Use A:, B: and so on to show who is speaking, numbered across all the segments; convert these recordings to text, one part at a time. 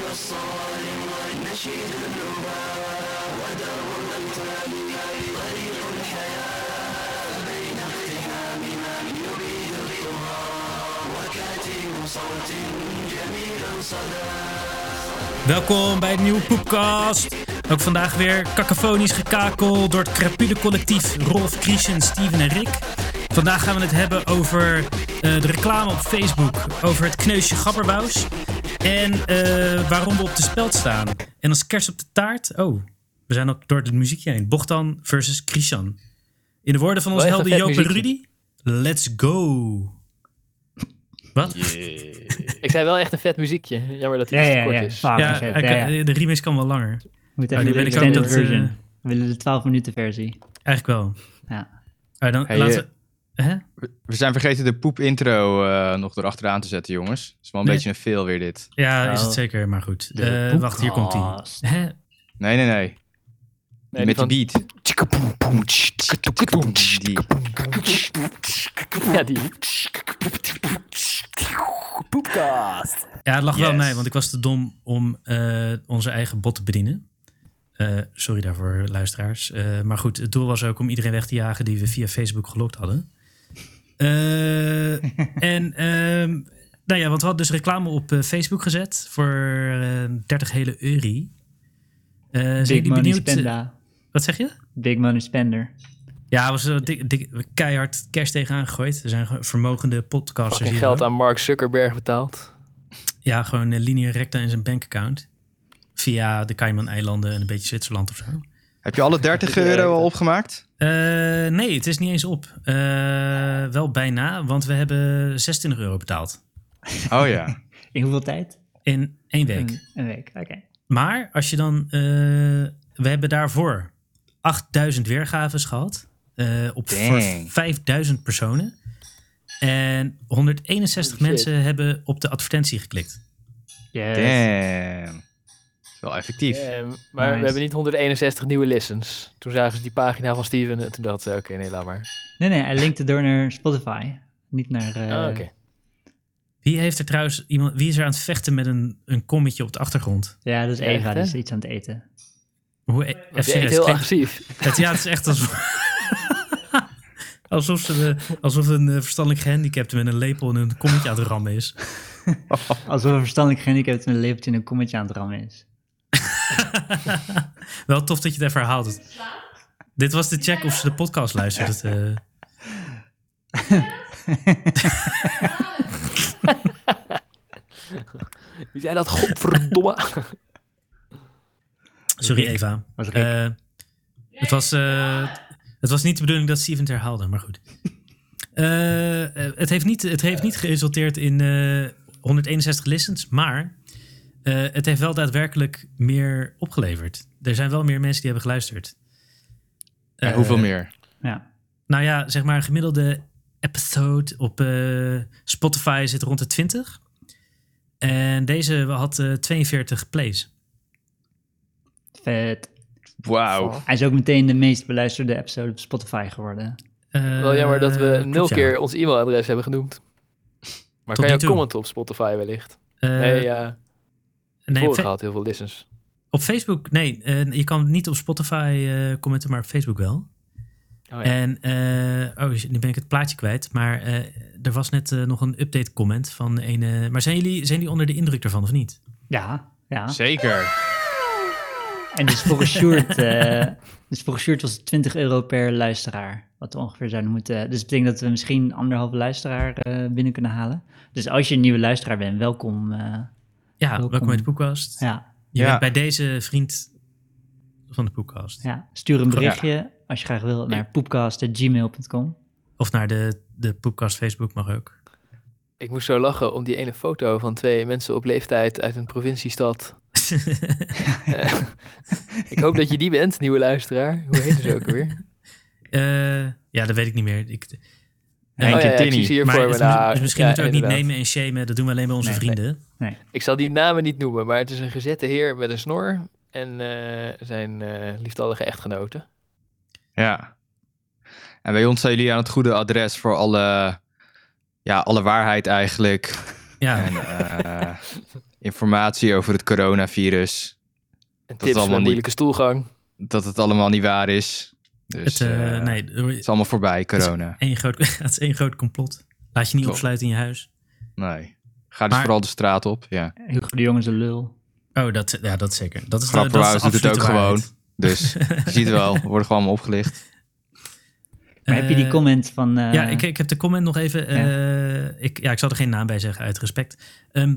A: والصارم والنشيد النبا ودرب التالي طريق الحياة بين اقتحامنا يريد الرضا وكاتم صوت جميل صدى
B: Welkom bij de nieuwe Poepcast. Ook vandaag weer kakafonisch gekakel door het crapule collectief Rolf, Christian, Steven en Rick. Vandaag gaan we het hebben over eh, de reclame op Facebook, over het kneusje Gabberbaus en eh, waarom we op de speld staan. En als kerst op de taart, oh, we zijn ook door het muziekje heen. Bochtan versus Christian. In de woorden van ons
C: Wel even
B: helden Joop
C: vet
B: en Rudy, let's go. Wat?
C: Ik zei wel echt een vet muziekje. Jammer dat hij
D: Ja,
C: iets te
D: ja,
C: kort
D: ja.
C: is.
D: Vaak
B: Ja, Nou,
D: is het,
B: hij
D: ja, ja.
B: kan- de remix kan wel langer.
D: We moeten
B: Maar
D: even
B: die
D: de
B: ben ik ook
D: extended
B: dat, eh,
D: version. We willen de 12 minuten versie.
B: Eigenlijk wel.
D: Ja.
B: Ah, dan
E: Hey,
B: laten we... Hè?
E: We zijn vergeten de poep-intro eh, nog erachteraan te zetten, jongens. Het is wel een
B: Nee.
E: beetje een fail weer dit.
B: Ja, is
D: Oh.
B: het zeker, maar goed.
D: De
B: Eh,
D: podcast.
B: wacht, hier komt hij. Hè?
E: Nee, nee, nee.
C: Nee, die
E: Met
C: van-
E: die beat. Die.
C: Ja, die.
B: Ja, het lag wel
E: Yes.
B: mij, want ik was te dom om eh, onze eigen bot te bedienen. Eh, sorry daarvoor, luisteraars. Eh, maar goed, het doel was ook om iedereen weg te jagen die we via Facebook gelokt hadden. Eh, en, ehm, nou ja, want we hadden dus reclame op eh, Facebook gezet voor eh, 30 hele euri. Eh, zijn
D: Big
B: jullie
D: Money
B: benieuwd? eh,
D: Spenda.
B: Wat zeg je?
D: Big Money Spender.
B: Ja, was er dik, dik- keihard cash tegenaan gegooid. Er zijn gewoon vermogende podcasters
C: Fucking
B: hier.
C: geld
B: hoor.
C: aan Mark Zuckerberg betaald.
B: Ja, gewoon eh, linea recta in zijn bankaccount. Via de Cayman-eilanden en een beetje Zwitserland of zo.
E: Heb je alle 30 euro al opgemaakt?
B: Eh, nee, het is niet eens op. Eh, wel bijna, want we hebben 26 euro betaald.
E: Oh ja.
D: In hoeveel tijd?
B: In één
C: Hmm.
B: week.
D: Een, een week, oké.
B: Maar als je dan. eh, we hebben daarvoor 8000 weergaves gehad. eh, op voor
E: Dang.
B: 5000 personen. En 161
C: Holy shit.
B: mensen hebben op de advertentie geklikt.
D: Yes.
E: Damn. Dat is wel effectief.
C: Eh, maar
D: Nice.
C: we hebben niet 161 nieuwe listens. Toen zagen ze die pagina van Steven en toen dachten ze, oké, nee, laat maar.
D: Nee, nee, hij linkte door naar Spotify. Niet naar... eh,
C: Ah, oké.
B: Wie heeft er trouwens iemand? Wie is er aan het vechten met een, een kommetje op de achtergrond?
D: Ja, dat is
C: Ja,
D: Eva,
C: echt,
D: die
C: hè?
D: is iets aan het eten.
B: Hoe e- even
C: Je eet
B: serieus,
C: heel
B: geen-
C: agressief.
B: het, ja, het is echt alsof, alsof, ze de- alsof een eh, verstandelijk gehandicapte met een lepel en een kommetje aan het rammen is.
D: Alsof een verstandelijk gehandicapt een lepeltje in een kommetje aan het rammen is.
B: Wel tof dat je het even herhaalt. Dit was de check of ze de podcast luistert. Het, eh.
C: Wie zei dat?
B: Eh,
C: Godverdomme.
B: sorry Eva.
D: Was Rick.
B: Eh, het, was, eh, het was niet de bedoeling dat Steven het herhaalde, maar goed. Eh, eh, het, heeft niet, het heeft niet geresulteerd in eh, 161 listens, maar eh, het heeft wel daadwerkelijk meer opgeleverd. Er zijn wel meer mensen die hebben geluisterd. Eh,
E: En hoeveel meer?
D: Ja.
B: Nou ja, zeg maar een gemiddelde episode op eh, Spotify zit rond de 20. En deze had eh, 42 plays.
D: Vet.
E: Wauw.
D: Hij is ook meteen de meest beluisterde episode op Spotify geworden.
B: Eh,
C: Wel jammer dat we
B: klopt,
C: nul
B: ja.
C: keer ons e-mailadres hebben genoemd. Maar
B: Tot
C: kan
B: nu
C: je ook
B: toe.
C: commenten op Spotify wellicht?
B: Eh,
C: nee, ja.
B: nee, op,
C: Vorig
B: Fe-
C: had heel veel listens.
B: op Facebook, nee, eh, je kan niet op Spotify eh, commenten, maar op Facebook wel.
C: Oh, ja.
B: En, eh, oh, shit, nu ben ik het plaatje kwijt, maar eh, er was net eh, nog een update comment van een... eh, maar zijn jullie, zijn jullie onder de indruk daarvan of niet?
D: Ja, ja.
E: Zeker.
D: En dus volgens Sjoerd, eh, dus volgens Sjoerd was het 20 euro per luisteraar. Wat we ongeveer zouden moeten. Dus dat betekent dat we misschien anderhalve luisteraar eh, binnen kunnen halen. Dus als je een nieuwe luisteraar bent, welkom. eh,
B: Ja, welkom,
D: Welkom.
B: bij de podcast.
D: ja,
B: Je
E: Ja.
B: bent bij deze vriend van de podcast.
D: ja. Stuur een berichtje als je graag wil naar poepcast.gmail.com.
B: Of naar de, de podcast Facebook mag ook.
C: Ik moest zo lachen om die ene foto van twee mensen op leeftijd uit een provinciestad. Eh, ik hoop dat je die bent, nieuwe luisteraar. Hoe heet ze ook weer?
B: Eh, ja, dat weet ik niet meer. Ik,
E: Henk
C: Oh
E: en
C: ik zie
E: Tinny.
C: ze hier
B: maar
C: voor
B: het
C: me.
B: is
C: Nou,
B: mis- misschien
C: ja,
B: moeten we ook
C: inderdaad.
B: niet nemen en shamen. Dat doen we alleen bij onze
D: Nee,
B: vrienden.
C: Ik zal die namen niet noemen, maar het is een gezette heer met een snor en eh, zijn eh, liefdallige echtgenote.
E: Ja. En bij ons zijn jullie aan het goede adres voor alle, ja, alle waarheid eigenlijk.
B: Ja,
E: En, eh, informatie over het coronavirus.
C: En tips
E: is allemaal
C: voor een
E: niet-
C: moeilijke stoelgang.
E: Dat het allemaal niet waar is. Dus
B: Het, eh,
E: eh,
B: nee, er-
E: het is allemaal voorbij, corona.
B: één groot, het is één groot complot. Laat je niet
E: Klopt.
B: opsluiten in je huis.
E: Nee. Ga dus
B: Maar-
E: vooral de straat op. Ja.
D: Hugo de Jong is een lul.
B: Oh, dat, ja, dat zeker. Dat is de, dat is
E: Grapperhaus
B: de
E: doet het ook
B: absolute waarheid.
E: gewoon. Dus je ziet wel, we worden gewoon allemaal opgelicht.
D: Maar heb je die
B: Eh,
D: comment van... eh,
B: Ja, ik, ik heb de comment nog even. eh, ik, ja, ik zal er geen naam bij zeggen, uit respect. Ehm,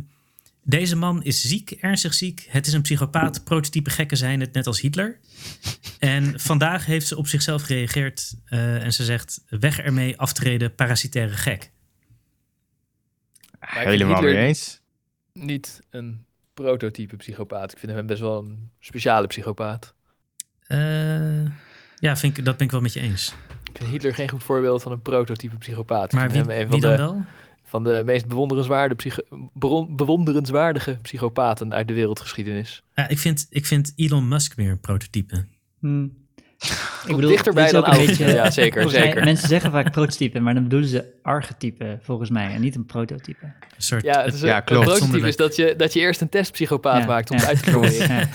B: deze man is ziek, ernstig ziek. Het is een psychopaat. Prototype gekken zijn het, net als Hitler. En vandaag heeft ze op zichzelf gereageerd. eh, en ze zegt: weg ermee, aftreden, parasitaire gek.
C: vind
E: Helemaal
C: Hitler-
E: mee eens.
C: Niet een prototype psychopaat. Ik vind hem best wel een speciale psychopaat.
B: Eh, ja, vind ik, dat ben ik wel met je eens.
C: Ik vind Hitler geen goed voorbeeld van een prototype psychopaat. Ik
B: Maar
C: vind
B: wie,
C: hem een
B: wie
C: van
B: dan
C: de,
B: wel?
C: van de meest bewonderenswaarde psycho- beron- bewonderenswaardige psychopaten uit de wereldgeschiedenis.
B: Ja, ik, vind, ik vind Elon Musk meer een prototype.
D: hm, ik
C: dichterbij
D: dit is
C: dan
D: ook een
C: oud.
D: beetje-
C: Ja, zeker,
D: volgens mij,
C: zeker.
D: Mensen zeggen vaak prototype, maar dan bedoelen ze archetype volgens mij. En niet een prototype.
B: Een soort,
C: Ja, het is
E: Ja,
C: een,
E: klopt.
C: een prototype
B: Zonderlijk.
C: is dat je, dat je eerst een testpsychopaat
D: Ja,
C: maakt om
D: ja,
C: het uit te proberen.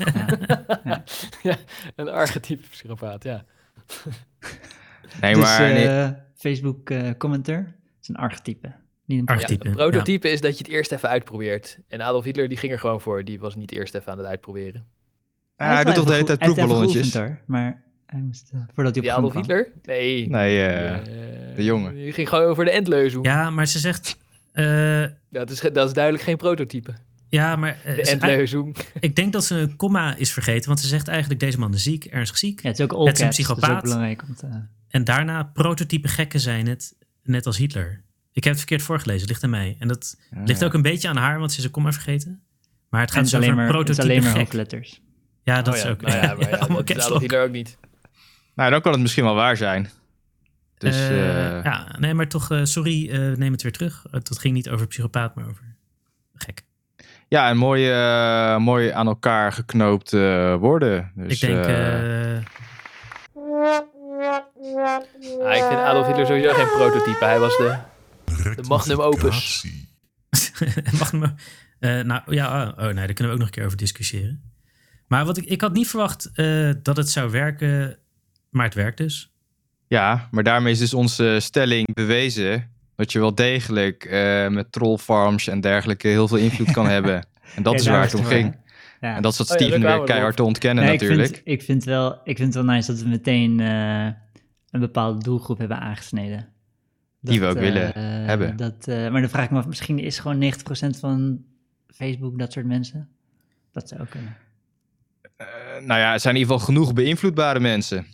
D: ja, ja.
C: een archetype psychopaat, ja.
E: Nee,
D: dus,
E: maar nee,
D: eh, Facebook eh, commenter, het is een archetype. Niet een
C: Ja,
B: Archetype,
C: een prototype is dat je het eerst even uitprobeert. En Adolf Hitler die ging er gewoon voor. Die was niet eerst even aan het uitproberen.
E: hij doet toch de hele tijd proefballonnetjes?
D: Hij heeft wel even geoefend, hoor, maar hij moest, eh, voordat hij op
C: Die
D: gang
C: Adolf
D: kwam.
C: Hitler? Nee.
E: Nee, eh,
C: Eh,
E: de jongen.
C: Die ging gewoon over de endleuze. Ja.
B: Ja, maar ze zegt. eh,
C: Dat, is, ge- dat is duidelijk geen prototype.
B: ja, maar. eh,
C: De
B: ze-
C: endleuze.
B: Ik denk dat ze een komma is vergeten, want ze zegt eigenlijk deze man is ziek, ernstig ziek.
D: Ja, het is ook all
B: Het is een
D: caps, dus dat
B: psychopaat.
D: is ook belangrijk om te...
B: En daarna prototype gekken zijn het, net als Hitler. Ik heb het verkeerd voorgelezen, het ligt aan mij. En dat ligt ook een beetje aan haar, want ze is een komma vergeten. Maar het
D: Ah, En
B: gaat
D: het is
B: zo over
D: alleen
B: een
D: maar, het is alleen
B: prototype
D: maar
B: gek.
D: hoofdletters.
B: Ja, dat
C: Oh ja,
B: is ook.
C: nou ja, maar ja,
B: allemaal
C: dat is
B: caps
C: Adolf
B: lock.
C: Hitler ook niet.
E: Nou, dan kan het misschien wel waar zijn. Dus
B: Eh,
E: eh,
B: Ja, nee, maar toch, eh, sorry, eh, neem het weer terug. Eh, dat ging niet over psychopaat, maar over gek.
E: ja, en mooi, eh, mooi aan elkaar geknoopt eh, worden. Dus,
B: Ik denk,
E: eh,
B: eh,
C: Ah, ik vind Adolf Hitler sowieso geen prototype. Hij was de...
F: De
C: magnum opus.
B: Mag maar. Eh, nou ja, oh, oh, nee, daar kunnen we ook nog een keer over discussiëren. Maar wat ik, ik had niet verwacht eh, dat het zou werken, maar het werkt dus.
E: Ja, maar daarmee is dus onze stelling bewezen dat je wel degelijk eh, met trollfarms en dergelijke heel veel invloed kan hebben. En dat
D: Ja,
E: is
D: daar
E: waar
D: is
E: het om
D: het
E: ging.
D: Ja.
E: En dat zat
C: Oh ja, daar
E: Steven
C: kwamen
E: weer
C: we
E: keihard te ontkennen
D: Nee,
E: natuurlijk.
D: Ik vind, ik, vind wel, ik vind het wel nice dat we meteen eh, een bepaalde doelgroep hebben aangesneden.
E: Die we
D: Dat,
E: ook
D: eh,
E: willen
D: eh,
E: hebben.
D: Dat, eh, maar dan vraag ik me af, misschien is gewoon 90% van Facebook dat soort mensen? Dat zou ook kunnen.
E: Eh, nou ja, er zijn in ieder geval genoeg beïnvloedbare mensen.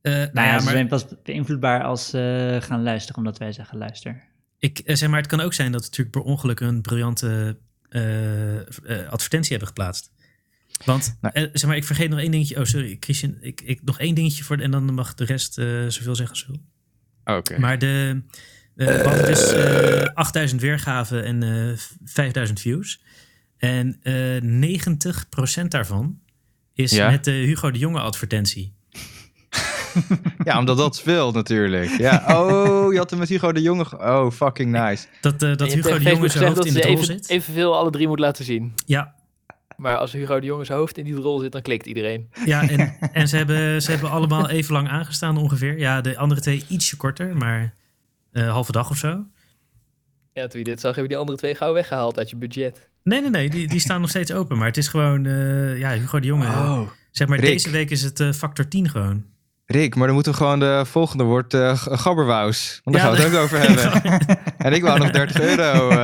B: Eh,
D: Nou ja,
B: ja,
D: ze
B: maar
D: zijn pas beïnvloedbaar als ze gaan luisteren, omdat wij zeggen luister.
B: ik eh, zeg maar, het kan ook zijn dat we natuurlijk per ongeluk een briljante eh, eh, advertentie hebben geplaatst. Want
E: Nou.
B: eh, zeg maar, ik vergeet nog één dingetje. Oh, sorry, Christian, ik, ik nog één dingetje voor en dan mag de rest eh, zoveel zeggen als ze wil.
E: Oké.
B: Maar de, eh, we hadden dus eh, 8000 weergaven en eh, 5000 views. En eh 90% daarvan is
E: Ja.
B: met de Hugo de Jonge advertentie.
E: Ja, omdat dat speelt natuurlijk. Ja. Oh, je had hem met Hugo de Jonge. ge- Oh, fucking nice.
B: Dat, eh, dat
C: Je hebt
B: Hugo
C: tegen
B: de Jonge
C: Facebook
B: zijn
C: gezegd
B: hoofd
C: dat
B: in de
C: ze
B: rol
C: even,
B: zit.
C: evenveel alle drie moet laten zien.
B: Ja,
C: Maar als Hugo de Jonge zijn hoofd in die rol zit, dan klikt iedereen.
B: ja en, en ze, hebben, ze hebben allemaal even lang aangestaan ongeveer. Ja, de andere twee ietsje korter, maar eh halve dag of zo.
C: Ja, toen je dit zag, hebben die andere twee gauw weggehaald uit je budget.
B: Nee, nee, nee, die, die staan nog steeds open. Maar het is gewoon, eh, ja, Hugo de Jonge.
C: Oh.
D: Oh.
B: zeg maar,
E: Rick.
B: deze week is het eh, factor 10 gewoon.
E: Rick, maar dan moeten we gewoon de volgende wordt eh g- gabberwaus. Want daar
B: Ja,
E: gaan we het ook over hebben. en ik wou nog 30 euro. eh,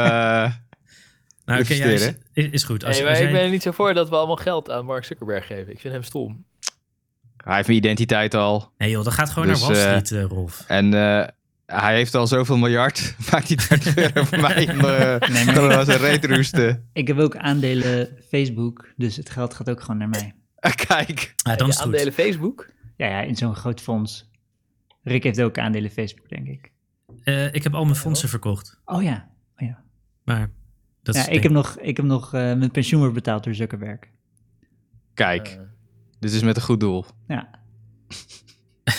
B: Nou, oké, ja, is,
E: investeren.
B: is is goed. Als,
C: Nee, maar
B: als
C: ik
B: jij-
C: ben er niet zo voor dat we allemaal geld aan Mark Zuckerberg geven. Ik vind hem stom.
E: hij heeft mijn identiteit al.
B: Nee joh, dat gaat gewoon
E: Dus,
B: naar Wall
E: eh,
B: Street, eh, Rolf.
E: En eh, hij heeft al zoveel miljard. Maakt die 30 euro voor mij. eh
D: Nee,
E: kan
D: maar
E: hem wel zijn reet roesten.
D: ik heb ook aandelen Facebook, dus het geld gaat ook gewoon naar mij.
E: Ah, Kijk.
B: Ah, dan
C: je
B: is het goed.
C: aandelen Facebook.
D: Ja, ja, in zo'n groot fonds. Rick heeft ook aandelen Facebook, denk ik.
B: Eh, ik heb al mijn fondsen verkocht.
D: Oh ja,
B: Maar dat
D: ja
B: is
D: ik
B: denk-
D: heb nog, ik heb nog eh, mijn pensioen wordt betaald door Zuckerberg.
E: Kijk,
C: Eh,
E: dit is met een goed doel.
D: Ja,
C: Eh,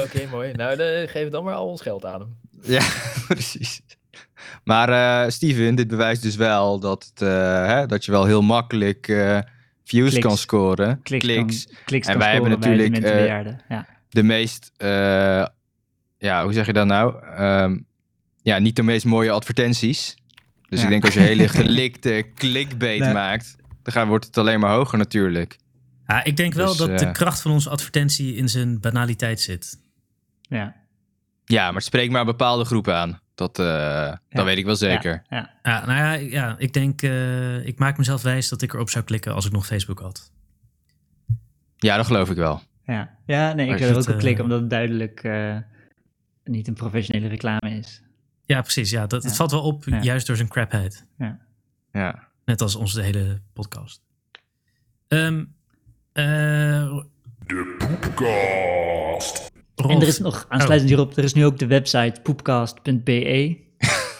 C: Oké, mooi. Nou, dan geef dan maar al ons geld aan hem.
E: Ja, precies. Maar eh, Steven, dit bewijst dus wel dat, het, eh, hè, dat je wel heel makkelijk eh, views
D: Kliks.
E: kan scoren.
D: Kliks, Kan, kliks
E: En
D: kan
E: wij hebben
D: scoren bij de
E: natuurlijk, eh,
D: dementebejaarden. ja.
E: De meest, eh, ja, hoe zeg je dat nou? Ehm, ja, niet de meest mooie advertenties. Dus
D: Ja.
E: ik denk als je hele gelikte clickbait
D: Nee.
E: maakt, dan gaat, wordt het alleen maar hoger natuurlijk.
B: Ja, ik denk wel
E: Dus,
B: dat de
E: eh,
B: kracht van onze advertentie in zijn banaliteit zit.
D: Ja.
E: Ja, maar het spreekt maar bepaalde groepen aan. Dat, eh, dat weet ik wel zeker.
D: Ja, ja.
B: Ja, nou ja, ja ik denk, eh, ik maak mezelf wijs dat ik erop zou klikken als ik nog Facebook had.
E: Ja, dat geloof ik wel.
D: Ja, ja nee, ik
E: Als
D: wil
B: je
D: er ook
B: het,
D: op klikken
B: eh,
D: omdat het duidelijk eh, niet een professionele reclame is.
B: Ja, precies. Ja, dat, Het
D: Ja.
B: valt wel op,
D: Ja.
B: juist door zijn crapheid.
E: Ja.
B: Net als onze hele podcast. Ehm, eh,
F: Poepcast.
B: Rolf,
D: En er is nog, aansluitend
B: oh.
D: hierop, er is nu ook de website poepcast.be.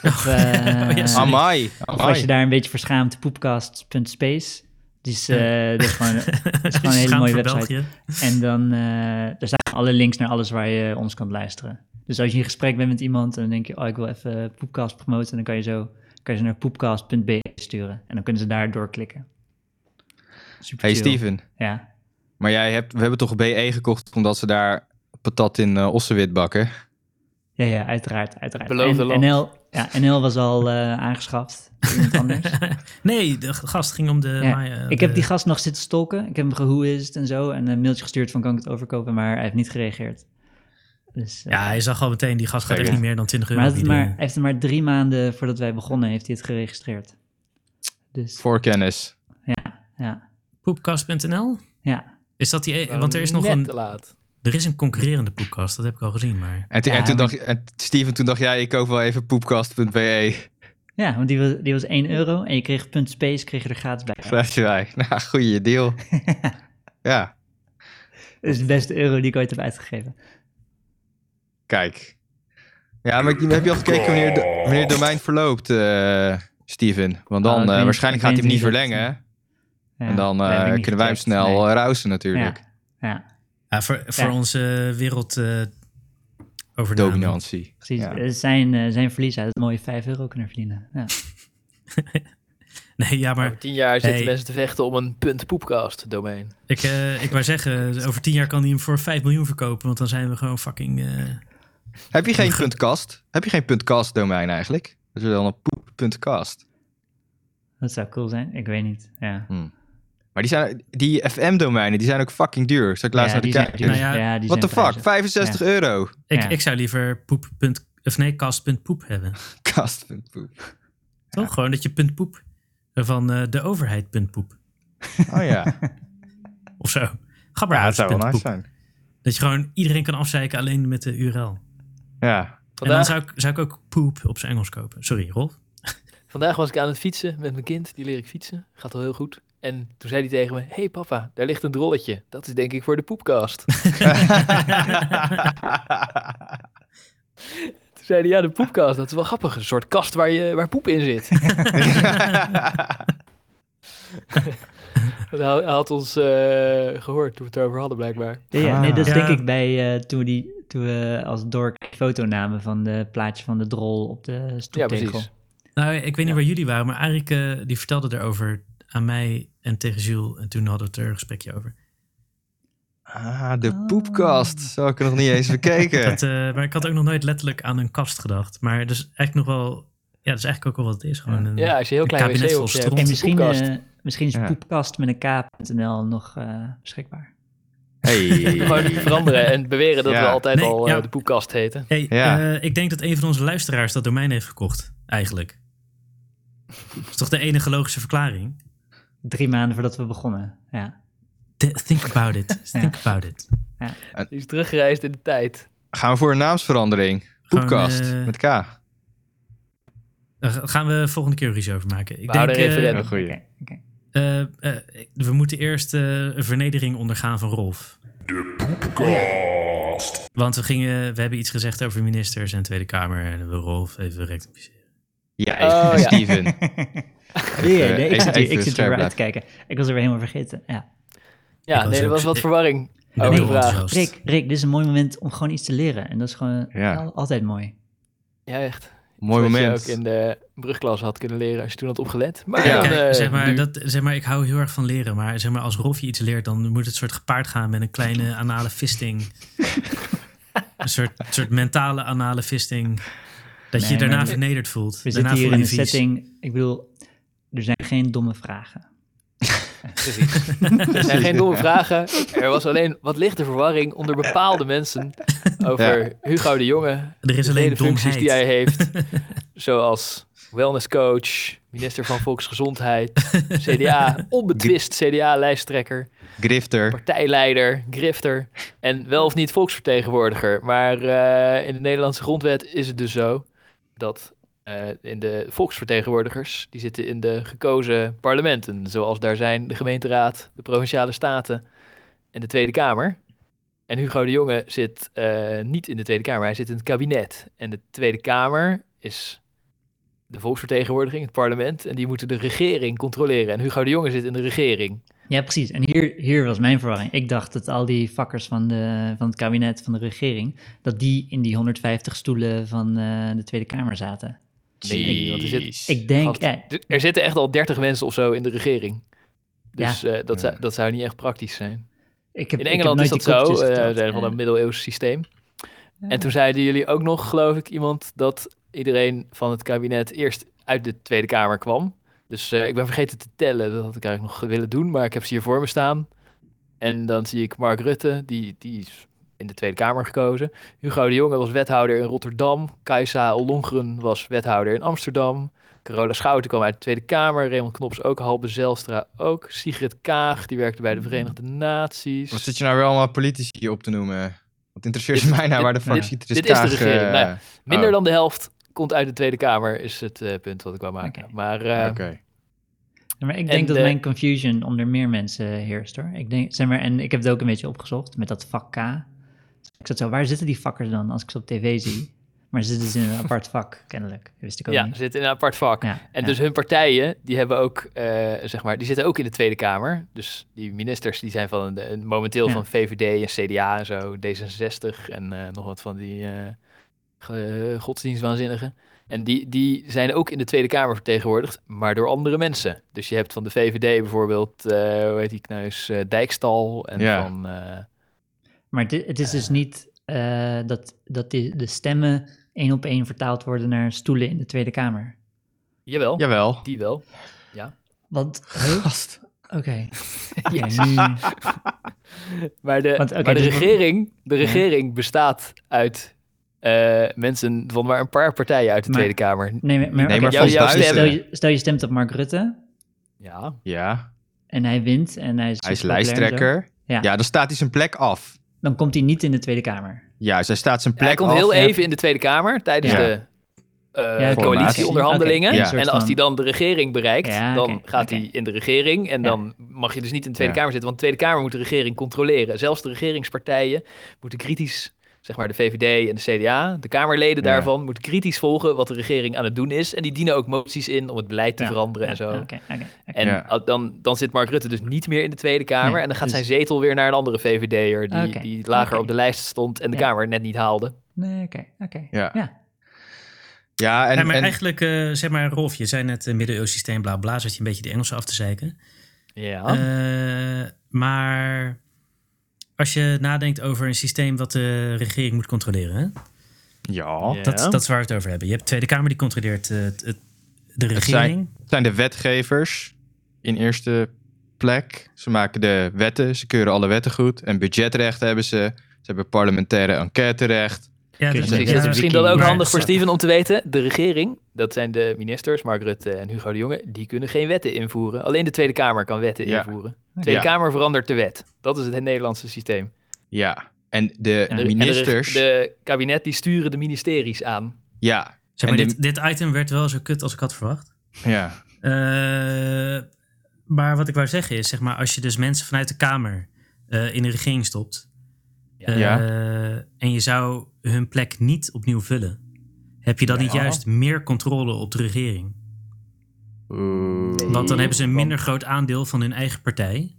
D: Of, eh,
B: Oh, ja, sorry.
E: Amai.
D: of
E: amai.
D: als je daar een beetje verschaamt, poepcast.space. Dus eh, dat is gewoon, dat is gewoon een hele
B: schaam
D: mooie
B: voor
D: website.
B: België.
D: En dan eh, daar staan alle links naar alles waar je ons kan luisteren. Dus als je in gesprek bent met iemand en dan denk je, oh, ik wil even Poepcast promoten, dan kan je, zo, kan je ze naar poepcast.be sturen. En dan kunnen ze daar doorklikken. Super
E: Hey
D: chill.
E: Steven,
D: Ja.
E: maar jij hebt, we hebben toch BE gekocht omdat ze daar patat in eh, ossenwit bakken?
D: Ja, ja, uiteraard, uiteraard.
C: Beloofde
D: En
C: land.
D: NL, ja, NL was al eh, aangeschaft. door Iemand anders.
B: Nee, de gast ging om de...
D: Ja,
B: maar, eh,
D: ik heb
B: de-
D: die gast nog zitten stalken. Ik heb hem gehoeist en zo. En een mailtje gestuurd van, kan ik het overkopen? Maar hij heeft niet gereageerd. Dus, eh,
B: Ja, hij zag al meteen, die gast gaat echt
E: Zeker.
B: niet meer dan 20 euro
D: maar, hij had het maar
B: bieden.
D: hij heeft het maar drie maanden voordat wij begonnen, heeft hij het geregistreerd. Dus
E: Voor kennis.
D: ja,
B: Poepkast.nl?
D: ja.
B: Is dat die... e- Want er is
D: Ehm,
B: nog
C: Net
B: een...
C: te laat.
B: Er is een concurrerende podcast, dat heb ik al gezien, maar...
E: En, t-
D: Ja,
E: en toen
D: maar-
E: dacht, en Steven, toen dacht jij, ik koop wel even poepkast.be.
D: ja want die was, die was 1 euro en je kreeg punt space, kreeg je er gratis bij.
E: Vraag je mij. Nou, goede deal. ja,
D: Dat is de beste euro die ik ooit heb uitgegeven.
E: kijk. Ja, maar ik- heb je al gekeken wanneer, de- wanneer het domein verloopt, eh, Steven? Want
D: Ah,
E: dan
D: ik
E: eh,
D: weet-
E: waarschijnlijk
D: ik
E: gaat hij
D: weet
E: hem niet
D: niet dat-
E: verlengen.
D: Ja,
E: en dan
D: dat
E: eh,
D: heb ik niet
E: kunnen wij hem
D: gecheckt,
E: snel
D: nee.
E: eh, rousen natuurlijk.
D: Ja, ja,
B: Ja, voor, voor
D: Ja.
B: onze wereld... eh overname.
E: Dominantie.
D: precies.
E: Ja.
D: Eh, Zijn, eh, zijn verlies uit mooie 5 euro kunnen verdienen. Ja.
B: Nee, ja, maar
C: Over tien jaar zitten
B: Hey.
C: mensen te vechten om een punt poepcast domein.
B: ik, eh ik wou zeggen, over tien jaar kan hij hem voor 5 miljoen verkopen, want dan zijn we gewoon fucking... eh,
E: Heb je geen
B: Ge-
E: puntkast? Heb je geen puntkast domein eigenlijk? Dat is wel een poep.kast.
D: Dat zou cool zijn. Ik weet niet. Ja.
E: Maar die, zijn, die FM-domeinen, die zijn ook fucking duur. Zal ik laatst
D: ja,
E: naar de
D: die zijn-
E: kijken?
D: die-
B: Nou ja,
D: ja, die
E: What the
D: zijn
E: fuck?
D: prijzig.
E: 65 euro.
B: ik,
D: Ja.
B: ik zou liever poep. punt- Of nee, kast.poep hebben.
E: Kast. poep.
B: Toch? Gewoon dat je punt poep eh, van eh, de overheid punt poep.
E: Oh ja.
B: Of zo. Ga maar uit, punt poep.
E: zijn.
B: Dat je gewoon iedereen kan afzeiken alleen met de URL.
E: Ja.
B: En dan
C: Vandaag,
B: zou ik, zou ik ook poep op zijn Engels kopen. Sorry, Rolf.
C: vandaag was ik aan het fietsen met mijn kind. Die leer ik fietsen. Gaat al heel goed. En toen zei hij tegen me, hé hey papa, daar ligt een drolletje. Dat is denk ik voor de poepcast. toen zei hij, ja de poepcast, dat is wel grappig. Een soort kast waar, je, waar poep in zit. Want hij hij had ons eh, gehoord toen we het erover hadden blijkbaar.
D: Ja, ja, nee, dat
B: Ah.
D: denk
B: Ja.
D: ik bij eh, toen, we die, toen we als dork foto namen van de plaatje van de drol op de
C: Ja,
D: stoeptegel.
C: precies.
B: Nou, ik weet niet
C: Ja.
B: waar jullie waren, maar Arik eh, die vertelde erover aan mij en tegen Jules. En toen hadden we het er een gesprekje over.
E: ah, de poepkast.
D: Ah.
E: Zo heb ik er nog niet eens bekeken.
B: Dat, eh, maar ik had ook nog nooit letterlijk aan een kast gedacht. Maar dat is eigenlijk nog wel... Ja, dat is eigenlijk ook wel wat het is. Gewoon een,
C: Ja, als je heel
B: Een
C: klein
B: kabinet
C: wc
B: vol
C: op je
B: stront.
C: hebt.
D: En misschien,
C: Poepkast.
D: eh, misschien is
E: Ja.
D: poepkast met een k.nl nog eh, beschikbaar.
E: Hey.
C: Gewoon veranderen en beweren dat
E: Ja.
C: we altijd
B: Nee,
C: al eh,
B: ja.
C: de poepkast heten.
B: Hey,
E: Ja.
B: eh, ik denk dat een van onze luisteraars dat domein heeft gekocht, eigenlijk. Dat is toch de enige logische verklaring?
D: Drie maanden voordat we begonnen. Ja.
B: Th- Think about it.
D: Ja.
B: Think about it.
C: Die is teruggereisd in de tijd.
E: Gaan we voor een naamsverandering? Poepkast.
B: Gewoon, eh,
E: Met K.
B: Daar gaan we volgende keer iets over maken. Ik
C: We houden
B: denk,
C: een
B: eh,
C: referendum.
E: goeie.
D: Oké, oké.
B: eh, eh, we moeten eerst eh, een vernedering ondergaan van Rolf.
F: De Poepcast.
B: Want we, gingen, we hebben iets gezegd over ministers en Tweede Kamer. En we Rolf even rectificeren.
E: Ja,
C: Oh, ja.
E: Steven.
D: Nee, nee, nee, ik
E: even-
D: zit hier, ik
E: even
D: zit hier
E: scherp
D: weer uit te kijken. Ik was er weer helemaal vergeten. Ja.
C: Ja,
B: was
C: nee, er
B: ook
C: was
B: zo-
C: wat
B: ik-
C: verwarring
D: Oh,
B: Ik ben
C: over de
B: heel
C: vraag.
B: enthousiast.
D: Rick, Rick, dit is een mooi moment om gewoon iets te leren. En dat is gewoon
E: Ja.
D: al- altijd mooi.
C: Ja, echt.
E: Mooi
C: Wat
E: moment.
C: je ook in de brugklas had kunnen leren als je toen had opgelet. Maar
E: Ja.
C: dan,
B: Kijk,
C: eh,
B: zeg, maar,
C: nu-
B: dat, zeg maar, ik hou heel erg van leren. Maar zeg maar, als Rolf je iets leert, dan moet het soort gepaard gaan met een kleine anale fisting. een soort, soort mentale anale fisting. Dat je je
D: Nee,
B: daarna
D: maar-
B: vernederd voelt.
D: We
B: daarna
D: zitten hier
B: voel
D: in
B: je
D: een
B: vies.
D: setting. Ik bedoel, er zijn geen domme vragen.
C: er zijn geen domme vragen. Er was alleen wat lichte verwarring onder bepaalde mensen over Hugo de Jonge.
B: Er is
C: de hele
B: alleen
C: functies
B: domheid.
C: die hij heeft. Zoals wellnesscoach, minister van Volksgezondheid, CDA, onbetwist CDA-lijsttrekker,
E: Grifter.
C: partijleider, grifter en wel of niet volksvertegenwoordiger. Maar eh, in de Nederlandse grondwet is het dus zo dat eh, in de volksvertegenwoordigers, die zitten in de gekozen parlementen, zoals daar zijn de gemeenteraad, de provinciale staten en de Tweede Kamer. En Hugo de Jonge zit eh, niet in de Tweede Kamer, hij zit in het kabinet. En de Tweede Kamer is de volksvertegenwoordiging, het parlement, en die moeten de regering controleren. En Hugo de Jonge zit in de regering.
D: Ja, precies. En hier, hier was mijn verwarring. Ik dacht dat al die vakkers van, de, van het kabinet, van de regering, dat die in die 150 stoelen van eh, de Tweede Kamer zaten.
C: Nee, want er zit-
D: Ik denk,
C: Gast,
D: ja,
C: d- Er zitten echt al 30 mensen of zo in de regering. Dus eh, dat, zou,
E: Ja.
C: dat zou niet echt praktisch zijn.
D: ik heb,
C: In
D: ik heb
C: Engeland
D: nooit
C: is
D: die
C: dat zo.
D: kopjes
C: eh, we
D: geteld.
C: zijn van
D: Ja.
C: een middeleeuws systeem. En toen zeiden jullie ook nog, geloof ik, iemand dat iedereen van het kabinet eerst uit de Tweede Kamer kwam. Dus eh, ik ben vergeten te tellen. Dat had ik eigenlijk nog willen doen, maar ik heb ze hier voor me staan. En dan zie ik Mark Rutte, die, die is in de Tweede Kamer gekozen. Hugo de Jonge was wethouder in Rotterdam. Kajsa Ollongren was wethouder in Amsterdam. Carola Schouten kwam uit de Tweede Kamer. Raymond Knops ook. Halbe Zelstra ook. Sigrid Kaag, die werkte bij de Verenigde Naties.
E: Wat zit je nou weer allemaal politici op te noemen? Wat interesseert
C: Dit-
E: mij nou
C: dit-
E: waar de
C: dit-
E: fractie
C: dit is de regering. Nou ja,
D: ah.
C: Minder dan de helft komt uit de Tweede Kamer, is het eh, punt wat ik wou maken.
D: Oké.
C: Maar eh,
D: Ja, maar ik
C: En
D: denk dat
C: de-
D: mijn confusion onder meer mensen heerst hoor. Ik denk, zeg maar, en ik heb het ook een beetje opgezocht met dat vak K. Dus ik zat zo, waar zitten die vakkers dan als ik ze op tv zie? Maar ze zitten dus in een apart vak, kennelijk. Dat wist ik ook
C: ja,
D: niet.
C: ze zitten in een apart vak.
D: Ja,
C: En
D: ja.
C: dus hun partijen, die hebben ook, eh, zeg maar, die zitten ook in de Tweede Kamer. Dus die ministers, die zijn van de- momenteel
D: Ja.
C: van VVD en CDA en zo, D66 en eh, nog wat van die eh ge- godsdienstwaanzinnigen. En die, die zijn ook in de Tweede Kamer vertegenwoordigd, maar door andere mensen. Dus je hebt van de VVD bijvoorbeeld, eh hoe heet die kneus, eh, Dijkstal en
E: Ja.
C: van... eh,
D: Maar het, i- het is dus niet eh, dat, dat die, de stemmen één op één vertaald worden naar stoelen in de Tweede Kamer.
C: jawel,
E: Jawel.
C: die wel.
D: Want, gast. Oké. Oké, nu-
C: Maar de,
D: Want, oké,
C: maar de,
D: dus-
C: regering, de regering bestaat uit eh, mensen van maar een paar partijen uit de
D: Maar-
C: Tweede Kamer.
D: Nee, maar, maar,
E: Nee,
D: oké,
E: maar
C: jouw-
E: van
C: jouw stem-
D: stel,
E: duizenden.
D: je, stel je stemt op Mark Rutte
C: Ja,
E: Ja,
D: en hij wint en hij is,
E: hij is
D: populair en zo,
E: lijsttrekker.
D: Ja.
E: Ja, dan staat hij zijn plek af.
D: Dan komt hij niet in de Tweede Kamer.
E: Juist, hij staat zijn plek
C: hij komt
E: af.
C: heel even in de Tweede Kamer tijdens
E: Ja.
C: de eh,
D: Ja, oké.
C: coalitieonderhandelingen.
D: Oké,
E: Ja.
D: een soort
C: En als
D: van-
C: hij dan de regering bereikt,
D: Ja,
C: dan
D: oké,
C: gaat
D: oké.
C: hij in de regering. En
D: Ja.
C: dan mag je dus niet in de Tweede
E: Ja.
C: Kamer zitten, want de Tweede Kamer moet de regering controleren. Zelfs de regeringspartijen moeten kritisch, zeg maar de VVD en de CDA, de Kamerleden
E: Ja.
C: daarvan, moeten kritisch volgen wat de regering aan het doen is. En die dienen ook moties in om het beleid te
D: Ja,
C: veranderen en
D: ja,
C: zo.
D: Oké, oké, oké.
C: En
E: Ja.
C: al- dan, dan zit Mark Rutte dus niet meer in de Tweede Kamer.
D: Nee,
C: en dan gaat
D: dus-
C: zijn zetel weer naar een andere VVD'er. Die,
D: Oké,
C: die lager
D: oké.
C: op de lijst stond en de
D: Ja.
C: Kamer net niet haalde.
D: Nee, oké, oké.
E: Ja.
D: Ja.
E: Ja, en,
B: ja, maar
E: en-
B: eigenlijk, eh, zeg maar, Rolf, je zei net uh, middeleeuws systeem, bla bla, zat je een beetje de Engelsen af te zeiken.
C: Ja.
B: Eh, maar als je nadenkt over een systeem wat de regering moet controleren, hè?
E: ja.
C: Ja.
B: Dat, dat is waar we het over hebben. Je hebt de Tweede Kamer die controleert eh, het, het- de regering.
E: Het zijn de wetgevers in eerste plek. Ze maken de wetten, ze keuren alle wetten goed. En budgetrecht hebben ze. Ze hebben parlementaire enquêterecht.
B: Ja, dat-
D: Precies,
B: ja,
C: Precies,
D: ja,
C: het is misschien dan ook
B: maar-
C: handig voor Steven om te weten. De regering, dat zijn de ministers, Mark Rutte en Hugo de Jonge, die kunnen geen wetten invoeren. Alleen de Tweede Kamer kan wetten
E: Ja.
C: invoeren. De Tweede
E: Ja.
C: Kamer verandert de wet. Dat is het Nederlandse systeem.
E: Ja. En de
D: Ja.
C: De- en de-
E: ministers.
C: De, kabinet die sturen de ministeries aan.
E: Ja.
B: Zeg maar,
E: En
B: dit, dit item werd wel zo kut als ik had verwacht.
E: Ja.
B: Eh, maar wat ik wou zeggen is, zeg maar, als je dus mensen vanuit de Kamer eh, in de regering stopt. eh,
E: Ja.
B: En je zou hun plek niet opnieuw vullen. Heb je dan niet
E: Ja.
C: oh.
B: juist meer controle op de regering?
E: Oeh.
B: Want
C: Mm,
B: dan hebben ze een minder groot aandeel van hun eigen partij.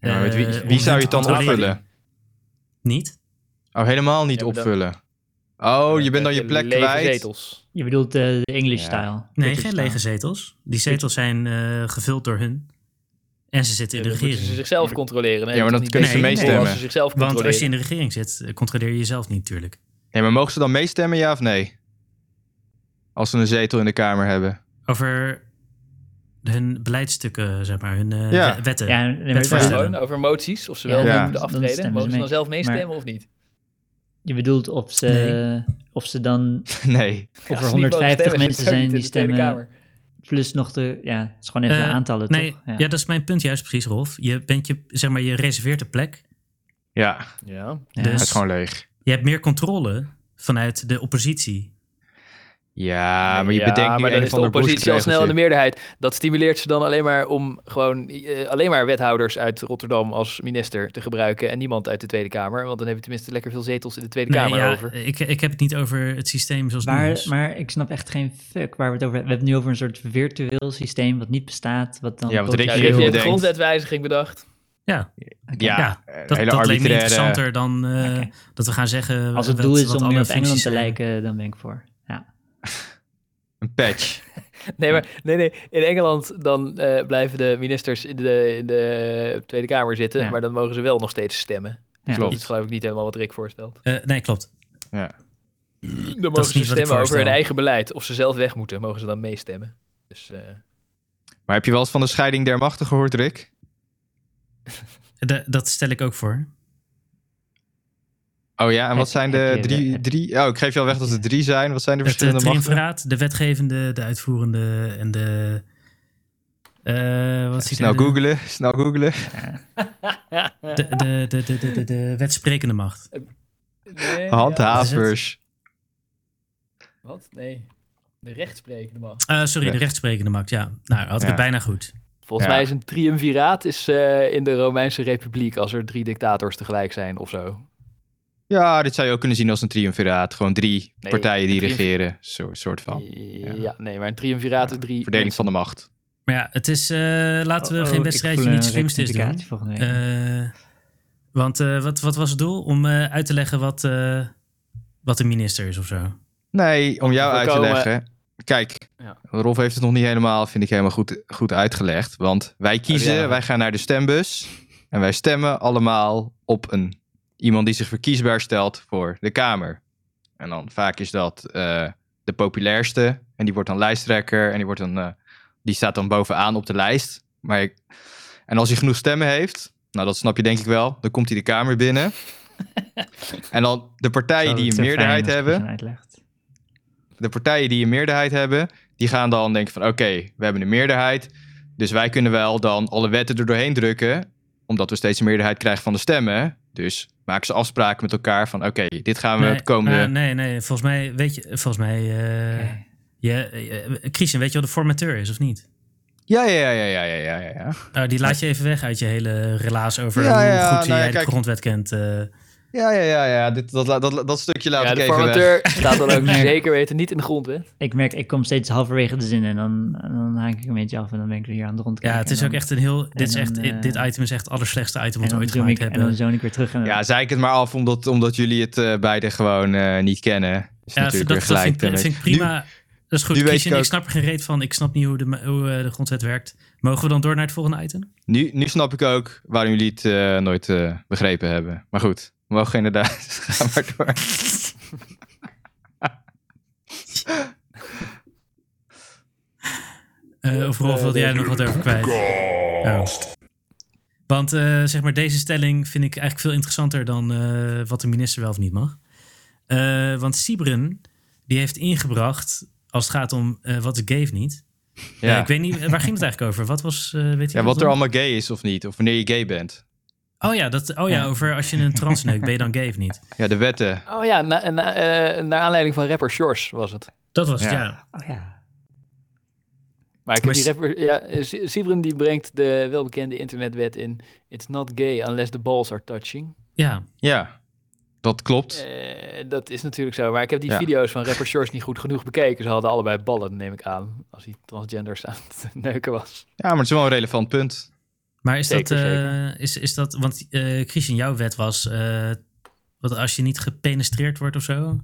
E: Ja, maar met
B: Eh,
E: wie,
B: om
E: wie
B: hun
E: zou je
B: te
E: het dan
B: controleren.
E: opvullen?
B: Niet?
E: Oh, helemaal niet
C: Ja, maar dan-
E: opvullen. Oh, je bent dan
C: Met
E: je plek
C: lege
E: kwijt.
C: zetels.
D: Je bedoelt eh, de English
E: Ja.
D: style.
B: Nee,
D: British
B: geen
D: style.
B: lege zetels. Die zetels zijn eh, gevuld door hun. En ze zitten in
C: Dan
B: de
C: moeten ze
B: regering.
C: zichzelf controleren. Dan
E: Ja, maar
C: heb
E: dat
C: je toch
E: kunnen
C: niet
B: ze
C: beter
B: meestemmen.
C: Als ze zichzelf
B: Want als je
C: controleren.
B: in de regering zit, eh, controleer je jezelf niet natuurlijk.
E: Nee, maar mogen ze dan meestemmen, ja of nee? Als ze een zetel in de Kamer hebben.
B: Over hun beleidsstukken, zeg maar, hun eh,
E: Ja.
B: we- wetten.
D: Ja, nee, maar-
B: voorstellen.
C: Gewoon over moties, of ze
D: Ja,
C: wel
E: dan-
C: moeten
D: dan
C: aftreden.
D: stemmen ze
C: Mogen ze dan
D: mee.
C: zelf meestemmen
D: Maar-
C: of niet?
D: je bedoelt of ze, of ze dan,
E: nee.
D: of
C: Ja, als
D: er
C: ze niet mogen
D: 150
C: stemmen,
D: mensen
C: zitten ze
D: zijn
C: ook
D: die
C: niet in de Tweede
D: stemmen,
C: Kamer.
D: plus nog de, ja, het is gewoon even
B: Eh,
D: de aantallen,
B: Nee,
D: toch?
B: ja. dat is mijn punt juist precies, Rolf. Je, bent je, zeg maar, je reserveert de plek.
E: Ja, het
C: Ja.
D: Ja.
B: dus-
E: is gewoon leeg.
B: Je hebt meer controle vanuit de oppositie.
E: Ja, Ah, maar je bedenkt nu
C: maar dan
E: een
C: is
E: van
C: de
E: de
C: oppositie al snel in de meerderheid. Dat stimuleert ze dan alleen maar om gewoon eh, alleen maar wethouders uit Rotterdam als minister te gebruiken en niemand uit de Tweede Kamer. Want dan heb je tenminste lekker veel zetels in de Tweede
B: Nee,
C: Kamer
B: ja,
C: over.
B: Ik, ik heb het niet over het systeem zoals het nu
D: Maar,
B: is.
D: maar ik snap echt geen fuck waar we het over hebben. We hebben het nu over een soort virtueel systeem wat niet bestaat. Wat dan
E: Ja, wat
D: potentieel-
C: Ja, die heeft
E: Rick heel
C: je de
E: bedenkt.
C: grondwetwijziging bedacht.
B: ja,
E: Ja,
B: Ja, dat,
E: eh, hele
B: dat leek me
E: arbitraire...
B: interessanter dan eh,
D: Oké.
B: dat we gaan zeggen...
D: Als het
B: wat-
D: doel is
B: wat
D: om
B: alle
D: meer op
B: functies
D: Engeland te
B: zijn.
D: lijken, dan ben ik voor. Ja.
E: Een patch.
C: Nee, maar nee, nee. in Engeland dan eh, blijven de ministers in de, in de Tweede Kamer zitten,
D: Ja.
C: maar dan mogen ze wel nog steeds stemmen.
D: Ja.
E: Klopt.
C: Dat is geloof ik niet helemaal wat Rick voorstelt.
B: Eh, nee, klopt.
E: Ja.
C: Dan mogen ze
B: niet wat ik
C: stemmen over hun
B: voorstel.
C: eigen beleid. Of ze zelf weg moeten, mogen ze dan meestemmen. Dus eh,
E: Maar heb je wel eens van de scheiding der machten gehoord, Rick?
B: Da- dat stel ik ook voor. eh,
E: Oh ja, en
D: Heb-
E: wat zijn
D: heb
E: de
D: je-
E: drie,
D: heb-
E: drie... Oh, ik geef je al weg dat er drie zijn. Wat zijn de
B: Het eh,
E: verschillende machten?
B: triumviraat, de wetgevende, de uitvoerende en de... eh, wat is
E: Snel
B: de,
E: nou googelen, snel googelen.
B: De, de, de, de, de, de, de wetsprekende macht.
C: nee, ja.
E: Handhavers.
C: Wat? Nee. De rechtsprekende man.
B: Eh, sorry, de
E: Ja.
B: rechtsprekende macht, ja. Nou, had ik
E: Ja.
B: het bijna goed.
C: Volgens
E: Ja.
C: mij is een triumviraat is, eh, in de Romeinse Republiek als er drie dictators tegelijk zijn of zo.
E: Ja, dit zou je ook kunnen zien als een triumviraat. Gewoon drie
C: Nee,
E: partijen die
C: een triumf-
E: regeren. Zo, soort van.
C: Ja. nee, maar een triumviraat is drie.
E: Verdeling van de macht.
B: Maar ja, het is... eh, laten we
D: Oh, oh,
B: geen
D: ik
B: wedstrijdje
D: voel
B: niet
D: een
B: slims is doen.
D: rectificatie volgende week.
B: Eh, want eh, wat, wat was het doel? Om eh, uit te leggen wat, eh, wat de minister is of zo.
E: Nee, om
C: te
E: jou uit te
C: voorkomen-
E: leggen. Kijk,
C: Ja.
E: Rolf heeft het nog niet helemaal, vind ik, helemaal goed, goed uitgelegd. Want wij kiezen,
C: Oh, ja.
E: wij gaan naar de stembus. En wij stemmen allemaal op een, iemand die zich verkiesbaar stelt voor de Kamer. En dan vaak is dat eh, de populairste. En die wordt dan lijsttrekker. En die, wordt dan, eh, die staat dan bovenaan op de lijst. Maar ik- en als hij genoeg stemmen heeft, nou dat snap je denk ik wel, dan komt hij de Kamer binnen. en dan de partijen
D: Zo,
E: die
D: het
E: een
D: Oh, is fijn
E: meerderheid
D: als je
E: hebben,
D: zo'n uitlegt.
E: de partijen die een meerderheid hebben, die gaan dan denken van oké, we hebben een meerderheid. Dus wij kunnen wel dan alle wetten er doorheen drukken, omdat we steeds een meerderheid krijgen van de stemmen. Dus maken ze afspraken met elkaar van oké, dit gaan we het komende...
B: eh, nee, nee, volgens mij, weet je, volgens mij, eh,
D: Oké.
B: je, eh, Christian, weet je wat de formateur is of niet?
E: Ja, ja, ja, ja, ja, ja, ja, ja.
B: Oh, die laat je even weg uit je hele relaas over
E: Ja,
B: hoe
E: ja,
B: goed
E: nou ja,
B: jij
E: kijk.
B: de grondwet kent. eh.
E: Ja, ja, ja, ja. Dit, dat, la- dat, dat stukje laat
C: ja,
E: ik
C: de
E: even weg.
C: formateur staat dan ook
D: Nee.
C: zeker weten niet in de grondwet.
D: Ik merk, ik kom steeds halverwege de zin en dan, dan haak ik een beetje af en dan ben ik hier aan de rondkijken.
B: ja, het is
D: en
B: ook
D: dan-
B: echt een heel, dit, is
D: dan,
B: echt,
D: eh,
B: dit item is echt het allerslechtste item
D: en
B: wat we
D: dan
B: ooit
D: zoom ik,
B: gemaakt
D: en
B: hebben.
D: dan zoon ik weer terug. En
E: Ja, zei ik het maar af omdat, omdat jullie het eh beide gewoon eh, niet kennen. Is
B: ja, dat,
E: natuurlijk weer
B: dat
E: gelijk. eh,
B: vind, ik- vind ik prima. dat is goed,
E: nu weet
B: Christian,
E: ik
B: ik,
E: ook-
B: snap er geen reet van. Ik snap niet hoe de, hoe eh, de grondwet werkt. Mogen we dan door naar het volgende item?
E: Nu, nu, nu snap ik ook waarom jullie het eh, nooit eh, begrepen hebben. Maar goed, we mogen inderdaad. Ga maar door.
B: Eh, of Rolf, wilde jij er nog wat over kwijt? Oh.
F: Poepcast.
B: Want eh, zeg maar, deze stelling vind ik eigenlijk veel interessanter dan eh, wat de minister wel of niet mag. Eh, want Siebren, die heeft ingebracht, als het gaat om eh, wat is gay of niet. Eh,
E: Ja.
B: ik weet niet, waar ging het eigenlijk over? Wat was, eh, weet je dat
E: ja, wat er
B: dan?
E: allemaal gay is of niet. Of wanneer je gay bent.
B: Oh ja, dat, oh ja,
D: Ja.
B: over als je een trans neukt, ben je dan gay of niet?
E: Ja, de wetten.
C: Oh ja, na, na- eh, naar aanleiding van rapper Shores was het.
B: Dat was het,
E: Ja.
B: ja.
D: Oh ja.
C: Maar ik heb
B: Maar
C: die
B: s-
C: rapper, ja, eh, Si- Sibren die brengt de welbekende internetwet in. It's not gay unless the balls are touching.
B: Ja,
E: Ja, dat klopt.
C: Eh, dat is natuurlijk zo. Maar ik heb die
E: Ja.
C: video's van rapper Shores niet goed genoeg bekeken. Ze hadden allebei ballen, neem ik aan. Als hij transgenders aan het neuken was.
E: Ja, maar het is wel een relevant punt.
B: maar is dat,
C: Zeker,
B: eh, Is, is dat want eh Christian, jouw wet was, eh, wat als je niet gepenestreerd wordt of zo,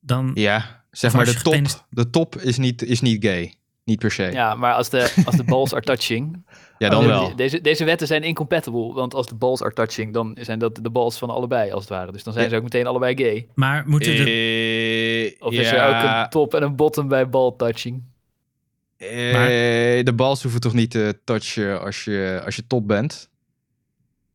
B: Dan,
E: Ja, zeg
B: Of
E: maar
B: als
E: de
B: je
E: top,
B: gepenis-
E: de top is niet, is niet gay. Niet per se. Ja,
C: Ja, maar als de, als de balls are touching.
B: Oh,
E: dan
C: de-
E: wel.
C: Deze, deze wetten zijn incompatible. Want als de balls are touching, dan zijn dat de balls van allebei, als het ware. Dus dan zijn
E: Ja.
C: ze ook meteen allebei gay.
B: maar moeten de...
E: Eh,
C: Of is er ook
E: ja,
C: een top en een bottom bij ball touching?
E: eh,
B: Maar-
E: de bals hoeven toch niet te touchen als je, als je top bent?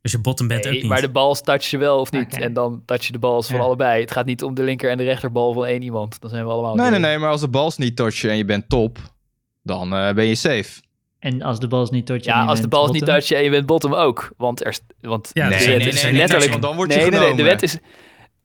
B: Als je bottom bent ook
C: Nee,
B: niet.
C: maar de balls touch je wel of niet.
D: Oké.
C: En dan touch je de balls van
D: Ja.
C: allebei. Het gaat niet om de linker en de rechterbal van één iemand. Dan zijn we allemaal
E: Nee,
C: gay.
E: nee, nee, maar als de bals niet touchen en je bent top, dan eh, ben je safe.
D: En als de bal is niet tot je en
C: Ja,
D: je
C: als de
D: bent
C: bal is niet
D: bottom-
C: touchen en je bent bottom ook. Want er... st- Want
B: Ja,
C: de
B: nee,
C: wet
B: nee,
C: is
B: nee, nee, nee,
C: letterlijk...
E: want dan word je
C: nee, nee, nee, de
E: genomen.
C: wet is...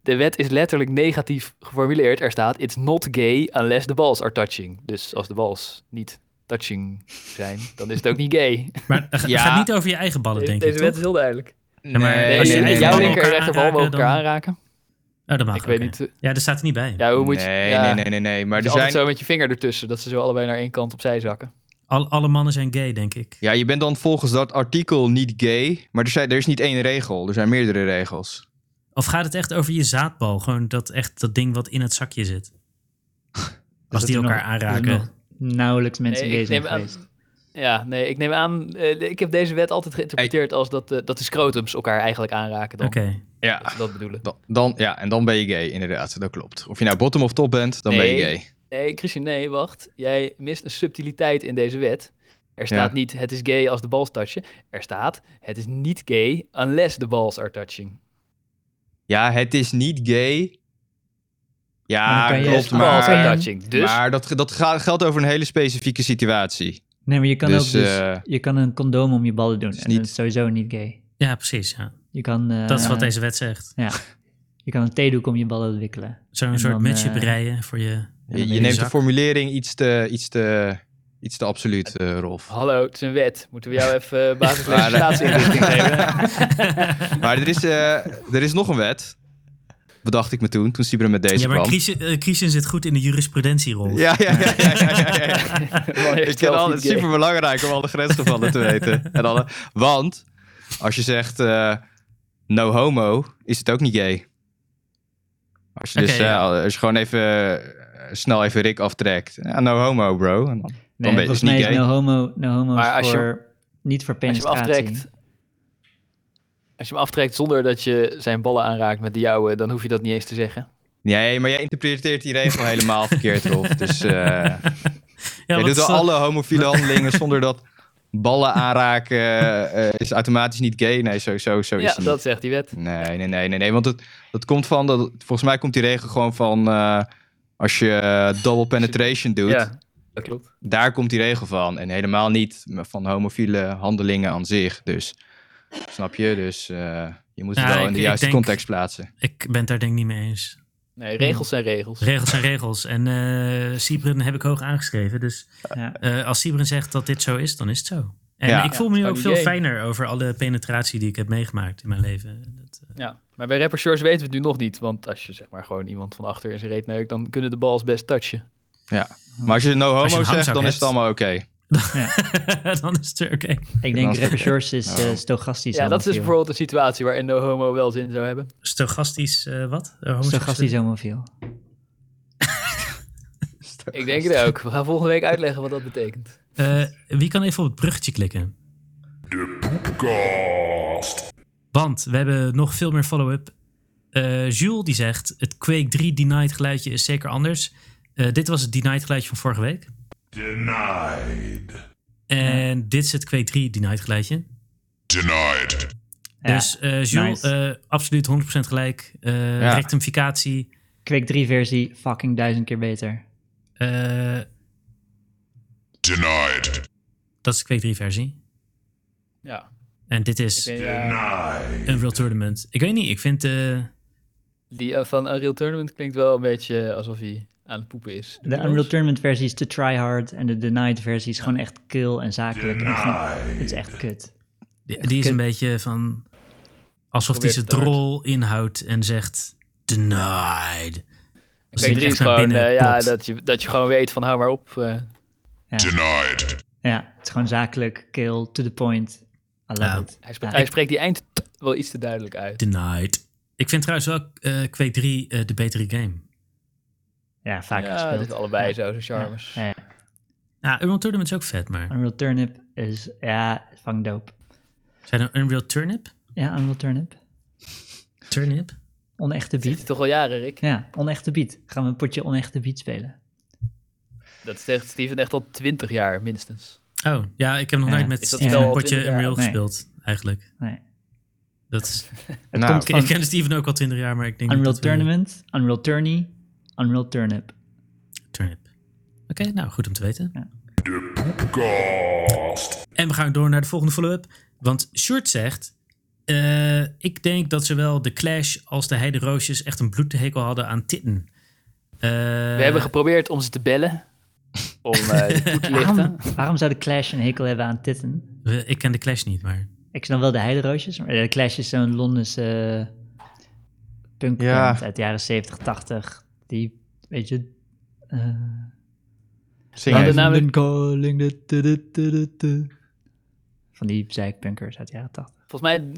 C: De wet is letterlijk negatief geformuleerd. Er staat, it's not gay unless the balls are touching. Dus als de balls niet touching zijn, dan is het ook niet gay.
B: Maar eh, het
E: Ja.
B: gaat niet over je eigen ballen, denk ik. toch?
C: is heel duidelijk.
B: Ja, maar
E: Nee,
C: Nee,
B: als je
C: nee,
E: nee,
B: eigen
C: jouw
B: ballen
E: nee,
C: linker en
B: elkaar
C: rechterbal mogen
B: aanraken,
C: elkaar
B: dan-
C: aanraken.
B: Oh, dat mag
C: Ik
B: ook,
C: weet
B: ja.
C: niet... eh,
B: Ja, daar staat er niet bij.
C: Ja, hoe Oh, moet je...
E: nee,
C: ja.
E: nee, nee, nee, Maar
C: Maar
E: er
C: dus altijd
E: zijn,
C: zo met je vinger ertussen, dat ze zo allebei naar één kant opzij zakken.
B: Al, alle mannen zijn gay, denk ik.
E: ja, je bent dan volgens dat artikel niet gay, maar er, zijn, er is niet één regel. Er zijn meerdere regels.
B: Of gaat het echt over je zaadbal? Gewoon dat, echt, dat ding wat in het zakje zit. Als
D: dat
B: die
D: er nog-
B: elkaar
D: dat er
B: aanraken.
D: nog Nauwelijks mensen
C: Nee, ik
D: gay zijn
C: neem aan-
D: geweest.
C: Ja, nee, ik neem aan, eh, ik heb deze wet altijd geïnterpreteerd als dat, eh, dat de scrotums elkaar eigenlijk aanraken dan.
B: Oké.
E: Ja,
C: Dat ze dat bedoelen.
E: dan, dan, ja, en dan ben je gay, inderdaad. Dat klopt. Of je nou bottom of top bent, dan ben je
C: Nee.
E: gay.
C: Nee, Christian, nee, wacht. Jij mist een subtiliteit in deze wet. Er staat
E: Ja.
C: niet het is gay als de balls touchen. Er staat het is niet gay unless the balls are touching.
E: Ja, het is niet gay.
D: Maar
E: Ja,
D: dan kan je-
E: klopt,
C: The balls
E: maar...
C: are touching. Dus
E: Maar dat, dat ga- geldt over een hele specifieke situatie.
D: Nee, maar je kan
E: Dus,
D: ook dus,
E: eh,
D: je kan een condoom om je ballen doen.
E: is
D: en dat
E: niet-
D: is sowieso niet gay.
B: Ja, precies. Ja.
D: Je kan, eh,
B: Dat is wat deze wet zegt.
D: Ja. Je kan een theedoek om je ballen wikkelen.
B: Zo'n
D: En
B: soort
D: dan,
B: mutsje
D: eh,
B: breien voor je...
E: Je,
B: in
E: je neemt de
B: zak.
E: formulering iets te, iets te, iets te absoluut, eh, Rolf.
C: hallo, het is een wet. Moeten we jou even uh,
E: Maar dat-
C: basislegislatieinrichting geven?
E: Maar er is, eh, er is nog een wet. Bedacht ik me toen, toen Sibra met deze
B: Ja, maar
E: kwam.
B: Christian, eh, Christian zit goed in de jurisprudentierol.
E: Ja, ja, ja, ja, ja, ja, ja, ja.
C: Man heeft
E: Ik vind
C: zelf
E: al,
C: niet
E: het
C: gay.
E: super belangrijk om alle grensgevallen te weten. En alle, want als je zegt eh, no homo, is het ook niet gay. Als je, dus,
B: Oké, ja.
E: eh, als je gewoon even eh, snel even Rick aftrekt. Ja, no homo, bro. En dan-
D: Nee,
E: ben je
D: volgens
E: dus niet
D: mij is
E: gay.
D: no homo, no homo
C: Maar
D: is
C: als je-
D: voor, niet voor
C: Als je hem
D: penetratie.
C: aftrekt. Als je hem aftrekt zonder dat je zijn ballen aanraakt met de jouwe, dan hoef je dat niet eens te zeggen.
E: Nee, maar jij interpreteert die regel helemaal verkeerd, Rolf. Dus eh jij
B: wat
E: doet
B: is eh,
E: al
B: dat?
E: alle homofiele handelingen zonder dat ballen aanraken eh, is automatisch niet gay. Nee, zo, zo, zo is
C: ja,
E: het
C: dat zegt die wet.
E: niet. Nee, nee, nee, nee, nee. Want het, dat komt van, dat, volgens mij komt die regel gewoon van eh, als je eh, double penetration doet,
C: Ja, dat klopt.
E: daar komt die regel van. En helemaal niet van homofiele handelingen aan zich. Dus, snap je? Dus eh, je moet het
B: Ja,
E: wel
B: ik-
E: in de
B: ik
E: juiste
B: denk-
E: context plaatsen.
B: Ik ben het daar denk ik niet mee eens.
C: Nee, regels zijn regels.
B: Regels zijn regels. En eh Sybren heb ik hoog aangeschreven. Dus
D: Ja.
B: eh, als Sybren zegt dat dit zo is, dan is het zo. En
E: Ja.
B: ik voel me nu
C: Ja,
B: ook
C: die
B: veel
C: game.
B: fijner over alle penetratie die ik heb meegemaakt in mijn leven. Dat, eh,
C: Ja, maar bij rapper shorts weten we het nu nog niet. Want als je zeg maar gewoon iemand van achter in zijn reet neukt, dan kunnen de balls best touchen.
E: Maar als je no
B: Als je
E: homo
B: een
E: zegt,
B: hangzak
E: dan is
B: hebt.
E: het allemaal oké.
B: dan is het er oké.
D: Ik denk
E: Dan-
D: rapper Shores is eh,
E: Oh.
D: stochastisch.
C: Ja, dat is dus
D: homofiel.
C: bijvoorbeeld een situatie waarin no homo wel zin zou hebben.
B: Stochastisch, eh, wat? Eh, homoseksueel?
D: Stochastisch homofiel.
C: Ik denk het ook. We gaan volgende week uitleggen wat dat betekent.
B: Eh, wie kan even op het bruggetje klikken?
F: Poepkast.
B: Want we hebben nog veel meer follow-up. Eh, Jules die zegt, het Quake 3 Denied geluidje is zeker anders. Eh, dit was het Denied geluidje van vorige week.
F: Denied.
B: En dit is het Quake 3 Denied geluidje.
F: Denied.
D: Ja.
B: dus eh, Jules,
D: nice.
B: eh, absoluut 100% gelijk. Eh,
E: Ja.
B: Rectificatie.
D: Quake 3 versie fucking duizend keer beter.
B: eh,
F: Denied.
B: dat is de Quake 3 versie.
C: Ja.
B: En dit
C: Ik
B: is
C: denk, ja,
F: Denied.
B: Unreal Tournament. Ik weet niet, ik vind... eh,
C: die eh, van Unreal Tournament klinkt wel een beetje alsof hij aan het poepen is.
D: De Unreal Tournament versie is te tryhard en de Denied versie is gewoon echt kil en zakelijk. En gewoon- het is echt kut.
B: die, die is een beetje van... Alsof hij
C: Probeer
B: zijn
C: te hard.
B: drol inhoudt en zegt... Denied. Als
C: Quake
B: hij
C: 3 is
B: echt naar
C: gewoon,
B: binnen
C: eh, ja,
B: klopt.
C: dat je, dat je gewoon weet van hou maar op. eh.
F: Denied.
D: Ja, het is gewoon zakelijk, kil, to the point. I love
B: Ja.
D: it.
C: hij, spreekt,
D: Ja.
C: hij spreekt die eind t- wel iets te duidelijk uit.
B: Denied. Ik vind trouwens wel eh Quake 3 eh, de betere game.
D: ja, vaak
C: Ja,
D: gespeeld.
C: dat is allebei zo, zo charmes.
D: Ja, ja.
B: Ja, Unreal Tournament is ook vet, maar...
D: Unreal Turnip is, ja, vang dope.
B: Zijn er Unreal Turnip?
D: Ja, Unreal Turnip.
B: Turnip?
D: Onechte
C: Zit je
D: beat.
C: toch al jaren, Rick?
D: Ja, onechte beat. Gaan we een potje onechte beat spelen.
C: Dat zegt Steven echt al twintig jaar, minstens.
B: Oh, ja, ik heb nog
D: Ja,
B: nooit met
C: is dat
B: Steven
D: wel
B: een
C: al
B: potje
C: 20 jaar?
B: Unreal
D: Nee.
B: gespeeld, eigenlijk.
D: Nee.
B: Dat is,
D: Het
E: Nou,
D: komt
B: ik,
D: van
B: ik ken Steven ook al 20 jaar, maar ik denk niet
D: Unreal
B: dat we-
D: Tournament, Unreal Tourney, Unreal Turnip.
B: Turnip. Oké, nou, goed om te weten.
F: Poepcast.
B: En we gaan door naar de volgende follow-up. Want Short zegt... eh, ik denk dat zowel de Clash als de Heide Roosjes echt een bloedhekel hadden aan Titten. Eh,
C: We hebben geprobeerd om ze te bellen. Om eh het toe te lichten.
D: Waarom, waarom zou de Clash een hekel hebben aan titten?
B: we- ik ken de Clash niet, maar...
D: Ik snap wel de heideroosjes, maar de Clash is zo'n Londense eh, punkband
E: Ja.
D: uit de jaren 70, 80. Die, weet je... eh,
E: Zing
C: Nou,
E: even.
C: daarna- namelijk-
D: London calling, du- du- du- du- du- du. Van die zeikpunkers uit de jaren 80.
C: Volgens mij,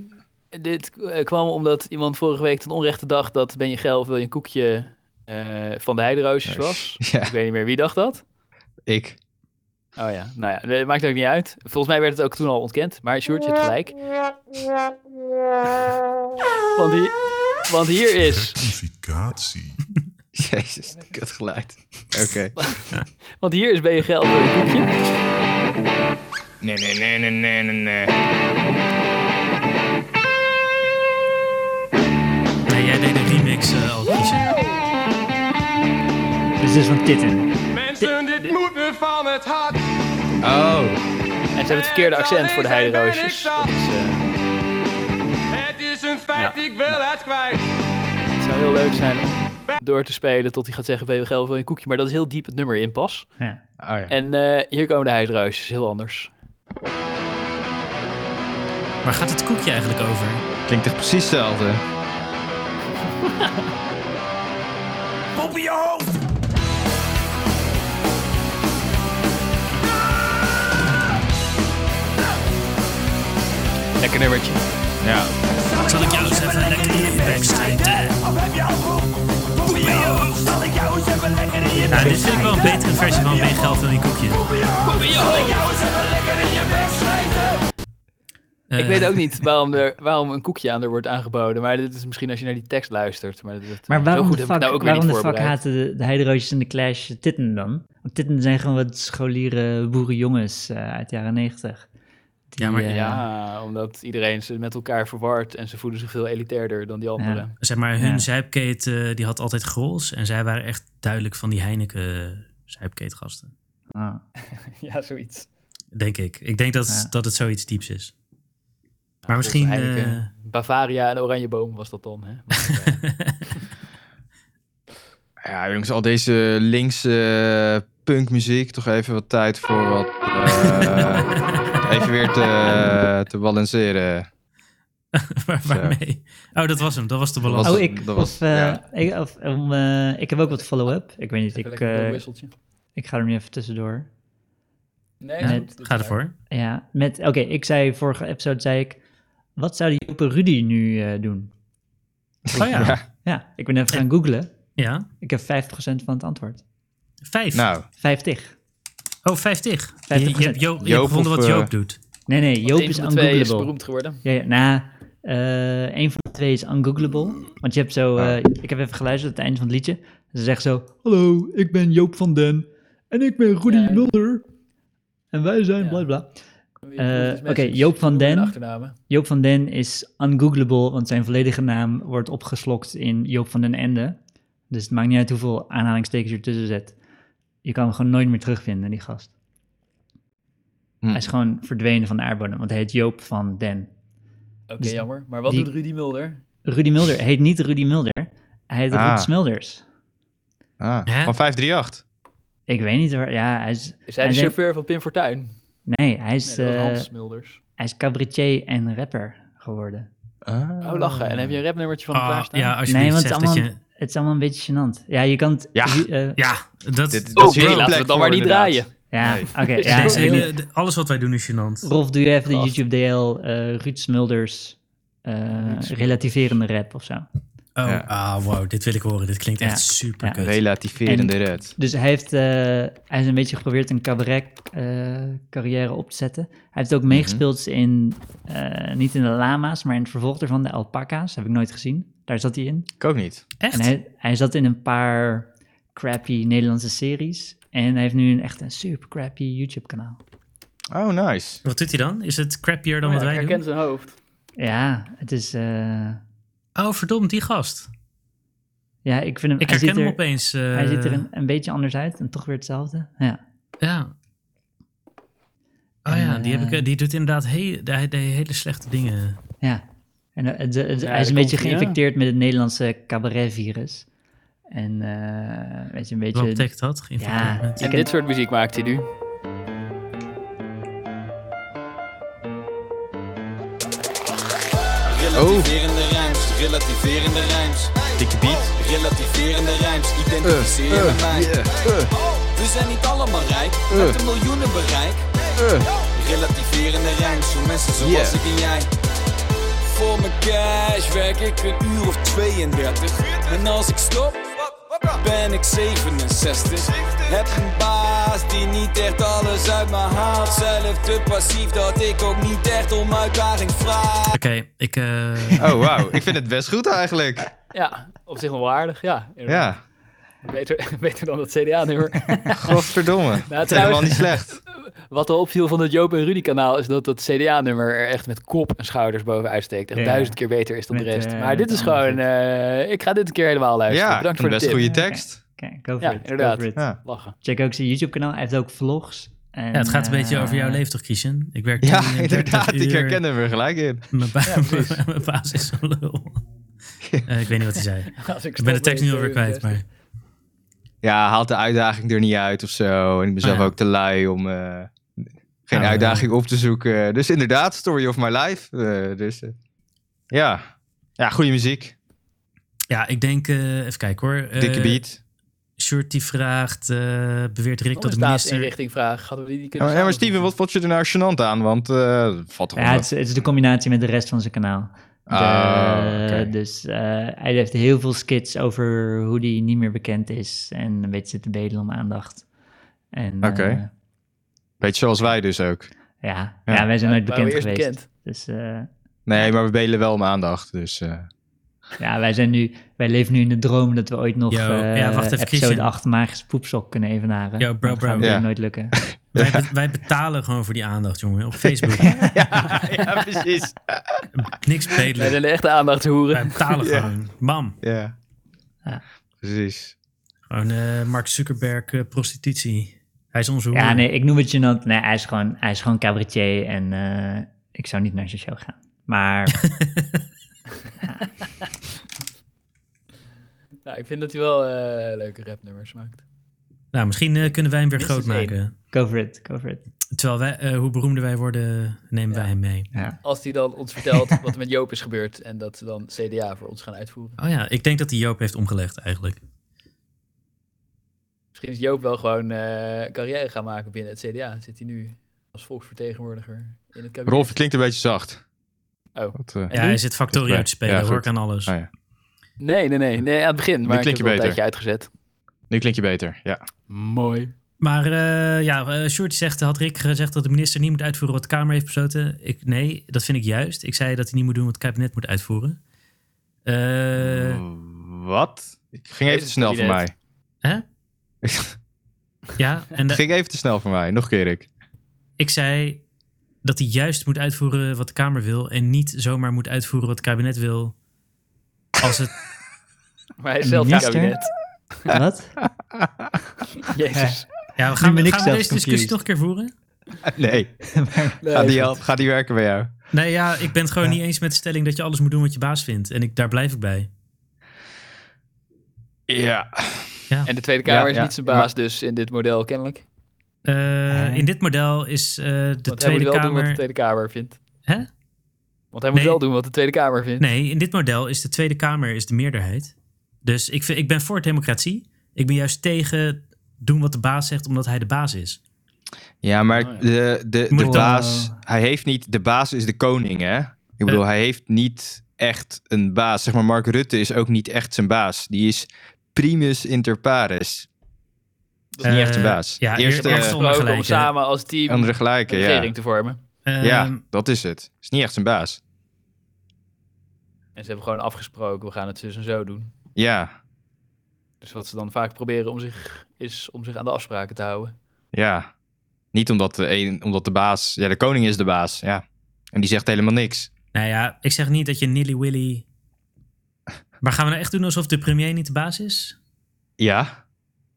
C: dit eh, kwam omdat iemand vorige week ten onrechte dacht dat Ben je geil of wil je een koekje eh, van de heideroosjes was.
E: Ja,
C: Ik weet niet meer wie dacht dat.
E: ik.
C: Oh ja, nou ja, nee, maakt ook niet uit. Volgens mij werd het ook toen al ontkend, maar Sjoerd, je hebt gelijk. Want, hi- want hier is,
F: Certificatie.
E: Jezus, kut geluid. Oké.
C: want hier is Ben je geil of wil je een koekje.
E: Nee, nee, nee, nee, nee, nee, nee.
B: Nee, jij deed een remix eh, al kiezen.
D: Dus dit is van Titten.
G: Mensen, dit moet me van het hart.
E: Oh,
C: En ze hebben het verkeerde accent voor de heideroosjes. Dat is, eh,
G: Het is een feit,
C: Ja.
G: ik wil het kwijt.
C: het zou heel leuk zijn om door te spelen tot hij gaat zeggen ben je geil of wil je een koekje. Maar dat is heel diep het nummer in pas.
D: Ja.
E: oh ja.
C: En eh, hier komen de heideroosjes, heel anders.
B: Waar gaat het koekje eigenlijk over?
E: Klinkt echt precies hetzelfde.
C: Lekker nummertje.
E: Ja.
B: Zal ik jou eens even lekker in je bek steken? Nou, dit vind ik wel een betere versie van Ben je geil of wil je een koekje. Eh,
C: Ik weet ook niet waarom, er, waarom een koekje aan er wordt aangeboden. Maar dit is misschien als je naar die tekst luistert. Maar, dat,
D: Maar waarom
C: zo
D: de
C: goed heb ik het
D: fuck,
C: nou ook weer
D: waarom
C: niet
D: de fuck
C: voorbereid.
D: haten de, de heideroosjes en de Clash Titten dan? Want Titten zijn gewoon wat scholieren boerenjongens eh, uit de jaren 90. Die,
B: Ja, maar-
D: eh,
C: Ja, omdat iedereen ze met elkaar verward en ze voelen zich veel elitairder dan die anderen.
B: Zeg maar, hun
D: Ja.
B: zuipketen eh, die had altijd grols. En zij waren echt duidelijk van die Heineken eh, zuipkeetgasten.
D: ah.
C: Ja, zoiets.
B: Denk ik. Ik denk dat,
D: Ja.
B: dat het zoiets dieps is. Maar misschien...
C: Heineken,
B: eh,
C: Bavaria en Oranjeboom was dat dan. Hè? Maar, eh,
E: Ja, jongens, al deze linkse eh, punkmuziek. Toch even wat tijd voor wat. eh, even weer te, te balanceren.
B: waar- waarmee? Oh, dat was hem. Dat was de balans.
E: Dat
D: Oh,
E: was-
D: ik,
E: dat
D: of,
E: was-
D: eh,
E: ja.
D: ik, of, om, eh, ik heb ook wat follow-up. Ik weet niet,
C: even
D: ik,
C: lekker een
D: eh,
C: wisseltje.
D: ik ga er nu even tussendoor.
C: Nee,
D: Met-
C: goed, dat
B: Ga
C: is waar.
B: ervoor.
D: Ja, met, oké, ik zei vorige episode, zei ik, wat zou die Joppe Rudy nu eh, doen?
B: Oh ja.
D: Ja, ik ben even gaan googlen.
B: Ja.
D: Ik heb 50% van het antwoord.
B: Vijf.
E: Nou,
D: 50.
B: Oh, 50. Je, je,
D: 50%.
B: hebt Jo- je hebt
E: Joop
B: gevonden
E: of,
B: wat
E: eh,
B: Joop doet.
D: Nee, nee, Joop
C: Want een
D: is
C: van de twee is
D: ungoogleable.
C: beroemd geworden.
D: Ja, ja, nou, eh, een van de twee is ungoogleable. Want je hebt zo, eh, ik heb even geluisterd het einde van het liedje. Ze zegt zo, hallo, ik ben Joop van Den en ik ben Rudy
C: Ja.
D: Mulder. En wij zijn
C: Ja.
D: bla bla.
C: Wie- wie is
D: Eh, oké,
C: mensen?
D: Joop van
C: Noem hun
D: Den.
C: achternamen.
D: Joop van Den is ungoogleable, want zijn volledige naam wordt opgeslokt in Joop van den Ende. Dus het maakt niet uit hoeveel aanhalingstekens je ertussen zet. Je kan hem gewoon nooit meer terugvinden, die gast.
E: Hm.
D: Hij is gewoon verdwenen van de aardbodem, want hij heet Joop van Den.
C: Oké,
D: Dus
C: jammer. Maar wat
D: die-
C: doet Rudy Mulder?
D: Rudy Mulder heet niet Rudy Mulder, hij heet
E: Ah.
D: Ruud Smulders.
E: ah,
B: Hè?
E: van 538.
D: Ik weet niet waar, ja, hij is...
C: Is hij de
D: hij denkt-
C: chauffeur van Pim Fortuyn?
D: Nee, hij
C: Nee,
D: is,
C: dat was
D: eh,
C: Hans Mulders.
D: hij is cabaretier en rapper geworden.
C: Oh, lachen. En heb je een rapnummertje van Oh,
B: Ah,
C: hem klaarstaan?
B: ja, als je
D: Nee, want
B: zegt
D: het is,
B: dat
D: allemaal,
B: je...
D: het is allemaal een beetje gênant. Ja, je kan het...
E: Ja.
D: eh,
B: Ja, dat...
E: Dit-
C: Oh,
E: dat is
C: nee,
E: heel
C: laten we het dan maar niet draaien.
D: ja,
E: Nee.
D: oké. ja,
B: deze
D: ik weet niet.
B: hele, de- alles wat wij doen is gênant.
D: Rolf, doe je even de
C: Gast.
D: YouTube DL eh Ruud Smulders eh, relativerende rap of zo?
B: Oké, Oh,
E: Ja.
B: ah, wow, dit wil ik horen. Dit klinkt echt
D: Ja.
B: super
D: Ja.
B: kut.
E: Relativerende
D: En-
E: red.
D: Dus hij, heeft, eh, hij is een beetje geprobeerd een cabaret-carrière op te zetten. Hij heeft
B: Mhm.
D: ook meegespeeld in, eh, niet in de lama's, maar in het vervolg daarvan, de alpaca's. Heb ik nooit gezien. Daar zat hij in.
E: Ik ook niet.
B: Echt?
D: En hij, hij zat in een paar crappy Nederlandse series. En hij heeft nu een echt een super crappy YouTube-kanaal.
E: Oh, nice.
B: Wat doet hij dan? Is het crappier dan
H: Ja,
B: wat
H: ik
B: wij
H: herken
B: doen?
H: zijn hoofd.
D: Ja, het is... eh,
B: Oh, verdomd, die gast.
D: ja, ik vind hem...
B: Ik herken
D: hij ziet
B: hem
D: er,
B: opeens. eh,
D: Hij ziet er een, een beetje anders uit en toch weer hetzelfde. Ja.
B: Ja. Oh ja, die, heb ik,
D: eh,
B: eh, die doet inderdaad heel, hij deed hele slechte dingen.
D: Ja. En eh, het- het- hij
H: daar
D: is een beetje
H: komt hij, ja.
D: geïnfecteerd met het Nederlandse cabaret-virus. En eh, weet je, een
B: Wat
D: beetje...
B: betekent dat?
D: Ja,
B: Geïnfecteerd met-
D: ik
C: En
D: ken-
C: dit soort muziek maakt hij nu.
I: Relativerende rijms, relativerende rijms.
E: Dikke beat.
I: Relativerende rijms, identificeren mij. We zijn niet allemaal rijk, met een miljoenen bereik. Relativerende rijms, voor mensen zoals
E: Yeah.
I: ik en jij. Voor mijn cash werk ik een uur of 32. En als ik stop, ben ik 67. Heb een baas die niet echt alles uit me haalt. Zelf te passief dat ik ook niet echt om uitdaging vraag.
B: Oké, ik... eh,
E: Oh, wauw. Ik vind het best goed eigenlijk.
C: Ja, op zich wel waardig. Ja, inderdaad.
E: Ja.
C: Beter, beter dan dat CDA-nummer.
E: Godverdomme. Het is
C: Nou, trouwens-
E: helemaal niet slecht.
C: Wat er opviel van het Joop en Rudy kanaal is dat dat CDA-nummer er echt met kop en schouders bovenuit steekt. Echt
D: Ja.
C: duizend keer beter is dan de
D: Met,
C: rest.
D: eh,
C: maar dit
D: met
C: is gewoon,
D: andere
C: eh, ik ga dit een keer helemaal luisteren.
E: Ja,
C: Bedankt
E: een
C: voor de
E: best
C: tip.
E: goede tekst.
D: Oké, go for
C: Ja,
D: it, go
C: inderdaad.
D: for it.
E: Ja.
C: Lachen.
D: Check ook zijn YouTube-kanaal. Hij heeft ook vlogs. En,
B: ja, het gaat een beetje
D: eh,
B: over jouw leven toch, Christian? Ik werk
E: Ja,
B: 33
E: inderdaad. Ik
B: uur.
E: herken hem er gelijk in.
B: Mijn, ba- mijn baas is een lul. Eh, ik weet niet wat hij zei.
C: Als
B: Ik ben de tekst nu alweer kwijt, maar...
D: eh,
E: Ja, haalt de uitdaging er niet uit of zo. En ik ben zelf
B: Ah, ja.
E: ook te lui om eh, geen
B: Ah,
E: uitdaging op te zoeken. Dus inderdaad, story of my life. Eh, dus, eh, ja. ja, goede muziek.
B: Ja, ik denk... eh, even kijken hoor. Eh,
E: Dikke beat.
B: Short die vraagt... eh, beweert
D: Oh,
B: Rick dat de minister...
C: richting vraag. Hadden we die niet
E: Ja,
C: kunnen
E: maar, Oh, ja,
C: samenvoegen?
E: maar Steven, wat vond je er nou gênant aan? Want eh valt toch
D: Ja,
E: wel-
D: het is, het is de combinatie met de rest van zijn kanaal. De-
E: Ah, oké.
D: Dus eh, hij heeft heel veel skits over hoe hij niet meer bekend is. En een beetje zit te bedelen om aandacht. En,
E: Oké.
D: eh,
E: Beetje zoals wij dus ook.
D: ja.
E: Ja.
D: Ja, wij zijn nooit
C: Waren
D: bekend
C: we
D: geweest.
C: eerst
D: Dus eh,
E: Nee, maar we belen wel om aandacht. Dus, eh.
D: ja, wij, zijn nu, wij leven nu in de droom dat we ooit nog
B: Yo,
D: eh,
B: ja, wacht even,
D: episode
B: Christian.
D: 8 Magische Poepsok kunnen evenaren.
B: Yo, bro,
D: Maar dat
B: bro.
D: gaat natuurlijk
E: Ja.
D: nooit lukken.
B: Wij, be- wij betalen gewoon voor die aandacht, jongen. Op Facebook.
E: ja, ja, precies.
B: Niks
C: Wij
B: bedelen.
C: zijn de echte aandachtshoeren.
B: Wij betalen
E: Ja.
B: gewoon. Bam.
E: Ja.
D: Ja.
E: Precies.
B: Gewoon eh, Mark Zuckerberg eh, prostitutie. Hij is onze hoer.
D: Ja, nee, ik noem het gênant. Nee, hij is gewoon, hij is gewoon cabaretier en eh, ik zou niet naar zijn show gaan. Maar
C: Nou, ik vind dat hij wel eh, leuke rapnummers maakt.
B: Nou, misschien eh, kunnen wij hem weer groot
C: Minstens één.
B: maken.
D: go for it, go for it.
B: Terwijl wij, eh, hoe beroemder wij worden, nemen wij hem mee.
D: Ja.
C: Als hij dan ons vertelt wat er met Joop is gebeurd en dat ze dan CDA voor ons gaan uitvoeren.
B: Oh ja, ik denk dat hij Joop heeft omgelegd eigenlijk.
C: Misschien is Joop wel gewoon eh, carrière gaan maken binnen het CDA. Zit hij nu als volksvertegenwoordiger in het kabinet?
E: Rolf, het klinkt een beetje zacht.
C: Oh.
E: Wat, eh,
B: Ja, hij zit Factorio
E: Ja,
B: te spelen,
E: ja,
B: hoor ik
E: goed.
B: aan alles.
E: Ah, ja.
C: Nee, nee, nee, nee. Aan het begin, maar ik heb het
E: klinkt je
C: wel een
E: beter.
C: tijdje uitgezet.
E: Nu klink je beter, ja.
C: Mooi.
B: Maar eh, ja, eh, Sjoerd zegt, had Rick gezegd dat de minister niet moet uitvoeren wat de Kamer heeft besloten? Ik, nee, dat vind ik juist. Ik zei dat hij niet moet doen wat het kabinet moet uitvoeren. Eh,
E: Wat? Ik ging even te snel voor mij.
B: hè? ja, en
E: Het
B: de-
E: ging even te snel voor mij. Nog een keer, Rick.
B: ik zei dat hij juist moet uitvoeren wat de Kamer wil en niet zomaar moet uitvoeren wat het kabinet wil. Als het...
C: Maar hij is zelf in het
D: Minister?
C: kabinet.
D: Wat?
C: Jezus.
B: Ja, we
D: ben
B: gaan, gaan
D: ik
B: we
D: zelf
B: deze discussie
D: confused.
B: nog een keer voeren?
E: Nee, gaat die, helpen? gaat die werken bij jou?
B: Nee, ja, ik ben het gewoon niet eens met de stelling dat je alles moet doen wat je baas vindt. En ik, daar blijf ik bij.
E: Ja.
C: En de Tweede Kamer
E: Ja,
C: is
E: ja.
C: niet zijn baas dus in dit model kennelijk. Want
B: Eh, In dit model is eh, de
C: hij
B: Tweede
C: moet wel doen wat de
B: Kamer.
C: Tweede Kamer vindt.
B: Hè?
C: Want hij moet
B: Nee.
C: wel doen wat de Tweede Kamer vindt.
B: Nee, in dit model is de Tweede Kamer is de meerderheid. Dus ik, vind, ik ben voor democratie. Ik ben juist tegen doen wat de baas zegt, omdat hij de baas is.
E: Ja, maar de, de,
B: Moet
E: de
B: ik
D: dan-
E: baas... Hij heeft niet... De baas is de koning, hè? Ik bedoel, hij heeft niet echt een baas. Zeg maar, Mark Rutte is ook niet echt zijn baas. Die is primus inter pares. Dat is niet echt een baas.
B: Eh, ja,
E: Eerste
B: eer- eerst-
E: eh,
B: Zonder
C: Ook om
B: gelijk, hè?
C: samen als team
E: andere
C: een
E: gelijke,
C: regering
E: ja.
C: te vormen.
B: Ehm,
E: Ja, dat is het. Is niet echt zijn baas.
C: En ze hebben gewoon afgesproken, we gaan het zus en zo doen.
E: Ja,
C: Dus wat ze dan vaak proberen om zich, is om zich aan de afspraken te houden.
E: ja. Niet omdat de, een, omdat de baas... Ja, de koning is de baas, ja. En die zegt helemaal niks.
B: Nou ja, ik zeg niet dat je Nilly Willy. Maar gaan we nou echt doen alsof de premier niet de baas is?
E: Ja,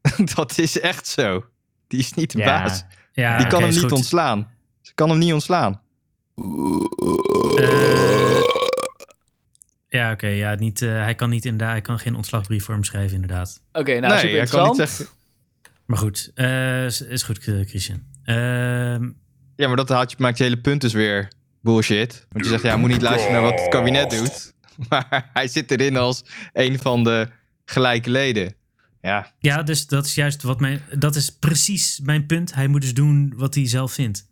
E: dat is echt zo. Die is niet de
D: Ja.
E: baas.
B: Ja,
E: Die kan
B: oké,
E: hem
B: is
E: niet
B: goed.
E: ontslaan. Ze kan hem niet ontslaan.
B: Ja, oké. ja, niet, eh, hij, kan niet inderdaad- hij kan geen ontslagbrief voor hem schrijven, inderdaad.
C: Oké, nou
E: Nee,
C: super
E: hij kan niet
C: interessant.
E: zeggen...
B: Maar goed, eh, is, is goed, eh, Christian. Ehm,
E: Ja, maar dat haalt je, maakt je hele punt dus weer bullshit. Want je zegt, ja, hij moet niet luisteren naar wat het kabinet doet. Maar hij zit erin als een van de gelijke leden. Ja,
B: ja, dus dat is juist wat mijn. Dat is precies mijn punt. Hij moet dus doen wat hij zelf vindt.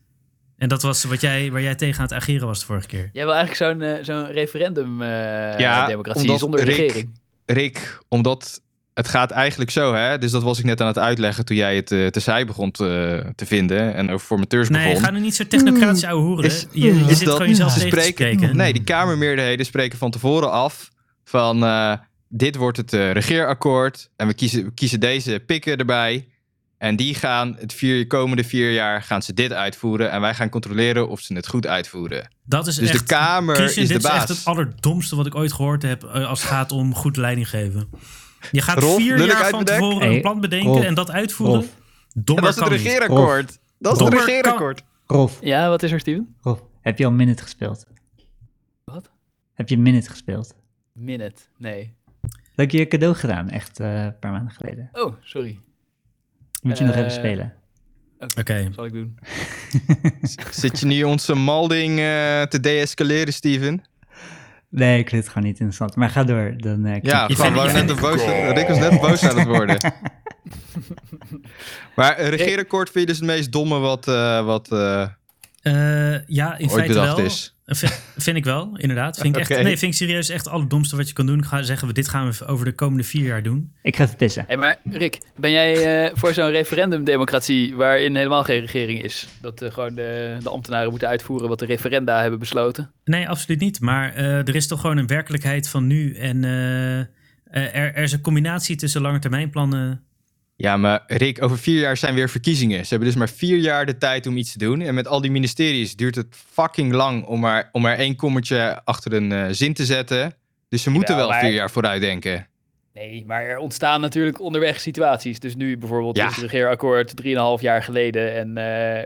B: En dat was wat jij, waar jij tegen aan het ageren was de vorige keer.
C: Jij wil eigenlijk zo'n eh, zo'n referendum eh,
E: Ja,
C: democratie
E: omdat
C: zonder
E: Rick-
C: regering.
E: Rick, omdat het gaat eigenlijk zo, hè. Dus dat was ik net aan het uitleggen toen jij het eh te zij begon te, te vinden. En over formateurs
B: Nee,
E: begon.
B: ga nu niet zo technocratisch ouwe hoeren.
E: Is-
B: je je
E: is
B: zit
E: Dus dat-
B: gewoon jezelf
E: ze
B: tegen te
E: spreken-
B: spreken.
E: Nee, die Kamermeerderheden spreken van tevoren af van eh, dit wordt het eh, regeerakkoord en we kiezen, we kiezen deze pikken erbij. En die gaan het vier, komende vier jaar gaan ze dit uitvoeren en wij gaan controleren of ze het goed uitvoeren.
B: Dat is
E: Dus
B: echt,
E: de Kamer
B: Christian,
E: is de
B: dit
E: baas.
B: is echt het allerdomste wat ik ooit gehoord heb eh, als het gaat om goed leiding geven. Je gaat
E: Rolf,
B: vier
E: lul ik
B: jaar
E: uit
B: van
E: mijn dek?
B: tevoren
D: Hey,
B: een plan bedenken
D: Rolf,
B: en dat uitvoeren.
D: Rolf.
E: En
B: Dommer
E: dat is het
B: kan niet.
E: regeerakkoord. Dat is het
B: Dommer kan-
E: regeerakkoord.
D: Rolf,
C: Ja, wat is er, Steven?
D: Rolf, heb je al Minute gespeeld?
C: Wat?
D: Heb je Minute gespeeld?
C: Minute. Nee.
D: Dat heb je je cadeau gedaan, echt eh, een paar maanden geleden.
C: Oh, sorry.
D: Moet je nog even
C: Eh,
D: spelen.
B: Oké,
C: Zal ik doen.
E: Zit je nu onze malding eh, te deescaleren, Steven?
D: Nee, ik vind het gewoon niet interessant. Maar ga door, dan eh, knip
E: Ja,
D: je-
E: gewoon,
B: vindt-
E: we waren
B: je
E: net een boos, Rick was net boos aan het worden. maar een regeerakkoord vind je dus het meest domme wat, eh, wat, eh,
B: Eh, ja, in
E: Ooit
B: feite
E: bedacht
B: wel.
E: is.
B: Eh, Vind, vind ik wel, inderdaad. Vind ik echt,
E: Oké.
B: Nee, vind ik serieus echt het allerdomste wat je kan doen. Ik Ga zeggen, we dit gaan we over de komende vier jaar doen.
D: Ik ga even pissen.
C: Hé, maar Rick, ben jij eh, voor zo'n referendumdemocratie waarin helemaal geen regering is? Dat eh, gewoon de, de ambtenaren moeten uitvoeren wat de referenda hebben besloten?
B: Nee, absoluut niet. Maar eh, er is toch gewoon een werkelijkheid van nu. En eh, eh, er, er is een combinatie tussen lange termijn plannen.
E: Ja, maar Rick, over vier jaar zijn weer verkiezingen. Ze hebben dus maar vier jaar de tijd om iets te doen. En met al die ministeries duurt het fucking lang om maar, om maar één kommetje achter een eh, zin te zetten. Dus ze moeten
C: Jawel,
E: wel
C: maar-
E: vier jaar vooruit denken.
C: Nee, maar er ontstaan natuurlijk onderweg situaties. Dus nu bijvoorbeeld
E: Ja.
C: is het regeerakkoord 3,5 jaar geleden. En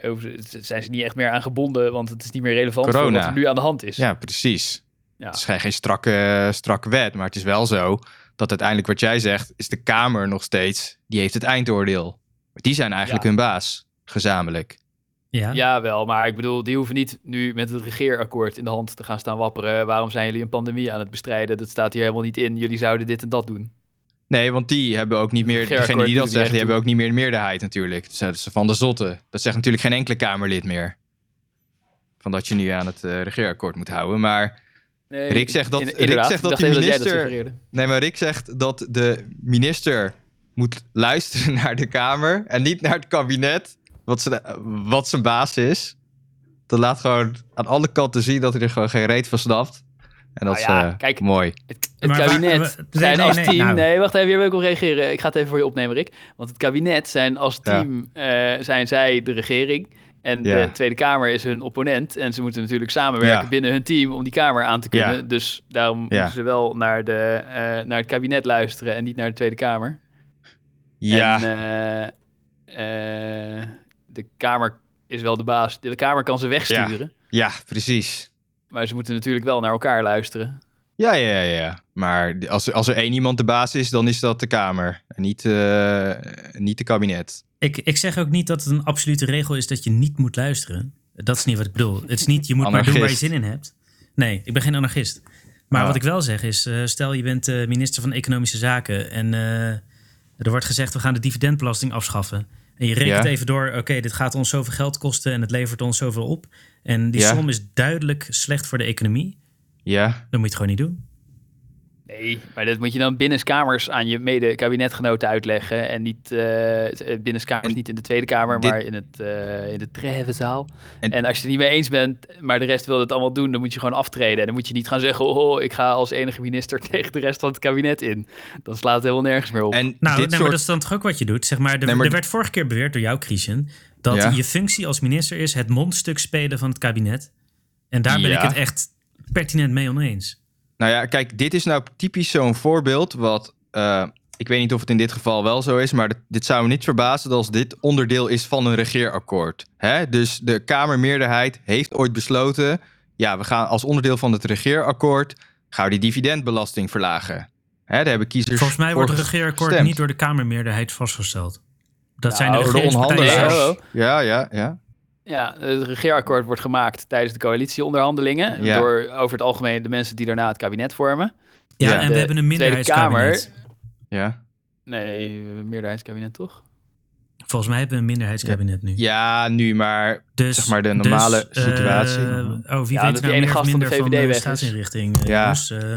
C: eh, over- z- zijn ze niet echt meer aan gebonden, want het is niet meer relevant voor
E: Corona.
C: wat er nu aan de hand is.
E: Ja, precies.
C: Ja.
E: Het is geen, geen strakke, strakke wet, maar het is wel zo dat uiteindelijk wat jij zegt, is de Kamer nog steeds, die heeft het eindoordeel. Maar die zijn eigenlijk
C: Ja.
E: hun baas, gezamenlijk.
B: Ja.
C: Ja, wel, maar ik bedoel, die hoeven niet nu met het regeerakkoord in de hand te gaan staan wapperen. Waarom zijn jullie een pandemie aan het bestrijden? Dat staat hier helemaal niet in. Jullie zouden dit en dat doen.
E: Nee, want die hebben ook niet meer,
C: regeerakkoord
E: degene die
C: doet
E: dat
C: het niet
E: zeggen, die
C: echt
E: hebben ook niet meer de meerderheid natuurlijk. Dat is van de zotte. Dat zegt natuurlijk geen enkele Kamerlid meer. Van dat je nu aan het eh, regeerakkoord moet houden. Maar,
C: Nee,
E: Rick zegt dat- Rick
C: inderdaad.
E: zegt
C: Ik
E: dat
C: dacht
E: de
C: even jij dat
E: minister-
C: suggereerde.
E: nee, maar Rick zegt dat de minister moet luisteren naar de Kamer en niet naar het kabinet, wat zijn, wat zijn baas is. Dat laat gewoon aan alle kanten zien dat hij er gewoon geen reet van snapt. En dat
C: Nou
E: is
C: ja,
E: eh,
C: kijk,
E: mooi.
C: Het, het
B: Maar waar-
C: kabinet
B: we- nee,
C: zijn
B: nee,
C: als
B: nee,
C: team...
B: nou.
C: Nee, wacht even, hier wil ik op reageren. Ik ga het even voor je opnemen, Rick. Want het kabinet zijn als
E: Ja.
C: team, eh, zijn zij de regering. En
E: Ja.
C: de Tweede Kamer is hun opponent. En ze moeten natuurlijk samenwerken
E: Ja.
C: binnen hun team om die Kamer aan te kunnen.
E: Ja.
C: Dus daarom moeten ze wel naar, de, eh, naar het kabinet luisteren en niet naar de Tweede Kamer.
E: Ja,
C: En, eh, eh, de Kamer is wel de baas. De Kamer kan ze wegsturen.
E: ja, precies.
C: Maar ze moeten natuurlijk wel naar elkaar luisteren.
E: Ja, ja, ja, ja. Maar d- als, als er één iemand de baas is, dan is dat de Kamer. En niet, eh, niet de kabinet.
B: Ik, ik zeg ook niet dat het een absolute regel is dat je niet moet luisteren. Dat is niet wat ik bedoel. Het is niet, je moet maar doen waar je
E: Anarchist.
B: zin in hebt. Nee, ik ben geen anarchist. Maar
E: Ah.
B: wat ik wel zeg is, eh, stel je bent eh, minister van Economische Zaken en eh, er wordt gezegd we gaan de dividendbelasting afschaffen. En je rekent
E: Ja.
B: even door, oké, dit gaat ons zoveel geld kosten en het levert ons zoveel op. En die
E: Ja.
B: som is duidelijk slecht voor de economie.
E: Ja,
B: Dan moet je het gewoon niet doen.
C: Nee, maar dat moet je dan binnenskamers aan je mede-kabinetgenoten uitleggen. En niet eh binnenskamers,
E: En
C: niet in de Tweede Kamer,
E: dit-
C: maar in, het, eh, in de Trevenzaal.
E: En-
C: En, als je het niet mee eens bent, maar de rest wil het allemaal doen, dan moet je gewoon aftreden. En dan moet je niet gaan zeggen, oh, ik ga als enige minister tegen de rest van het kabinet in. Dan slaat het helemaal nergens meer op.
E: en
B: Nou,
E: dit
B: nee, maar
E: soort...
B: dat is dan toch ook wat je doet. Zeg maar, er,
E: Nee, maar-
B: er werd vorige keer beweerd door jou, Christian, dat
E: Ja.
B: je functie als minister is het mondstuk spelen van het kabinet. En daar ben
E: Ja.
B: ik het echt pertinent mee oneens.
E: Nou ja, kijk, dit is nou typisch zo'n voorbeeld wat... eh, ik weet niet of het in dit geval wel zo is, maar dit, dit zou me niet verbazen als dit onderdeel is van een regeerakkoord. Hè? Dus de Kamermeerderheid heeft ooit besloten, ja, we gaan als onderdeel van het regeerakkoord, gaan we die dividendbelasting verlagen. Hè, daar hebben kiezers
B: Volgens mij wordt
E: voor
B: het regeerakkoord
E: Dus gestemd.
B: niet door de Kamermeerderheid vastgesteld. Dat zijn de
C: Nou,
E: Door de
B: regeringspartijen.
C: onderhandelaars.
B: zelf.
C: Hallo.
E: onderhandelaars. Ja, ja, ja.
C: Ja, het regeerakkoord wordt gemaakt tijdens de coalitieonderhandelingen.
E: Ja.
C: Door over het algemeen de mensen die daarna het kabinet vormen.
B: Ja,
E: Ja.
B: en
C: De
B: we hebben een
C: Tweede Kamer.
B: minderheidskabinet.
E: Ja,
C: Nee, eh, meerderheidskabinet toch?
B: Volgens mij hebben we een minderheidskabinet nu.
E: ja nu maar
B: Dus,
E: zeg maar de normale
B: dus, eh,
E: situatie.
B: oh, wie
C: Ja, dat
B: weet
C: die
B: nou
C: ene
B: meer of
C: gast van de
B: minder van de,
C: VVD weg is.
B: staatsinrichting. eh,
E: Ja.
B: jongens, eh.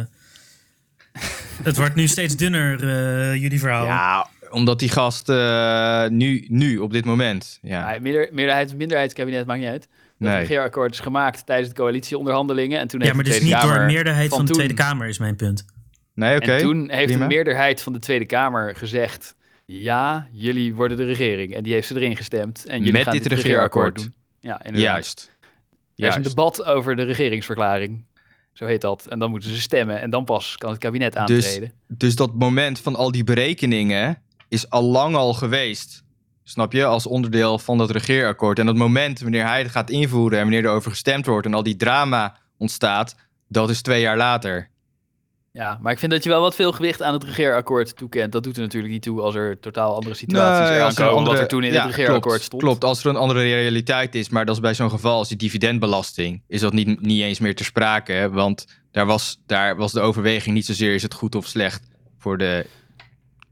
B: het wordt nu steeds dunner, eh, jullie verhaal.
E: Ja, omdat die gast eh, nu, nu, op dit moment. Ja,
C: Ja. Meerder, meerderheids- minderheidskabinet maakt niet uit. Dat
E: Nee.
C: regeerakkoord is gemaakt tijdens de coalitieonderhandelingen. En toen
B: Ja,
C: heeft
B: maar
C: de
B: dus
C: Tweede
B: niet door
C: Kamer
B: een meerderheid van, de
C: toen-
B: Tweede Kamer, is mijn punt.
E: nee, oké.
C: En toen heeft
E: prima.
C: de meerderheid van de Tweede Kamer gezegd... Ja, jullie worden de regering. En die heeft ze erin gestemd. En jullie
E: Met
C: gaan
E: dit
C: regeerakkoord
E: regeerakkoord.
C: doen. Ja, inderdaad.
E: Juist.
C: Er is een
E: Juist.
C: debat over de regeringsverklaring. Zo heet dat. En dan moeten ze stemmen. En dan pas kan het kabinet aantreden.
E: Dus dat moment van al die berekeningen is al lang al geweest. Snap je? Als onderdeel van dat regeerakkoord. En dat moment wanneer hij het gaat invoeren en wanneer erover gestemd wordt en al die drama ontstaat, dat is twee jaar later.
C: Ja, maar ik vind dat je wel wat veel gewicht aan het regeerakkoord toekent. Dat doet er natuurlijk niet toe als er totaal andere situaties
E: Nee,
C: eraan
E: als er
C: komen.
E: andere-
C: Wat er toen in
E: ja,
C: het regeerakkoord
E: klopt,
C: stond.
E: Klopt, als er een andere realiteit is. Maar dat is bij zo'n geval als die dividendbelasting. Is dat niet, niet eens meer ter sprake. hè, Want daar was, daar was de overweging niet zozeer is het goed of slecht voor de.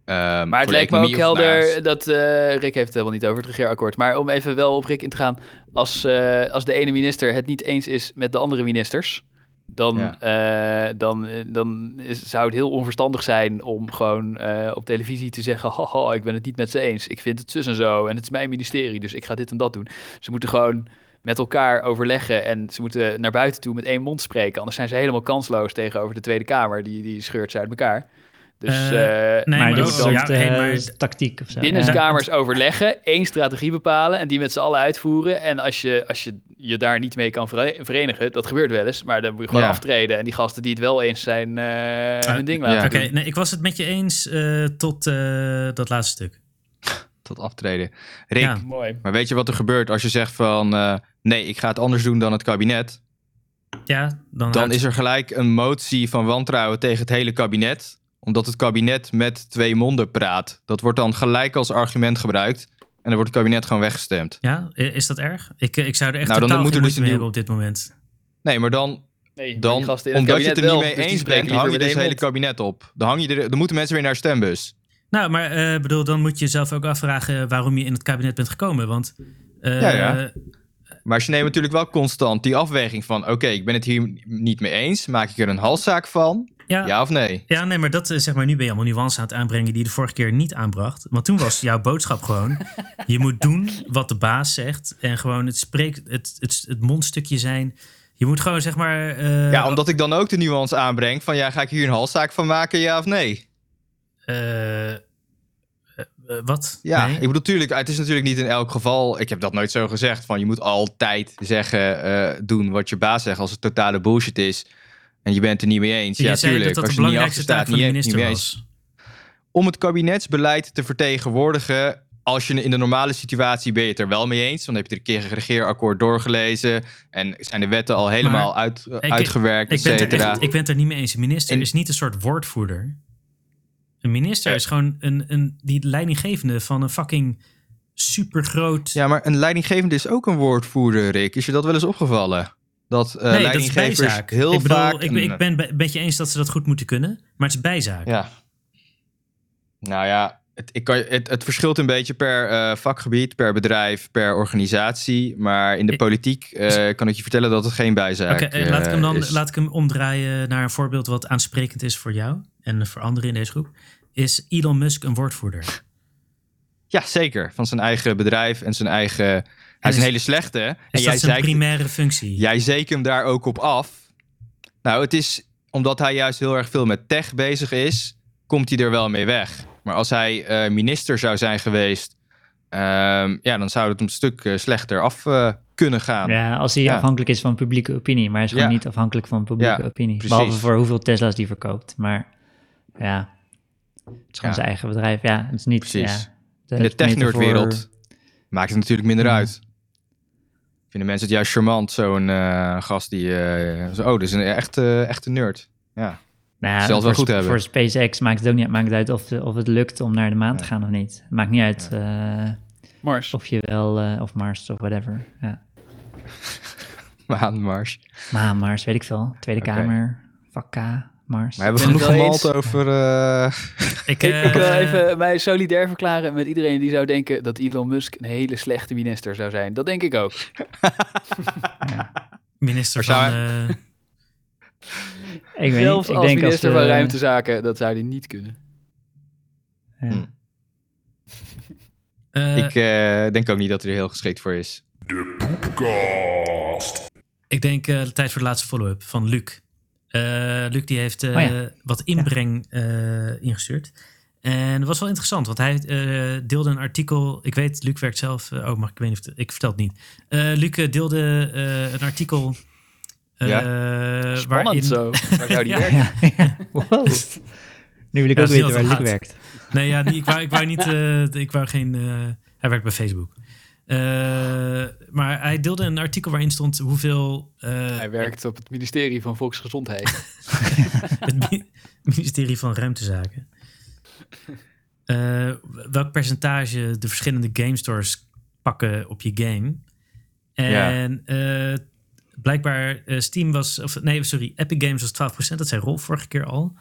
E: ehm,
C: Maar het
E: voor de
C: lijkt me ook
E: economie of het baas.
C: helder dat... eh, Rick heeft het helemaal niet over het regeerakkoord. Maar om even wel op Rick in te gaan. Als, eh, als de ene minister het niet eens is met de andere ministers... Dan, eh, dan, eh, dan is- zou het heel onverstandig zijn om gewoon eh, op televisie te zeggen... Haha, ik ben het niet met ze eens. Ik vind het zus en zo. En het is mijn ministerie, dus ik ga dit en dat doen. Ze moeten gewoon met elkaar overleggen. En ze moeten naar buiten toe met één mond spreken. Anders zijn ze helemaal kansloos tegenover de Tweede Kamer. Die, die scheurt ze uit elkaar. Dus...
B: Eh,
C: eh,
B: nee,
D: maar
B: maar
D: dit
B: ook-
D: is een soort
B: ja, hey,
D: eh,
B: maar-
D: tactiek of zo. ja.
C: binnenkamers overleggen, één strategie bepalen en die met z'n allen uitvoeren. En als je, als je je daar niet mee kan vere- verenigen, dat gebeurt wel eens, maar dan moet je gewoon
E: Ja.
C: aftreden. En die gasten die het wel eens zijn, eh,
B: Ah,
C: hun ding
E: ja.
C: laten
B: Oké,
C: doen.
B: nee, ik was het met je eens eh, tot eh, dat laatste stuk.
E: Tot aftreden. Rick,
B: Ja.
C: Mooi.
E: Maar weet je wat er gebeurt als je zegt van eh, nee, ik ga het anders doen dan het kabinet?
B: Ja, dan,
E: Dan
B: houdt-
E: is er gelijk een motie van wantrouwen tegen het hele kabinet. Omdat het kabinet met twee monden praat. Dat wordt dan gelijk als argument gebruikt. En dan wordt het kabinet gewoon weggestemd.
B: Ja, i- is dat erg? Ik, eh, ik zou er echt
E: Nou, dan
B: totaal
E: moet
B: geen
E: er dus
B: moeite mee
E: een
B: hebben op dit moment.
E: Nee, maar dan,
C: Nee, maar
E: dan
C: die gasten in
E: omdat je het
C: kabinet
E: er
C: wel,
E: niet
C: dus
E: mee
C: die
E: eens
C: spreken
E: bent, hang je
C: liever
E: dus
C: met
E: hele
C: één mond.
E: kabinet op. Dan, hang je er, dan moeten mensen weer naar stembus.
B: Nou, maar eh, bedoel, dan moet je jezelf ook afvragen eh, waarom je in het kabinet bent gekomen. Want eh,
E: Ja, ja. Maar ze nemen natuurlijk wel constant die afweging van... oké, ik ben het hier niet mee eens. Maak ik er een halszaak van?
B: ja,
E: Ja, of nee?
B: Ja, nee, maar dat eh, zeg maar, nu ben je allemaal nuance aan het aanbrengen die je de vorige keer niet aanbracht. Want toen was jouw boodschap gewoon: je moet doen wat de baas zegt en gewoon het, spreek, het, het, het mondstukje zijn. Je moet gewoon zeg maar. eh,
E: Ja, omdat ik dan ook de nuance aanbreng van... ja, ga ik hier een halszaak van maken, ja of nee?
B: eh, eh, eh, wat?
E: Ja,
B: Nee?
E: ik bedoel, tuurlijk, het is natuurlijk niet in elk geval. Ik heb dat nooit zo gezegd. Van je moet altijd zeggen, eh, doen wat je baas zegt als het totale bullshit is. En je bent het er niet mee eens.
B: Je
E: ja,
B: zei
E: tuurlijk.
B: dat dat
E: als
B: de
E: je er niet
B: belangrijkste
E: achter staat,
B: taak van de
E: niet, e- niet
B: minister
E: mee eens.
B: was.
E: Om het kabinetsbeleid te vertegenwoordigen. Als je in de normale situatie ben je het er wel mee eens. Dan heb je er een keer een regeerakkoord doorgelezen. En zijn de wetten al helemaal uit,
B: ik-
E: uitgewerkt, et
B: Ik ben, het er
E: cetera.
B: echt, ik ben het er niet mee eens. Een minister
E: En-
B: is niet een soort woordvoerder. Een minister
E: Eh.
B: is gewoon een, een, die leidinggevende van een fucking supergroot
E: Ja, maar een leidinggevende is ook een woordvoerder, Rick. Is je dat wel eens opgevallen? Dat eh
B: nee, dat is
E: leidinggevers
B: bijzaak.
E: heel
B: ik bedoel,
E: vaak...
B: ik, ben-
E: een- eh,
B: ik ben be- met je eens dat ze dat goed moeten kunnen, maar het is bijzaak.
E: Ja. Nou ja, Het, ik kan, het, het verschilt een beetje per eh, vakgebied, per bedrijf, per organisatie. Maar in de
B: Ik-
E: politiek eh, kan ik je vertellen dat het geen bijzaak
B: Oké, eh, laat ik hem
E: eh,
B: dan
E: is.
B: laat ik hem omdraaien naar een voorbeeld wat aansprekend is voor jou en voor anderen in deze groep. Is Elon Musk een woordvoerder?
E: Ja, zeker. Van zijn eigen bedrijf en zijn eigen... Hij
B: is-
E: is een hele slechte. en
B: Is
E: jij
B: dat zijn
E: zei
B: primaire functie?
E: Jij zeker hem daar ook op af. Nou, het is omdat hij juist heel erg veel met tech bezig is, komt hij er wel mee weg. Maar als hij eh, minister zou zijn geweest, ehm, ja, dan zou het een stuk eh, slechter af eh, kunnen gaan.
D: Ja, als hij
E: Ja.
D: afhankelijk is van publieke opinie. Maar hij is gewoon
E: Ja.
D: niet afhankelijk van publieke
E: Ja,
D: opinie.
E: precies.
D: Behalve voor hoeveel Tesla's die verkoopt. Maar ja, het is gewoon
E: Ja.
D: zijn eigen bedrijf. Ja, het is niet...
E: Precies.
D: Ja, de,
E: In de tech-nerdwereld
D: metafoor-
E: maakt het natuurlijk minder
D: Ja.
E: uit. Vinden mensen het juist charmant, zo'n eh, gast die... eh, zo, oh, dit is een echte, echte nerd. Ja.
D: Nou, ja,
E: Zelfs wel
D: voor,
E: goed hebben.
D: Voor SpaceX maakt het ook niet maakt het uit of, de- of het lukt om naar de maan te gaan of niet. Het maakt niet uit eh,
H: Mars.
D: of je wel... eh, of Mars of whatever. Ja.
E: Maanmars.
D: Maar Mars, weet ik veel. Tweede
E: Oké.
D: Kamer, vak K, Mars.
E: Maar hebben we
H: ben het
E: genoeg
H: wel
E: gemald
H: eens.
E: over... eh,
B: Ik,
H: Ik,
B: eh,
H: ik wil even mij solidair verklaren met iedereen die zou denken dat Elon Musk een hele slechte minister zou zijn. Dat denk ik ook.
B: minister van.
E: Maar
B: eh,
D: ik weet
H: Zelfs
D: niet. Ik
H: als
D: denk als
H: minister
D: we,
H: van Ruimtezaken, dat zou hij niet kunnen.
D: ja.
E: Hm.
B: eh,
E: ik eh, denk ook niet dat hij er heel geschikt voor is.
F: De Poepcast.
B: Ik denk eh, tijd voor de laatste follow-up van Luc. Eh, Luc die heeft eh,
D: Oh ja.
B: wat inbreng eh, ingestuurd. En dat was wel interessant, want hij eh, deelde een artikel. Ik weet, Luc werkt zelf. eh, oh, mag ik weet niet of het- ik vertel het niet. Eh, Luc eh, deelde eh, een artikel. eh,
E: Ja. Dus
B: waarin-
H: Spannend zo. Waar zou die
B: Ja.
H: werken?
D: Ja, ja. Wow. Nu wil ik
B: Ja,
D: ook
B: dat is heel
D: weten waar Luc
B: verhaald.
D: werkt.
B: Nee, ja, die- ik, wou, ik wou niet. eh, ik wou geen. eh, hij werkt bij Facebook. Eh, maar hij deelde een artikel waarin stond hoeveel. eh,
H: Hij werkt op het ministerie van Volksgezondheid.
B: het mi- ministerie van Ruimtezaken. Eh, welk percentage de verschillende game stores pakken op je game. En eh, blijkbaar eh, Steam was, of nee, sorry, Epic Games was 12%. Dat zei Rolf vorige keer al.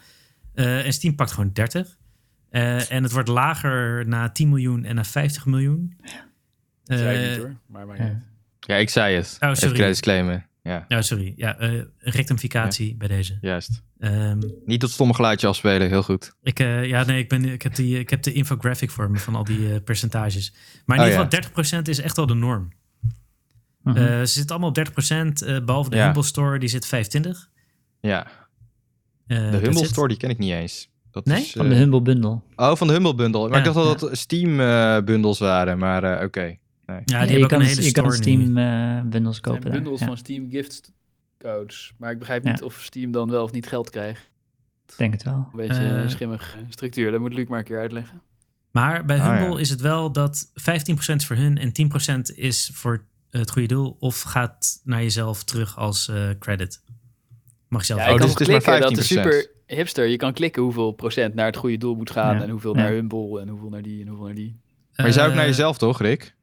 B: Eh, en Steam pakt gewoon 30. Eh, en het wordt lager na 10 miljoen en na 50 miljoen.
H: Dat zei hij
B: Eh,
H: niet hoor. Maar, maar
D: ja.
E: Ja, ik zei het.
B: Oh, sorry.
E: Even credits claimen. Ja,
B: oh, sorry. Ja, eh, rectificatie bij deze.
E: juist.
B: Ehm,
E: Niet dat stomme geluidje afspelen, heel goed.
B: Ik, eh, ja, nee, ik, ben, ik, heb die, ik heb de infographic voor me van al die eh, percentages. Maar in
E: Oh,
B: ieder geval 30% is echt wel de norm.
D: Mhm.
B: Eh, ze zitten allemaal op 30%, eh, behalve de
E: Ja.
B: Humble Store, die zit 25.
E: Ja,
B: Eh,
E: de
B: dat
E: Humble
B: zit-
E: Store die ken ik niet eens. Dat
B: Nee?
E: Is,
D: Van
E: eh,
D: de Humble Bundle.
E: oh, van de Humble Bundle. Maar ik
B: Ja,
E: dacht al dat Steam eh, bundles waren, maar eh, oké.
B: Ja,
D: Ja,
B: die
D: je
B: hebben
D: kan,
B: ook een
D: s-
B: hele
D: je kan
B: store nu.
D: Steam eh, bundles
H: het zijn
D: kopen. daar.
H: bundels
D: Ja,
H: van Steam gift codes. Maar ik begrijp
D: Ja.
H: niet of Steam dan wel of niet geld krijgt.
D: ik denk het wel.
H: Een beetje
B: Eh.
H: een schimmig structuur. Dat moet Luc maar een keer uitleggen.
B: Maar bij
E: Ah,
B: Humble
E: ja.
B: is het wel dat 15% is voor hun en 10% is voor het goede doel. Of gaat naar jezelf terug als eh, credit. Mag je zelf
H: Ja,
E: Oh,
H: je kan
B: weten.
E: dus het is maar
H: klikken, dat is
E: 15%.
H: super hipster. Je kan klikken hoeveel procent naar het goede doel moet gaan.
D: Ja.
H: En hoeveel
D: Ja.
H: naar Humble. En hoeveel naar die. En hoeveel naar die.
E: Maar je zou ook
B: Eh,
E: naar jezelf, toch, Rick?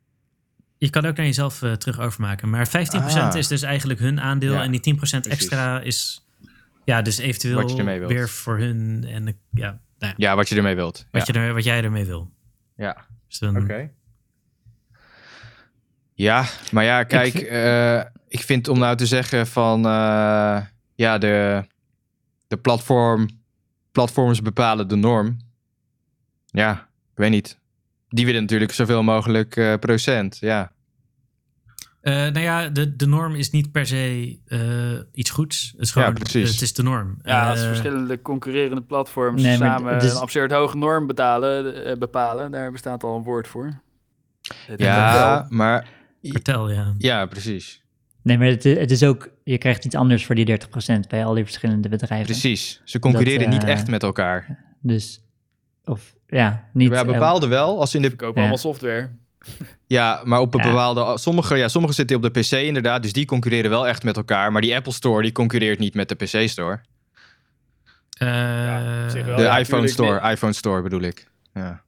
B: Je kan ook naar jezelf eh, terug overmaken. Maar 15%
E: Ah.
B: is dus eigenlijk hun aandeel.
E: Ja,
B: en die 10% extra is. Ja, dus
E: Wat je
B: eventueel
E: ermee wilt.
B: weer voor hun. En de- ja, nou ja,
E: Ja, wat je ermee wilt.
B: wat,
E: Ja,
B: je er, wat jij ermee wil.
E: Ja.
B: Dus dan-
E: Hm. Ja, maar ja, kijk, eh, ik
D: vind-
E: vind, om nou te zeggen van, eh, ja, de, de platform, platforms bepalen de norm. Ja, ik weet niet. Die willen natuurlijk zoveel mogelijk eh, procent, ja.
B: Eh, nou ja, de, de norm is niet per se eh, iets goeds. Het is gewoon,
E: Ja, precies.
B: Het is de norm.
H: Ja,
B: Eh,
H: als verschillende concurrerende platforms
D: Nee, maar dus-
H: samen
D: het is-
H: een absurd hoge norm betalen, eh, bepalen, daar bestaat al een woord voor. Het
E: Ja, maar
B: Vertel, ja.
E: ja, precies.
D: Nee, maar het, het is ook... Je krijgt iets anders voor die 30% bij al die verschillende bedrijven.
E: Precies. Ze concurreren
D: Dat, eh,
E: niet echt met elkaar.
D: Dus, of ja, niet... eh,
E: Ja, bepaalde wel. Als in de,
H: kopen
D: Ja.
H: allemaal software.
E: ja, maar op een
D: Ja.
E: bepaalde. Sommige, ja, sommige zitten op de PC inderdaad, dus die concurreren wel echt met elkaar. Maar die Apple Store die concurreert niet met de PC Store.
B: Eh,
H: op zich wel.
E: De
H: ja,
E: iPhone
H: tuurlijk,
E: Store, iPhone Store bedoel ik. Ja.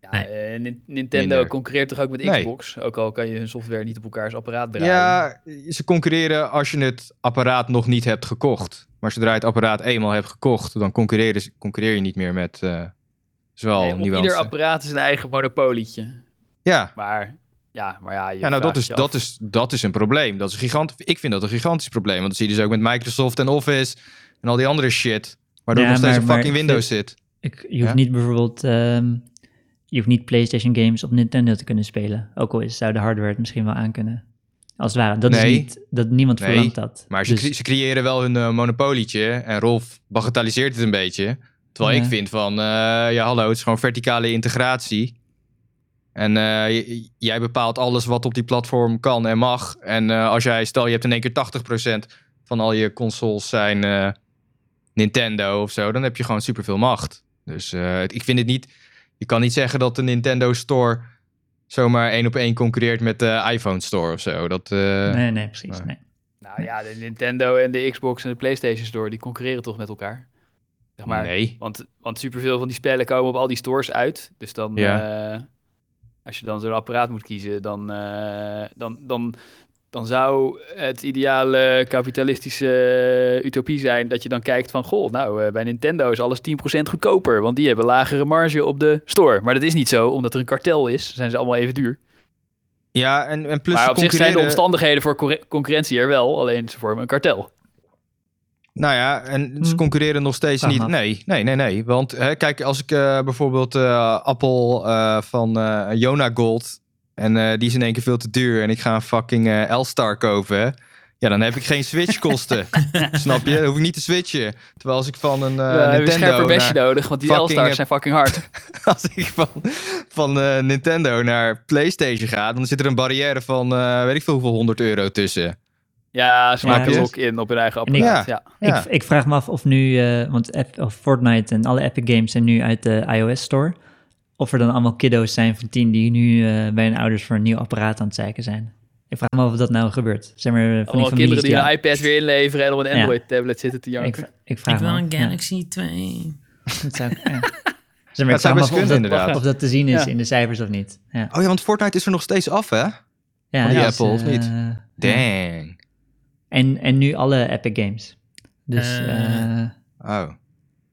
H: Ja,
B: Nee.
H: eh, Nin- Nintendo
E: Minder.
H: concurreert toch ook met
E: Nee.
H: Xbox? Ook al kan je hun software niet op elkaars apparaat draaien.
E: ja, ze concurreren als je het apparaat nog niet hebt gekocht. Maar zodra je het apparaat eenmaal hebt gekocht, dan concurreren, ze- concurreer je niet meer met eh, is wel
C: Nee,
E: een
C: op
E: nuance.
C: ieder apparaat is een eigen monopolietje.
E: Ja,
C: Maar ja, maar ja. Je
E: ja nou, dat,
C: vraagt
E: is,
C: je
E: dat,
C: af.
E: is, dat is een probleem. Dat is een gigant, ik vind dat een gigantisch probleem. Want dat zie je dus ook met Microsoft en Office en al die andere shit. Waardoor
D: Ja,
E: nog steeds
D: maar-
E: een
D: maar
E: fucking
D: ik
E: Windows zit.
D: Ik, je hoeft
E: Ja?
D: niet bijvoorbeeld... ehm, je hoeft niet PlayStation games op Nintendo te kunnen spelen. Ook al is, zou de hardware het misschien wel aankunnen. Als het ware. Dat
E: Nee.
D: is niet... Dat niemand
E: Nee,
D: verlangt dat.
E: Maar ze,
D: Dus-
E: cre- ze creëren wel hun eh, monopolietje. En Rolf bagatelliseert het een beetje. Terwijl
D: Ja.
E: ik vind van, eh, ja hallo, het is gewoon verticale integratie. En eh, j- jij bepaalt alles wat op die platform kan en mag. En eh, als jij, stel je hebt in één keer 80% van al je consoles zijn eh, Nintendo of zo. Dan heb je gewoon superveel macht. Dus eh, ik vind het niet, je kan niet zeggen dat de Nintendo Store zomaar één op één concurreert met de iPhone Store of zo. Dat, eh,
D: nee, nee, precies.
E: nee.
D: Nee.
C: Nou ja, de Nintendo en de Xbox en de PlayStation Store, die concurreren toch met elkaar? Zeg maar.
E: nee.
C: Want, want superveel van die spellen komen op al die stores uit. Dus dan, eh, als je dan zo'n apparaat moet kiezen, dan, eh, dan, dan, dan zou het ideale kapitalistische utopie zijn dat je dan kijkt van, goh, nou, eh, bij Nintendo is alles 10% goedkoper, want die hebben lagere marge op de store. Maar dat is niet zo, omdat er een kartel is, zijn ze allemaal even duur.
E: Ja, en, en plus
C: maar op zich zijn de
E: concurreren-
C: omstandigheden voor corre- concurrentie er wel, alleen ze vormen een
E: Eh,
C: kartel.
E: Nou ja, en ze
D: Hm.
E: concurreren nog steeds
D: Vraag
E: niet.
D: me af.
E: Nee, nee, nee, nee. Want hè, kijk, als ik eh, bijvoorbeeld eh, Apple eh, van eh Jona Gold. En eh, die is in één keer veel te duur. En ik ga een fucking eh, L-Star kopen. Ja, dan heb ik geen switchkosten. snap je? Dan hoef ik niet te switchen. Terwijl als ik van een eh,
C: We hebben een
E: Nintendo
C: scherper
E: naar,
C: besje nodig, want die
E: fucking,
C: L-stars
E: eh,
C: zijn fucking hard.
E: als ik van, van eh, Nintendo naar PlayStation ga, dan zit er een barrière van eh, weet ik veel hoeveel 100 euro tussen.
C: Ja, ze
D: Ja,
C: maken
E: dus-
C: ook in op hun eigen
D: En ik-
C: apparaat. Ja.
E: Ja.
D: Ik, ik vraag me af of nu, eh, want app, of Fortnite en alle Epic Games zijn nu uit de iOS Store. Of er dan allemaal kiddo's zijn van tien die nu eh, bij hun ouders voor een nieuw apparaat aan het zeiken zijn. Ik vraag me af of dat nou gebeurt. Zijn er van
C: Allemaal
D: die families
C: kinderen die
D: al-
C: een iPad weer inleveren en op een
D: Ja.
C: Android-tablet zitten te
D: Ik,
C: janken.
D: vra- ik vraag
B: Ik wil
D: me af,
B: een
D: ja.
B: Galaxy 2.
D: Dat zou, ja. Zeg maar,
E: zou
D: ik vraag me
E: best
D: af of
E: kunnen,
D: dat,
E: inderdaad.
D: of dat te zien is
C: Ja.
D: in de cijfers of niet. Ja,
E: Oh ja, want Fortnite is er nog steeds af, hè?
D: ja
E: die
D: dat is,
E: Apple, of niet?
D: eh, ja.
E: Dang.
D: En, en nu alle Epic Games. Dus
B: Eh,
D: eh,
E: Oh.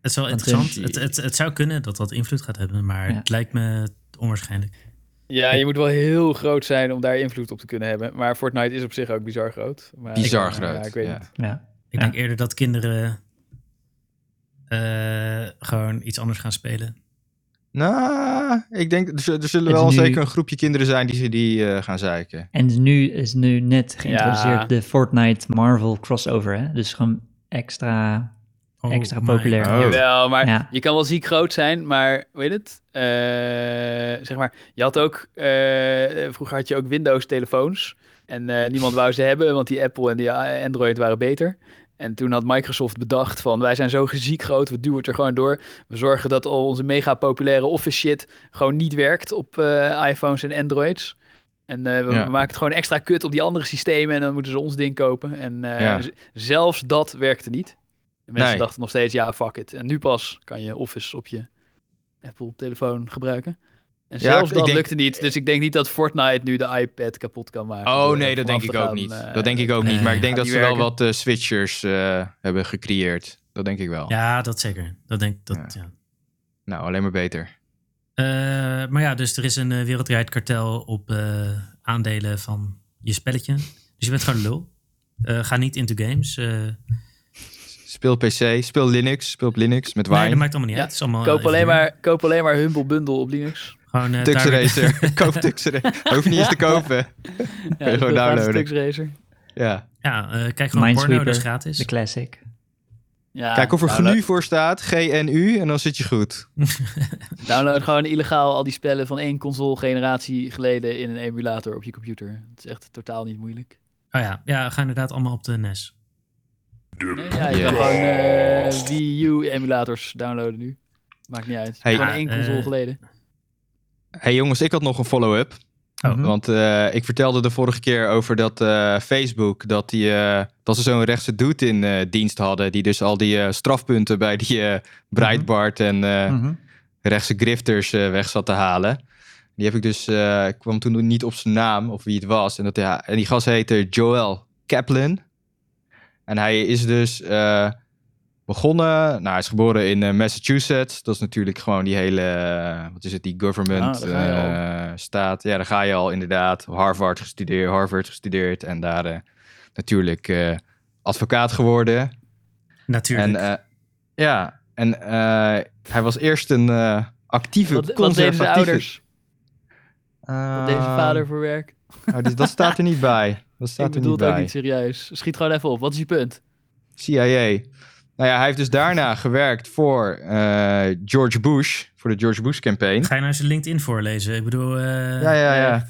B: Het is wel
D: Want,
B: interessant.
D: eh,
B: Het, het, het zou kunnen dat dat invloed gaat hebben, maar
D: Ja.
B: het lijkt me onwaarschijnlijk.
C: Ja, je moet wel heel groot zijn om daar invloed op te kunnen hebben. Maar Fortnite is op zich ook bizar groot. Maar,
E: Bizar
C: maar
E: groot,
C: Ja, ik weet
E: ja.
C: niet.
D: ja.
B: Ik denk eerder dat kinderen eh, gewoon iets anders gaan spelen.
E: Nou, ik denk, er, zullen- er zullen
D: Het
E: wel
D: is nu-
E: zeker een groepje kinderen zijn die, die eh, gaan zeiken.
D: En nu is nu net geïntroduceerd
C: Ja.
D: de Fortnite Marvel crossover. Hè? Dus gewoon extra
B: Oh
D: Extra
B: my
D: populair.
B: God.
E: Oh.
C: Jawel, maar
D: Ja.
C: je kan wel ziek groot zijn, maar weet het? Eh, zeg maar, je had ook, eh, vroeger had je ook Windows-telefoons. En eh, niemand wou ze hebben, want die Apple en die eh, Android waren beter. En toen had Microsoft bedacht van, wij zijn zo ziek groot, we duwen het er gewoon door. We zorgen dat al onze mega populaire Office shit gewoon niet werkt op eh, iPhones en Androids. En eh, we,
E: Ja.
C: we maken het gewoon extra kut op die andere systemen en dan moeten ze ons ding kopen. En eh,
E: Ja.
C: z- zelfs dat werkte niet. De mensen
E: Nee.
C: dachten nog steeds, ja, fuck it. En nu pas kan je Office op je Apple-telefoon gebruiken. En
E: Ja,
C: zelfs
E: ik- ik
C: dat
E: denk-
C: lukte niet. Dus ik denk niet dat Fortnite nu de iPad kapot kan maken.
E: Oh
C: door
E: nee, dat
C: vanaf
E: denk
C: te
E: ik ook
C: gaan,
E: niet.
C: eh,
E: dat denk ik ook niet.
B: nee,
E: Maar ik denk
C: gaat
E: dat ze
C: niet
E: wel wat eh, switchers eh, hebben gecreëerd. Dat denk ik
D: Oh.
E: wel.
B: Ja, dat zeker. Dat denk ik. Dat, ja.
E: Nou, alleen maar beter.
B: Eh, maar ja, dus er is een eh, wereldwijd kartel op eh, aandelen van je spelletje. Dus je bent gewoon lul. Eh, ga niet into games. eh,
E: Speel PC, speel Linux, speel op Linux met
B: nee, dat
E: Wine.
B: maakt allemaal niet
C: Ja,
B: uit. Het is allemaal
C: Koop
B: even
C: alleen,
B: weer.
C: maar, koop alleen maar Humble Bundle op Linux.
B: Gewoon, eh,
E: Tux
B: daar-
E: Racer. Koop Tux Racer. Hoef je niet eens te kopen.
C: Ja, dat
E: gewoon
C: is een
E: downloaden.
C: Racer.
E: Ja.
B: ja, eh, kijk gewoon porno,
D: Minesweeper.
B: dat is gratis.
D: de classic.
C: Ja, nou,
E: Kijk of er
C: download-
E: GNU voor staat, GNU, en dan zit je goed.
C: Download gewoon illegaal al die spellen van één console-generatie geleden in een emulator op je computer. Het is echt totaal niet moeilijk.
B: Oh ja, ja, ga inderdaad allemaal op de E NES.
C: Nee, ja, je
E: Ja.
C: kan gewoon eh, Wii U-emulators downloaden nu. Maakt niet uit.
E: Hey,
C: gewoon
B: ja,
C: één
B: eh,
C: console geleden.
E: hey jongens, ik had nog een follow-up.
D: Mhm.
E: Want eh, ik vertelde de vorige keer over dat eh, Facebook, dat, die, eh, dat ze zo'n rechtse dude in eh, dienst hadden. Die dus al die eh, strafpunten bij die eh, Breitbart en eh,
D: Mhm.
E: rechtse grifters eh, weg zat te halen. Die heb ik dus, eh, ik kwam toen niet op zijn naam of wie het was. En, dat, ja, en die gast heette Joel Kaplan. En hij is dus eh, begonnen. Nou, hij is geboren in eh, Massachusetts. Dat is natuurlijk gewoon die hele, eh, wat is het, die government
H: Ah, daar ga je
E: eh, staat. Ja, daar ga je al inderdaad. Harvard gestudeerd, Harvard gestudeerd en daar eh, natuurlijk eh, advocaat geworden.
B: Natuurlijk.
E: En eh, ja, en eh, hij was eerst een eh, actieve
C: Wat, wat deden
E: conservatieve.
C: de ouders?
E: Eh,
C: Wat deed zijn vader voor werk?
E: nou, dit- dat staat er niet bij. Dat staat
C: Ik
E: er
C: bedoel
E: niet
C: het ook
E: bij.
C: niet serieus. Schiet gewoon even op. Wat is je punt?
E: CIA. Nou ja, hij heeft dus daarna gewerkt voor eh, George Bush, voor de George Bush campaign.
B: Ga je nou zijn LinkedIn voorlezen? Ik bedoel, eh,
E: Ja, ja, ja.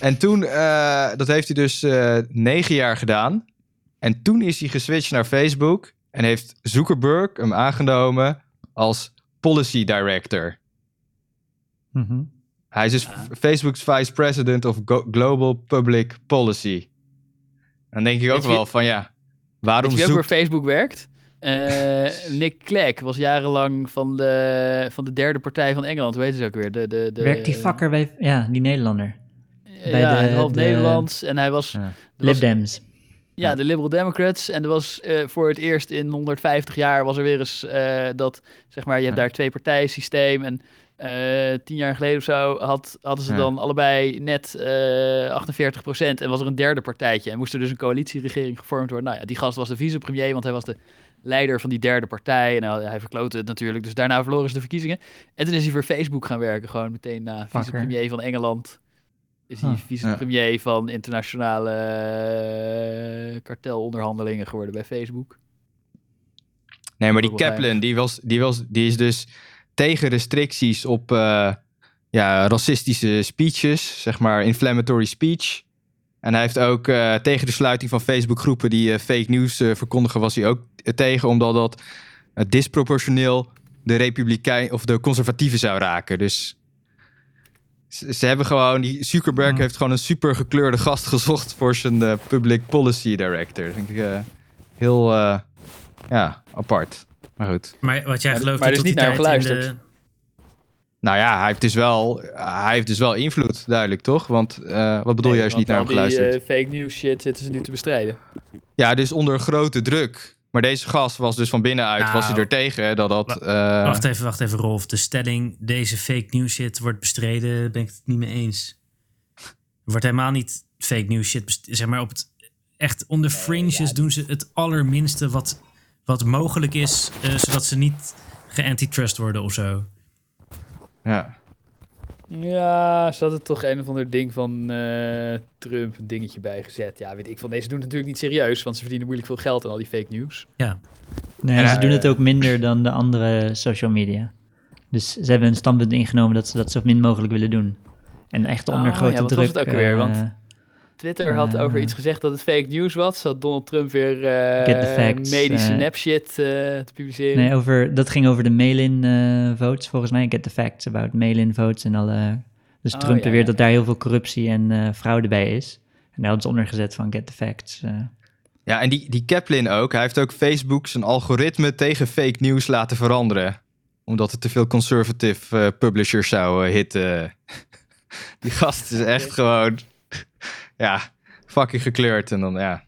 E: En toen, eh, dat heeft hij dus eh, negen jaar gedaan. En toen is hij geswitcht naar Facebook en heeft Zuckerberg hem aangenomen als policy director.
D: Mhm.
E: Hij is dus Facebook's vice president of go- global public policy. Dan denk ik ook
C: Weet je-
E: wel van ja, waarom
C: Weet je wie ook
E: zoekt...
C: voor Facebook werkt? Eh, Nick Clegg was jarenlang van de, van de derde partij van Engeland. Hoe heet ze ook weer? De, de, de,
D: Werkt die vakker bij... Ja, die Nederlander.
C: Ja,
D: bij de-
C: half
D: de-
C: Nederlands. En hij was...
E: Ja.
C: er
D: Lib
C: was-
D: Dems.
C: Ja, de Liberal Democrats. En er was eh, voor het eerst in 150 jaar was er weer eens eh, dat, zeg maar, je hebt daar twee partijensysteem. En eh, tien jaar geleden of zo had, hadden ze
E: Ja.
C: dan allebei net eh 48 procent. En was er een derde partijtje. En moest er dus een coalitieregering gevormd worden. Nou ja, die gast was de vicepremier, want hij was de leider van die derde partij. En hij, hij verklootte het natuurlijk. Dus daarna verloren ze de verkiezingen. En toen is hij voor Facebook gaan werken. Gewoon meteen na
D: Fucker.
C: vicepremier van Engeland is hij
D: Ah,
C: vicepremier van internationale eh, kartelonderhandelingen geworden bij Facebook.
E: Nee, maar die
C: Google
E: Kaplan, die, was, die, was, die is dus tegen restricties op eh, ja, racistische speeches, zeg maar inflammatory speech. En hij heeft ook eh, tegen de sluiting van Facebookgroepen die eh, fake news eh, verkondigen, was hij ook eh, tegen, omdat dat eh, disproportioneel de Republikein of de conservatieven zou raken. Dus ze, ze hebben gewoon, die Zuckerberg
D: Hmm.
E: heeft gewoon een super gekleurde gast gezocht voor zijn eh, public policy director. Dat vind ik eh, heel, eh, ja, apart. Maar goed.
B: Maar wat jij
H: Maar-
B: gelooft
H: maar
B: dat
H: er is
B: tot die
H: niet naar
B: tijd in
H: geluisterd.
B: de-
E: Nou ja, hij heeft dus wel, hij heeft dus wel invloed, duidelijk toch? Want eh, wat bedoel je als je niet naar hem geluisterd?
C: nou, Die eh, fake news shit zitten ze nu te bestrijden.
E: Ja, dus onder grote druk. Maar deze gast was dus van binnenuit,
B: Nou.
E: was hij er tegen dat dat... eh,
B: Wacht even, wacht even, Rolf. De stelling, deze fake news shit wordt bestreden, ben ik het niet mee eens. Er wordt helemaal niet fake news shit best- Zeg maar, op het, echt onder fringes doen ze het allerminste wat, wat mogelijk is, eh, zodat ze niet geantitrust worden of zo. Oh
E: ja.
H: Ja, ze hadden toch een of ander ding van eh, Trump een dingetje bijgezet. Ja, weet ik van deze doen het natuurlijk niet serieus, want ze verdienen moeilijk veel geld aan al die fake news.
B: Ja,
D: Nee,
E: Ja,
D: ze doen
H: ja.
D: het ook minder dan de andere social media. Dus ze hebben een standpunt ingenomen dat ze dat zo min mogelijk willen doen. En echt onder
C: Oh,
D: grote
C: ja, wat was
D: druk.
C: het ook weer?
D: eh,
C: Want- Twitter had
D: Eh.
C: over iets gezegd dat het fake news was. Zat Donald Trump weer eh,
D: Get the facts,
C: medische
D: eh.
C: nepshit eh, te publiceren.
D: nee, over, dat ging over de mail-in eh, votes volgens mij. Get the facts about mail-in votes en alle... Dus
C: Oh,
D: Trump
C: ja,
D: beweert
C: ja,
D: dat daar heel veel corruptie en eh, fraude bij is. En daar hadden ze onder gezet van get the facts. eh.
E: ja, en die, die Kaplan ook. Hij heeft ook Facebook zijn algoritme tegen fake news laten veranderen. Omdat het te veel conservative eh, publishers zou eh, hitten. die gast is echt gewoon... ja, fucking gekleurd. En dan, ja...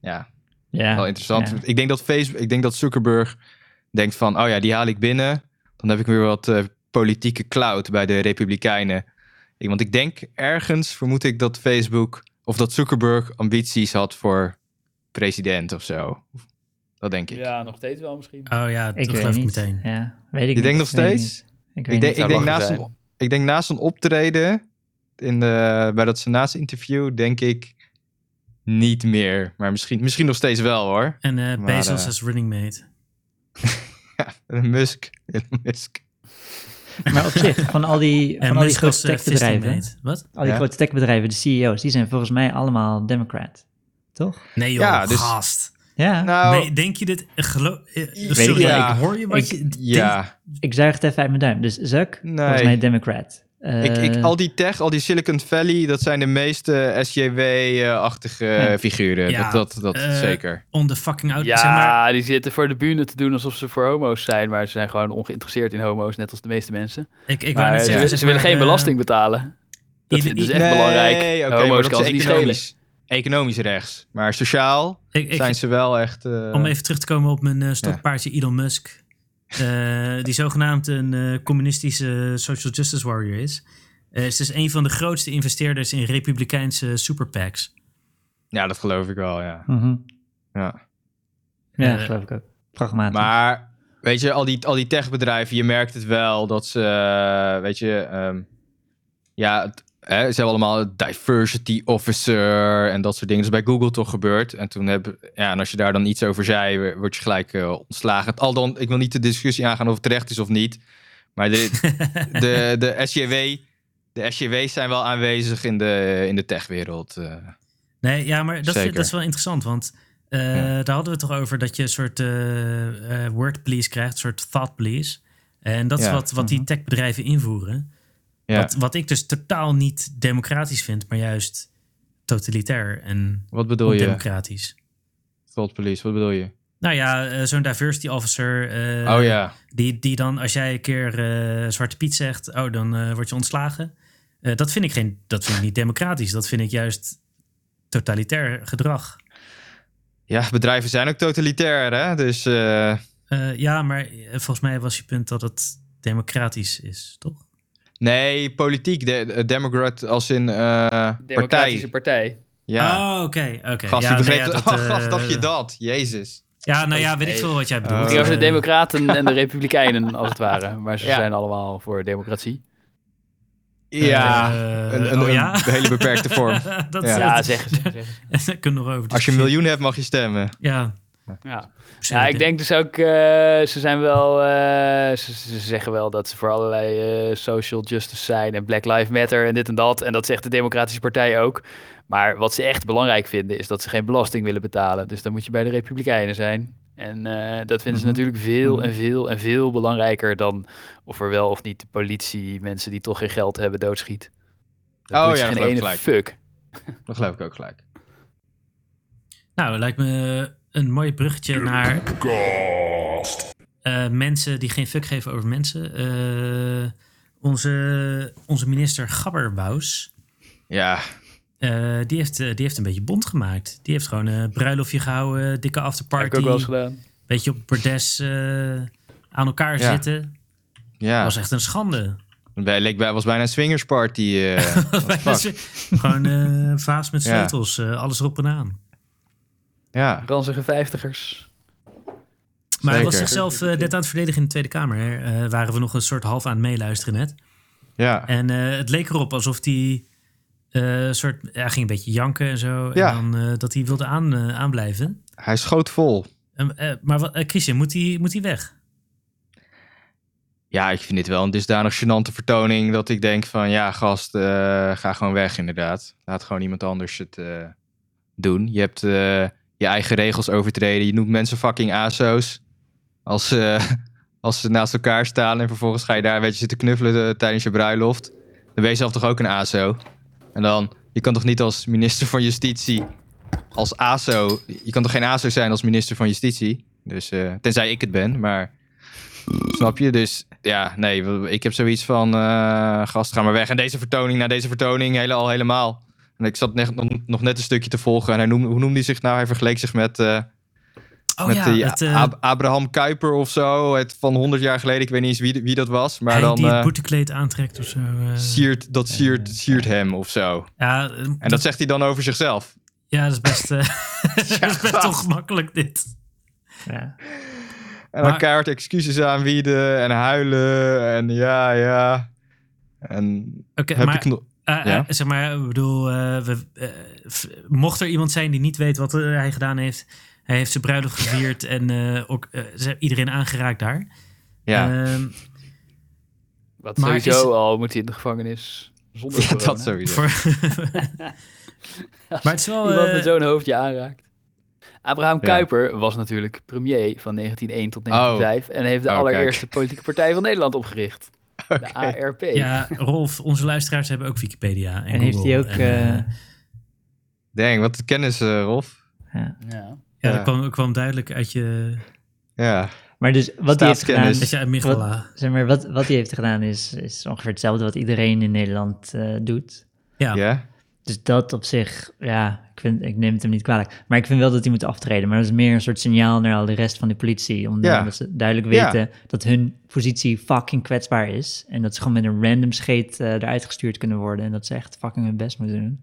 E: Ja,
D: ja,
E: wel interessant.
D: ja.
E: Ik denk dat Facebook, ik denk dat Zuckerberg denkt van, oh ja, die haal ik binnen. Dan heb ik weer wat eh, politieke clout bij de Republikeinen. Ik- want ik denk ergens vermoed ik dat Facebook of dat Zuckerberg ambities had voor president of zo. Dat denk ik.
H: Ja, nog steeds wel misschien.
B: oh ja,
D: Ik
B: dat
D: weet
B: geloof ik
D: niet.
B: meteen.
D: Ja, weet ik
E: Je
D: niet.
E: denkt nog
D: Weet ik
E: steeds?
D: niet. Ik weet
E: Ik denk,
D: niet.
E: ik
C: zou
E: denk,
C: lachen
E: naast
C: zijn.
E: een, ik denk naast een optreden in de, bij dat senaatsinterview denk ik niet meer. Maar misschien, misschien nog steeds wel hoor.
B: En eh,
E: Maar,
B: Bezos
E: eh,
B: als running mate.
E: Musk. Musk.
D: Maar op zich, van al die,
B: En
D: van al die
B: Musk
D: grote
B: als eh, fisting
D: techbedrijven...
B: mate. Wat?
D: Al die
E: Ja.
D: grote techbedrijven, de CEO's, die zijn volgens mij allemaal Democrat. Toch?
B: Nee joh,
E: Ja, dus-
B: gast.
D: Ja,
E: Nou,
B: Nee, denk je dit... Gelo- eh,
E: Weet
B: sorry,
E: ik niet.
B: ik hoor je, maar
D: Ik-
B: je- denk-
E: ja.
D: ik zuig het even uit mijn duim. Dus Zuck,
E: Nee.
D: volgens mij Democrat. Eh,
E: Ik, ik, al die tech, al die Silicon Valley, dat zijn de meeste SJW-achtige eh, figuren.
B: Ja,
E: dat dat, dat
B: eh,
E: zeker.
B: on the fucking out.
H: Ja,
B: Oh, Zeg maar,
H: die zitten voor de bühne te doen alsof ze voor homo's zijn, maar ze zijn gewoon ongeïnteresseerd in homo's, net als de meeste mensen.
B: ik, ik wou
H: Maar
B: net
H: ze,
B: zeggen,
H: willen-
B: zeg
H: ze willen
B: maar,
H: geen
B: eh,
H: belasting betalen. Dat
B: ieder-
H: vinden ze
B: i-
H: echt belangrijk.
E: oké,
H: homo's
E: maar dat
H: kan
E: is
H: ze niet
E: economisch. economisch rechts. Maar sociaal
B: Ik, ik,
E: zijn ze wel echt... eh,
B: Om even terug te komen op mijn eh, stokpaardje Elon Musk. eh, die zogenaamd een eh, communistische social justice warrior is. Eh, is dus een van de grootste investeerders in republikeinse superpacks.
E: Ja, dat geloof ik wel, ja.
D: Mhm.
E: ja.
D: Ja,
B: Eh,
D: geloof ik ook. Pragmatisch.
E: Maar weet je, al die, al die techbedrijven, je merkt het wel dat ze, eh, weet je, ehm, ja, het- hè, ze hebben allemaal een diversity officer en dat soort dingen. Dat is bij Google toch gebeurd. En toen heb, ja, en als je daar dan iets over zei, we- word je gelijk eh, ontslagen. Al dan, ik wil niet de discussie aangaan of het terecht is of niet. Maar de, de, de SJW, de SJW's zijn wel aanwezig in de, in de techwereld. eh.
B: Nee, ja, maar dat,
E: Zeker.
B: dat is wel interessant, want eh, daar hadden we het toch over dat je een soort eh, eh, word please krijgt, een soort thought please. En dat is
E: Ja.
B: wat, wat die techbedrijven invoeren.
E: ja.
B: Wat, wat ik dus totaal niet democratisch vind, maar juist totalitair en
E: Wat bedoel je?
B: democratisch.
E: Thought police, wat bedoel je?
B: Nou ja, eh, zo'n diversity officer. eh,
E: oh ja.
B: die, die dan, als jij een keer eh, Zwarte Piet zegt, oh, dan eh, word je ontslagen. Eh, dat, vind ik geen, dat vind ik niet democratisch. Dat vind ik juist totalitair gedrag.
E: Ja, bedrijven zijn ook totalitair, hè? Dus eh,
B: Eh, ja, maar eh, volgens mij was je punt dat het democratisch is, toch?
E: nee, politiek, de, de democrat als in eh,
H: Democratische
E: partij.
H: partij.
E: Ja,
B: Oh, oké. oké.
E: gast,
B: ja,
E: je begreep
B: nou ja,
E: dat,
B: eh,
E: gast, daaf je dat? Jezus.
B: Ja, nou ja, weet ik veel wat
E: Oh.
B: jij bedoelt.
H: Die was de
B: Eh,
H: Democraten en de Republikeinen, als het ware. Maar ze
E: Ja.
H: zijn allemaal voor democratie.
E: Ja,
B: eh,
E: een, een,
B: oh ja?
E: een hele beperkte vorm.
B: dat
E: Ja.
H: Ja, zeggen ze. zeggen ze.
B: Daar kunnen we nog over
E: Als je een
B: discussiëren.
E: miljoen hebt, mag je stemmen.
B: Ja.
H: Ja.
B: Pseudo-
H: Ja, ik denk dus ook, eh, ze zijn wel, eh, ze, ze zeggen wel dat ze voor allerlei eh, social justice zijn en Black Lives Matter en dit en dat. En dat zegt de Democratische Partij ook. Maar wat ze echt belangrijk vinden is dat ze geen belasting willen betalen. Dus dan moet je bij de Republikeinen zijn. En eh, dat vinden ze
E: Mhm.
H: natuurlijk veel en veel en veel belangrijker dan of er wel of niet de politie mensen die toch geen geld hebben doodschiet. Dat
E: Oh
H: doet ze
E: ja, dat
H: geen
E: geloof ik
H: ene
E: gelijk.
H: fuck.
E: Dat geloof ik ook gelijk.
B: Nou, lijkt me een mooi bruggetje naar
F: Gast.
B: eh, mensen die geen fuck geven over mensen. Eh, onze, onze minister Gabberbaus,
E: Ja,
B: eh, die, heeft, eh, die heeft een beetje bond gemaakt. Die heeft gewoon een bruiloftje gehouden, dikke
H: Heb ik ook wel eens
B: afterparty.
H: gedaan.
B: Beetje op het bordes eh, aan elkaar
E: Ja.
B: zitten.
E: ja.
B: was echt een schande.
E: Bij, leek bij, was bijna een swingersparty. eh.
B: gewoon eh vaas met
E: Ja.
B: sleutels, eh, alles erop en aan.
E: ja,
H: Ranzige vijftigers.
B: Maar hij was
E: Zeker.
B: zichzelf eh, net aan het verdedigen in de Tweede Kamer. hè. Eh, waren we nog een soort half aan het meeluisteren net.
E: ja.
B: En eh, het leek erop alsof hij soort, hij ging een beetje janken en zo.
E: Ja.
B: En dan, eh, dat hij wilde aan, eh, aanblijven.
E: Hij schoot vol.
B: Ehm, eh, maar wat, eh, Christian, moet hij moet hij weg?
E: Ja, ik vind dit wel een dusdanig gênante vertoning dat ik denk van ja, gast, eh, ga gewoon weg inderdaad. Laat gewoon iemand anders het eh, doen. Je hebt eh, je eigen regels overtreden. Je noemt mensen fucking aso's als, ze als ze naast elkaar staan en vervolgens ga je daar een beetje zitten knuffelen eh, tijdens je bruiloft. Dan ben je zelf toch ook een aso. En dan, je kan toch niet als minister van Justitie als aso, je kan toch geen aso zijn als minister van Justitie? Dus, eh, tenzij ik het ben, maar... Snap je? Dus ja, nee, w- ik heb zoiets van, eh, gast, ga maar weg. En deze vertoning, na deze vertoning, hele, al helemaal. En ik zat net, nog, nog net een stukje te volgen. En hij noemde, hoe noemde hij zich nou? Hij vergeleek zich met, eh,
B: Oh
E: met
B: ja,
E: die
B: het, eh,
E: Ab- Abraham Kuyper of zo. Het, van 100 jaar geleden, ik weet niet eens wie, wie dat was. Maar
B: hij
E: dan
B: die het
E: eh,
B: boetekleed aantrekt of zo. eh.
E: siert, dat siert, siert hem of zo.
B: ja, eh,
E: En dat zegt hij dan over zichzelf.
B: ja, dat is best, eh dat is best
E: gast.
B: ongemakkelijk dit.
D: Ja.
E: En
B: Maar-
E: dan keihard excuses aanbieden en huilen. En ja, ja. En
B: Oké,
E: heb
B: maar,
E: ik nog...
B: eh, eh,
E: ja?
B: zeg maar, ik bedoel, eh, we, eh, f- mocht er iemand zijn die niet weet wat eh, hij gedaan heeft. Hij heeft zijn bruiloft gevierd en eh, ook eh, ze- iedereen aangeraakt daar.
E: Ja,
B: Ehm,
H: Wat
B: Maar
H: sowieso
B: is-
H: al moet hij in de gevangenis zonder corona.
E: dat sowieso.
B: Voor- maar het is wel.
H: Iemand
B: eh,
H: met zo'n hoofdje aanraakt. Abraham
E: Ja.
H: Kuyper was natuurlijk premier van 1901 tot 1905 en heeft de
E: Oh, kijk.
H: allereerste politieke partij van Nederland opgericht. De ARP.
B: ja, Rolf, onze luisteraars hebben ook Wikipedia. En,
D: En heeft hij
B: Google.
D: ook...
B: En,
D: eh,
B: eh,
E: Denk, wat kennis, eh, Rolf.
H: Ja.
B: ja,
E: ja.
B: dat kwam, kwam duidelijk uit je.
E: Ja,
D: maar dus wat hij heeft gedaan...
E: Staatskennis.
B: Uit je amygdala.
D: Zeg maar, wat, wat hij heeft gedaan is, is ongeveer hetzelfde wat iedereen in Nederland eh, doet.
B: Ja.
E: ja.
D: Dus dat op zich, ja, ik, vind, ik neem het hem niet kwalijk. Maar ik vind wel dat hij moet aftreden. Maar dat is meer een soort signaal naar al de rest van de politie. Omdat
E: Ja.
D: ze duidelijk
E: Ja.
D: weten dat hun positie fucking kwetsbaar is. En dat ze gewoon met een random scheet eh, eruit gestuurd kunnen worden. En dat ze echt fucking hun best moeten doen.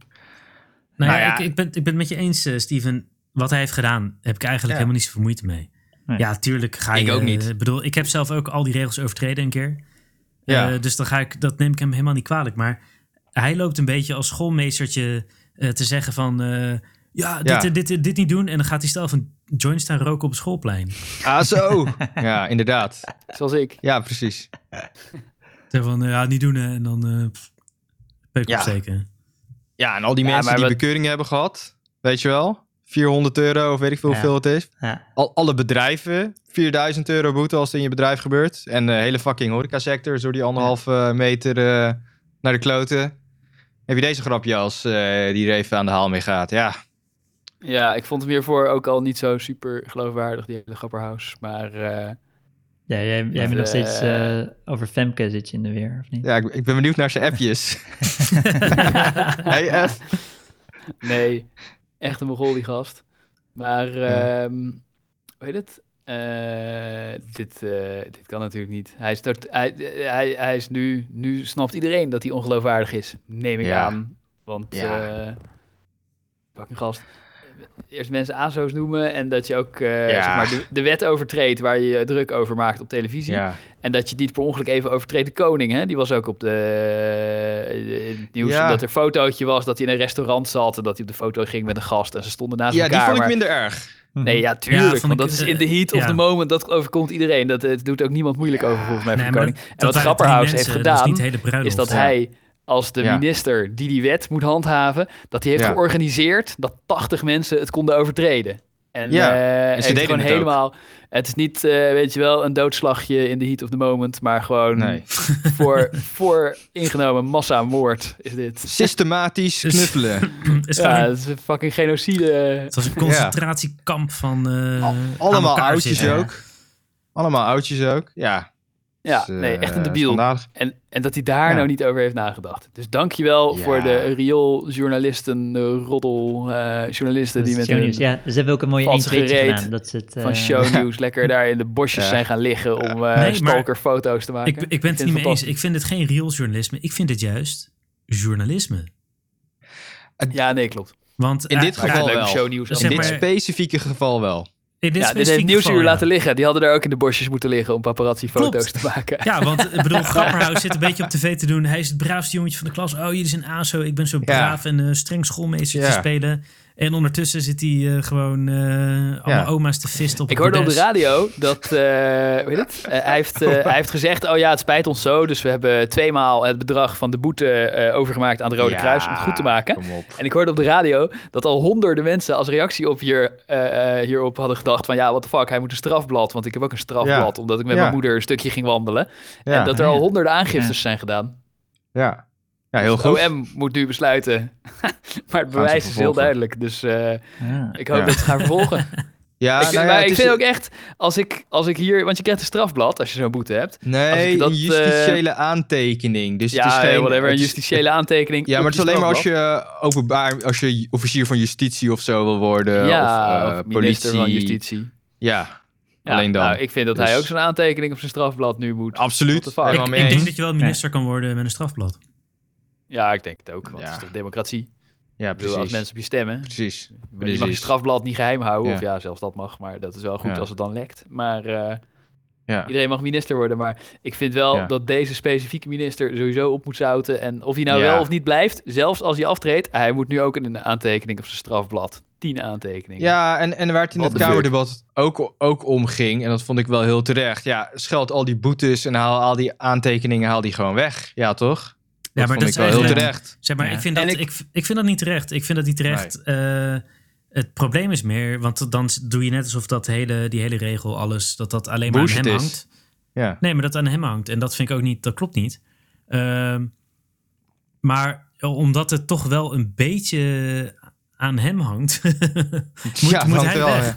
B: Nou, ja,
E: Nou ja.
B: Ik, ik, ben, ik ben het met je eens, eh, Steven. Wat hij heeft gedaan, heb ik eigenlijk
E: Ja.
B: helemaal niet zoveel moeite mee.
D: Nee.
B: Ja, tuurlijk ga
E: Ik
B: je...
E: ook niet.
B: eh, bedoel, ik heb zelf ook al die regels overtreden een keer.
E: Ja.
B: Eh, dus dan ga ik, dat neem ik hem helemaal niet kwalijk. Maar hij loopt een beetje als schoolmeestertje eh, te zeggen van... eh, ja, dit,
E: Ja.
B: eh, Dit, dit, dit niet doen. En dan gaat hij zelf een joint staan roken op het schoolplein.
E: Ah, zo. ja, inderdaad.
C: Zoals ik.
E: Ja, precies.
B: Zo van, eh, ja, niet doen. hè. En dan eh pff, peuk
E: Ja.
B: opsteken.
E: Ja, en al die
H: Ja,
E: mensen
H: maar
E: die
H: wat-
E: bekeuringen hebben gehad, weet je wel? 400 euro of weet ik veel
D: Ja.
E: hoeveel het is.
D: Ja,
E: Al, alle bedrijven, 4000 euro boete als het in je bedrijf gebeurt. En de hele fucking horecasector is door die anderhalve eh, meter eh, naar de kloten. Heb je deze grapje als eh, die er even aan de haal mee gaat? Ja,
C: Ja, ik vond hem hiervoor ook al niet zo super geloofwaardig, die hele grapperhaus. Maar eh,
D: Ja, jij, jij bent nog steeds eh, over Femke zit je in de weer, of niet?
E: ja ik, ik ben benieuwd naar zijn appjes. hey F.
C: nee, echt een mogol die gast. Maar, ehm hoe heet het? Eh, dit, eh, dit kan natuurlijk niet. Hij is, tot- hij, hij, hij is nu, nu snapt iedereen dat hij ongeloofwaardig is. Neem ik
E: Ja.
C: aan. Want,
E: Ja.
C: eh fucking gast. Eerst mensen ASO's noemen en dat je ook eh,
E: Ja.
C: zeg maar, de, de wet overtreedt waar je je druk over maakt op televisie. En dat je niet per ongeluk even overtreedt de koning, hè? Die was ook op de eh, het nieuws
E: Ja.
C: dat er een fotootje was dat hij in een restaurant zat en dat hij op de foto ging met een gast en ze stonden naast
E: ja, die
C: elkaar.
E: vond ik
C: maar-
E: minder erg.
C: Nee, ja, tuurlijk.
B: vond
C: want
B: ik,
C: dat is
B: eh,
C: in the heat of
B: ja.
C: the moment. Dat overkomt iedereen. Dat eh, het doet ook niemand moeilijk over volgens mij voor
B: Nee,
C: de
B: maar
C: koning. En wat
B: waren drie
C: Grapperhaus heeft
B: mensen, dat was
C: gedaan
B: niet de hele bruiloft.
C: is dat
B: Ja.
C: hij als de
E: Ja.
C: minister die die wet moet handhaven, dat hij heeft
E: Ja.
C: georganiseerd dat 80 mensen het konden overtreden. En,
E: Ja,
C: eh,
E: en ze
C: heeft
E: deden
C: gewoon
E: het ook.
C: helemaal. Het is niet, eh, weet je wel, een doodslagje in the heat of the moment, maar gewoon
E: Nee.
C: voor, voor ingenomen massamoord is dit.
E: Systematisch
B: Dus-
E: knuffelen.
B: is gewoon
C: Ja, het is een fucking genocide.
B: Het was een concentratiekamp van. eh,
E: Al-
B: aan
E: allemaal
B: elkaar
E: oudjes
B: zitten.
E: ook. Allemaal oudjes ook. Ja.
C: Ja,
E: Dus, eh,
C: nee, echt een debiel.
E: schandalig.
C: En, en dat hij daar
E: Ja.
C: nou niet over heeft nagedacht. Dus dankjewel
E: Ja.
C: voor de riooljournalisten, eh, roddeljournalisten eh, journalisten
D: Dat is
C: die met
D: show
C: hun
D: nieuws. Ja, dus ze hebben ook een mooie
C: valse
D: 1
C: gereed
D: gedaan. Dat ze het, eh,
C: van shownieuws lekker daar in de bosjes
E: Ja.
C: zijn gaan liggen om eh
B: Nee, maar-
C: stalkerfoto's te maken.
B: Ik, ik ben het
C: vind
B: niet mee eens.
C: fantastisch.
B: Ik vind het geen real journalisme. Ik vind het juist journalisme.
C: Ja, nee, klopt.
B: Want
E: In dit
B: eh,
E: geval
B: eh,
E: wel.
C: Leuk shownieuws.
B: Dus
E: In
B: zeg
E: dit
B: maar-
E: specifieke geval wel.
B: in dit
C: ja, dit heeft
B: specifieke
C: Nieuwsuur
B: geval, ja.
C: laten liggen. Die hadden daar ook in de bosjes moeten liggen om paparazzi-foto's
B: Klopt.
C: te maken.
B: Ja, want ik bedoel, Grapperhaus zit een beetje op tv te doen. Hij is het braafste jongetje van de klas. Oh, jullie zijn ASO. Ik ben zo braaf en eh, streng schoolmeester te
E: Ja.
B: spelen. En ondertussen zit hij eh, gewoon eh, allemaal oma's te visten op
C: Ik
B: het
C: hoorde op de
B: bordes.
C: radio dat, weet je het? Eh, hij, heeft, eh, hij heeft gezegd, oh ja, het spijt ons zo. Dus we hebben tweemaal het bedrag van de boete eh, overgemaakt aan het Rode
E: Ja,
C: Kruis om het goed te maken.
E: Kom op.
C: En ik hoorde op de radio dat al honderden mensen als reactie op hier, eh, eh, hierop hadden gedacht van ja, what the fuck, hij moet een strafblad. Want ik heb ook een strafblad, omdat ik met
E: Ja.
C: mijn moeder een stukje ging wandelen.
E: Ja,
C: en dat er
D: Ah,
C: al
D: ja.
C: honderden aangiftes zijn gedaan.
E: ja. ja heel
C: Dus
E: goed.
C: OM moet nu besluiten. maar het
E: ze
C: bewijs is heel
E: vervolgen.
C: duidelijk. Dus eh,
D: ja.
C: ik hoop
E: Ja.
C: dat ze gaan vervolgen.
E: Ja,
C: ik,
E: nou ja,
C: maar
E: het
C: ik
E: is-
C: vind ook echt, als ik, als ik hier... Want je krijgt een strafblad als je zo'n boete hebt. als
E: Nee,
C: ik dat, eh,
E: een justitiële aantekening. Dus
C: ja,
E: het is geen,
C: whatever, een
E: het is-
C: justitiële aantekening.
E: Ja, maar
C: op
E: het is alleen maar als
C: strafblad.
E: je eh, openbaar, als je officier van justitie of zo wil worden.
C: Ja,
E: of, eh,
C: minister
E: politie.
C: van justitie.
E: Ja,
C: Ja,
E: alleen dan.
C: nou, ik vind dat hij
E: Dus-
C: ook zo'n aantekening op zijn strafblad nu moet.
E: absoluut.
C: What the fuck?
E: Helemaal
B: Ik,
E: mee
B: ik denk
E: eens.
B: dat je wel minister kan worden met een strafblad.
C: Ja, ik denk het ook. Want
E: Ja.
C: het is toch democratie. Ik
E: Ja,
C: bedoel, als
E: precies.
C: mensen op je stemmen.
E: Precies.
C: Maar je mag je
E: Precies.
C: strafblad niet geheim houden.
E: Ja.
C: Of ja, zelfs dat mag. Maar dat is wel goed
E: Ja.
C: als het dan lekt. Maar eh,
E: Ja.
C: iedereen mag minister worden. Maar ik vind wel
E: Ja.
C: dat deze specifieke minister sowieso op moet zouten. En of hij nou
E: Ja.
C: wel of niet blijft, zelfs als hij aftreedt, hij moet nu ook een aantekening op zijn strafblad. Tien aantekeningen.
E: Ja, en, en waar het in
C: What
E: het
C: the fuck?
E: Kamerdebat ook, ook om ging, en dat vond ik wel heel terecht. Ja, scheld al die boetes en haal al die aantekeningen, haal die gewoon weg. Ja, toch? Dat eh,
B: maar
E: vond
B: dat
E: ik
B: is
E: wel heel
B: eigenlijk-
E: terecht.
B: Zeg maar,
D: Ja.
B: ik, vind dat,
C: En
B: ik...
C: ik-
B: Ik, vind dat niet terecht. Ik vind dat niet terecht. Eh, het probleem is meer, want dan s- doe je net alsof dat hele, die hele regel, alles, dat dat alleen maar
E: Bullshit
B: aan hem
E: is.
B: hangt.
E: Ja.
B: Nee, maar dat aan hem hangt. En dat vind ik ook niet, dat klopt niet. Ehm, maar omdat het toch wel een beetje aan hem hangt, moet,
E: ja,
B: moet
E: want
B: hij
E: wel,
B: weg.
E: ja.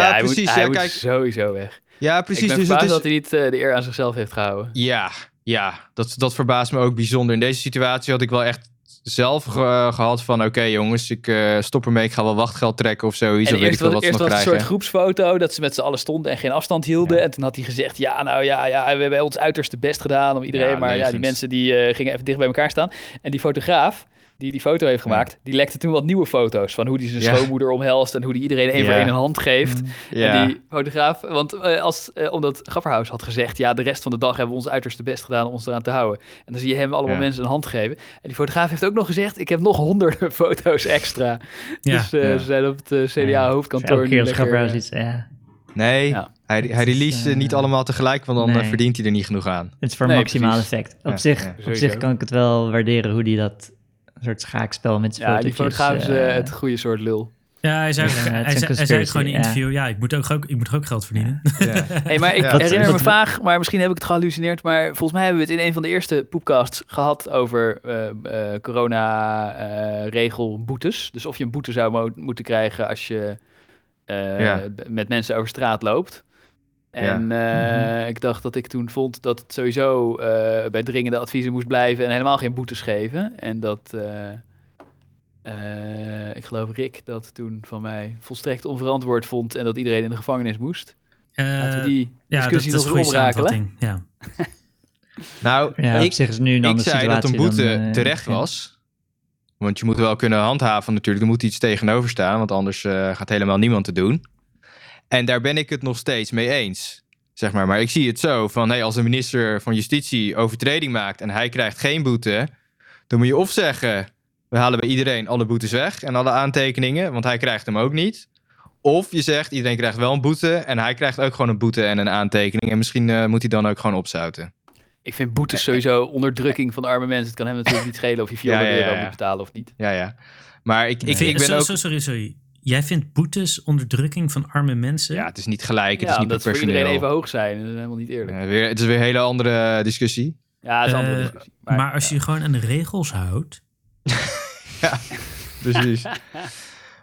E: Ja,
C: hij moet-
E: precies.
C: hij
E: ja,
C: moet
E: kijk,
C: sowieso weg.
E: ja, precies.
C: ik ben
E: Dus
C: verbaasd
E: het
C: dat hij
E: is,
C: niet eh, de eer aan zichzelf heeft gehouden.
E: Ja, ja dat, dat verbaast me ook bijzonder. In deze situatie had ik wel echt zelf ge- gehad van... Oké jongens, ik eh, stop ermee. Ik ga wel wachtgeld trekken of zoiets.
C: En
E: Of weet
C: eerst,
E: ik wel
C: was,
E: wat ze
C: eerst
E: nog
C: was het een
E: krijgen.
C: soort groepsfoto dat ze met z'n allen stonden en geen afstand hielden. En toen had hij gezegd, ja, nou ja, ja, we hebben ons uiterste best gedaan om iedereen.
E: Ja,
C: maar ja, die
E: levens.
C: mensen die eh, gingen even dicht bij elkaar staan. En die fotograaf die die foto heeft gemaakt, die lekte toen wat nieuwe foto's van hoe hij zijn
E: Ja.
C: schoonmoeder omhelst en hoe hij iedereen één voor
E: Ja. Mm.
C: één een hand geeft.
E: Ja.
C: En die fotograaf, want eh, als, eh, omdat Grapperhaus had gezegd, ja, de rest van de dag hebben we ons uiterste best gedaan om ons eraan te houden. En dan zie je hem allemaal
E: Ja.
C: mensen een hand geven. En die fotograaf heeft ook nog gezegd, ik heb nog honderden foto's extra.
B: Ja.
C: Dus eh,
E: Ja.
C: ze zijn op het eh, CDA-hoofdkantoor.
D: Elke keer als Grapperhaus
C: zit.
D: iets... eh,
E: Nee,
C: Ja.
E: hij, hij
D: is,
E: released ze
D: eh,
E: niet allemaal tegelijk, want dan eh,
D: nee.
E: verdient hij er niet genoeg aan.
D: Het is voor
C: Nee,
D: maximaal
C: precies.
D: effect. Op,
E: Ja,
D: zich,
E: ja.
D: op zich
C: Sowieso.
D: kan ik het wel waarderen hoe die dat soort schaakspel met zijn
C: eh, Ja, die
D: fotootjes,
C: fotograaf is
D: eh,
C: eh, het goede soort lul.
B: Ja, hij zei,
D: Ja, het is
B: hij
D: een
B: zei, hij zei
D: conspiracy,
B: gewoon in een
D: ja.
B: interview, ja, ik moet ook, ook- ik moet ook geld verdienen.
E: Ja.
C: Hey, maar ik
E: Ja, dat-
C: herinner
D: dat-
C: me vaag, maar misschien heb ik het gehallucineerd. Maar volgens mij hebben we het in een van de eerste poepcasts gehad over eh, eh, corona coronaregelboetes. Dus of je een boete zou mo- moeten krijgen als je eh,
E: Ja.
C: b- met mensen over straat loopt. En eh, ik dacht dat ik toen vond dat het sowieso eh, bij dringende adviezen moest blijven en helemaal geen boetes geven. En dat, eh, eh, ik geloof Rick dat toen van mij volstrekt onverantwoord vond en dat iedereen in de gevangenis moest.
B: Eh,
C: Laten we die
B: ja, dat, dat
C: discussie
B: is een
C: nog
B: goede
C: eens oprakelen.
B: samenvatting. Ja.
E: Nou,
D: Ja, op
E: ik,
D: zich is nu een
E: ik
D: andere
E: zei
D: situatie
E: dat een boete
D: dan, eh,
E: terecht
D: begin.
E: was. Want je moet wel kunnen handhaven natuurlijk. Er moet iets tegenover staan, want anders eh, gaat helemaal niemand het doen. En daar ben ik het nog steeds mee eens. Zeg maar. maar ik zie het zo van, hey, als de minister van Justitie overtreding maakt en hij krijgt geen boete, dan moet je of zeggen, we halen bij iedereen alle boetes weg en alle aantekeningen, want hij krijgt hem ook niet. Of je zegt, iedereen krijgt wel een boete en hij krijgt ook gewoon een boete en een aantekening. En misschien eh, moet hij dan ook gewoon opzouten.
C: Ik vind boetes sowieso onderdrukking van arme mensen. Het kan hem natuurlijk niet schelen of je 400
E: Eh, Ja, ja, ja,
C: euro
E: ja.
C: moet betalen of niet.
E: Ja, ja. Maar ik, ik,
B: Vind-
E: ik ben
B: zo-
E: ook...
B: zo- sorry, sorry. Jij vindt boetes onderdrukking van arme mensen?
E: Ja, het is niet gelijk,
C: ja,
E: het is dus niet
C: omdat ze voor
E: proportioneel.
C: iedereen even hoog zijn. Dat is helemaal niet eerlijk.
E: Eh, weer, het is weer een hele andere eh, discussie.
C: Ja, dat is een andere
B: Eh,
C: discussie.
B: maar, als je je gewoon aan de regels houdt.
E: Precies.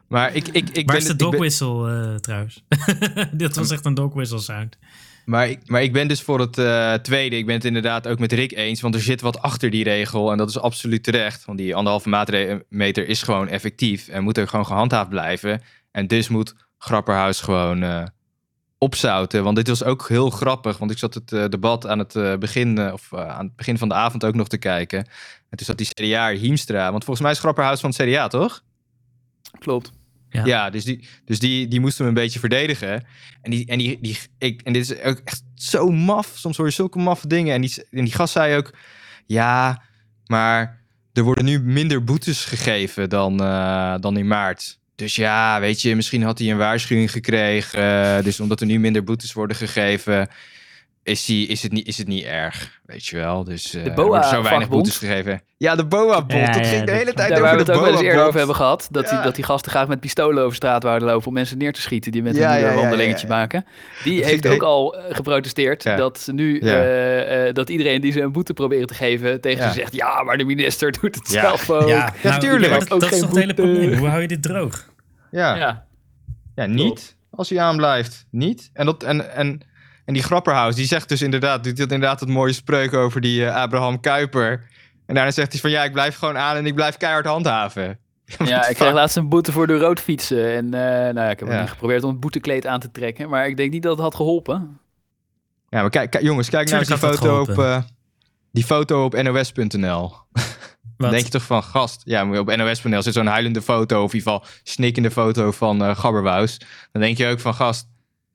E: maar ik, ik, ik,
B: Waar
E: ben
B: is de
E: het- ik
B: dog
E: ben,
B: whistle eh, trouwens? Dit was echt een dog whistle sound.
E: maar, ik, maar ik ben dus voor het eh, tweede. Ik ben het inderdaad ook met Rick eens. Want er zit wat achter die regel. En dat is absoluut terecht. Want die anderhalve matre- meter is gewoon effectief. En moet ook gewoon gehandhaafd blijven. En dus moet Grapperhaus gewoon eh, opzouten. Want dit was ook heel grappig. Want ik zat het eh, debat aan het, eh, begin, eh, of, eh, aan het begin van de avond ook nog te kijken. En toen zat die CDA Hiemstra. Want volgens mij is Grapperhaus van het CDA, toch?
C: Klopt.
B: Ja.
E: Ja, dus, die, dus die, die moesten we een beetje verdedigen. En, die, en, die, die, ik, en dit is ook echt zo maf. Soms hoor je zulke maffe dingen. En die, en die gast zei ook: Ja, maar er worden nu minder boetes gegeven dan, eh, dan in maart. Dus ja, weet je, misschien had hij een waarschuwing gekregen. eh, dus omdat er nu minder boetes worden gegeven, is, die, is, het, niet, is het niet erg. Weet je wel. Dus eh,
C: De
E: er
C: BOA
E: worden zo weinig
C: vakbond.
E: boetes gegeven. Ja, de BOA-bond.
D: Ja,
E: dat
D: ja,
E: ging de
D: dat-
E: hele tijd
C: Daar waar we
E: over de
C: het ook wel eens eerder
E: BOA-bond.
C: over hebben gehad. Dat, die,
E: Ja.
C: dat die gasten graag met pistolen over straat wouden lopen om mensen neer te schieten. Die met
E: Ja,
C: hun
E: ja, ja,
C: een
E: ja,
C: wandelingetje
E: ja.
C: maken. Die
E: Dat
C: heeft
E: ging
C: ook
E: de-
C: al eh, geprotesteerd
E: Ja.
C: dat ze nu
E: Ja.
C: eh, eh, dat iedereen die ze een boete proberen te geven tegen
E: Ja.
C: ze zegt. Ja, maar de minister doet het
E: Ja.
C: zelf ook.
B: Ja, nou,
E: tuurlijk.
B: Dat,
C: Ook
B: dat is
C: geen
B: toch het hele
C: boete.
B: probleem. Hoe hou je dit droog?
E: Ja.
C: ja.
E: Ja, niet. Als hij aanblijft, niet. En, dat, en, en, en die Grapperhaus, die zegt dus inderdaad... die had inderdaad het mooie spreuk over die eh, Abraham Kuiper. En daarna zegt hij van... ja, ik blijf gewoon aan en ik blijf keihard handhaven.
C: Ja, ik kreeg laatst een boete voor de rood fietsen. En eh, nou ja, ik heb
E: Ja.
C: ook niet geprobeerd om het boetekleed aan te trekken. Maar ik denk niet dat het had geholpen.
E: Ja, maar kijk, kijk- jongens, kijk nou eens die
B: Tuurlijk had
E: foto
B: dat
E: op... eh, die foto op nos.nl. Dan
B: Wat?
E: denk je toch van, gast, ja, maar op nos.nl zit zo'n huilende foto... of in ieder geval snikkende foto van eh Gabberwous. Dan denk je ook van, gast...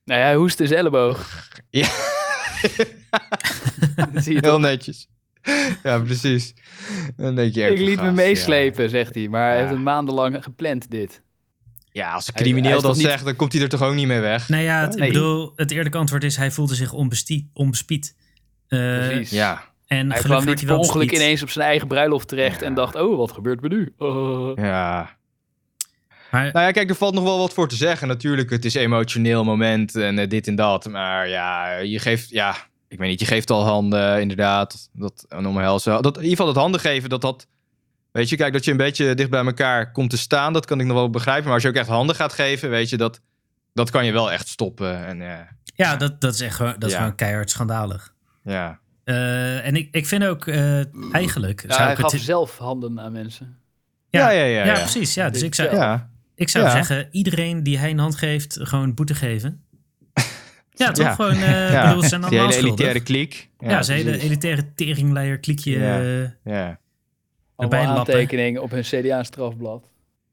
C: Nou ja, hij hoest is elleboog.
E: Ja.
C: Dat zie je
E: Heel
C: toch?
E: netjes. ja, precies. Dan denk je ook
C: Ik
E: van,
C: liet me
E: gast, ja.
C: meeslepen, zegt hij. Maar hij heeft
E: Ja.
C: het maandenlang gepland, dit.
E: Ja, als een
C: Hij- hij
E: crimineel
C: is
E: dat
C: toch niet-
E: zegt, dan komt hij er toch ook niet mee weg.
B: Nou ja, het,
C: Nee.
B: ik bedoel, het eerlijke antwoord is hij voelde zich onbestie- onbespied. Eh,
C: Precies.
E: Ja.
B: En
C: Hij
B: gelukkig
C: kwam
B: werd
C: niet
B: hij
C: per
B: wel
C: ongeluk
B: bespied.
C: ineens op zijn eigen bruiloft terecht.
E: Ja.
C: En dacht, oh, wat gebeurt me nu? Oh.
E: ja.
B: Maar
E: Nou ja, kijk, er valt nog wel wat voor te zeggen. Natuurlijk, het is emotioneel moment en eh, dit en dat. Maar ja, je geeft, ja, ik weet niet, je geeft al handen, inderdaad. Dat, een omhelzen. Dat, in ieder geval dat handen geven, dat dat... Weet je, kijk, dat je een beetje dicht bij elkaar komt te staan, dat kan ik nog wel begrijpen. Maar als je ook echt handen gaat geven, weet je, dat, dat kan je wel echt stoppen. En eh,
B: ja, dat, dat is echt gewoon, dat is
E: Ja.
B: gewoon keihard schandalig.
E: ja,
B: Eh, Eh, en ik, ik vind ook eh, eigenlijk.
H: Ja,
B: zou
H: hij
B: ik het,
H: gaf zelf handen aan mensen.
E: Ja, ja, ja,
B: ja,
E: ja.
B: precies. Ja, dus ik zou,
E: Ja,
B: ik zou
E: Ja.
B: zeggen: iedereen die hij een hand geeft, gewoon boete geven. Ja, toch?
E: Ja.
B: Gewoon, eh,
E: Ja.
B: ik bedoel, ze zijn allemaal
E: die hele
B: schuldig.
E: elitaire kliek.
B: ja, ze hele
E: precies.
B: elitaire teringleier klikje.
E: Ja.
B: eh,
E: Ja,
B: Erbij
H: Allemaal
B: lappen.
H: aantekeningen op hun CDA-strafblad.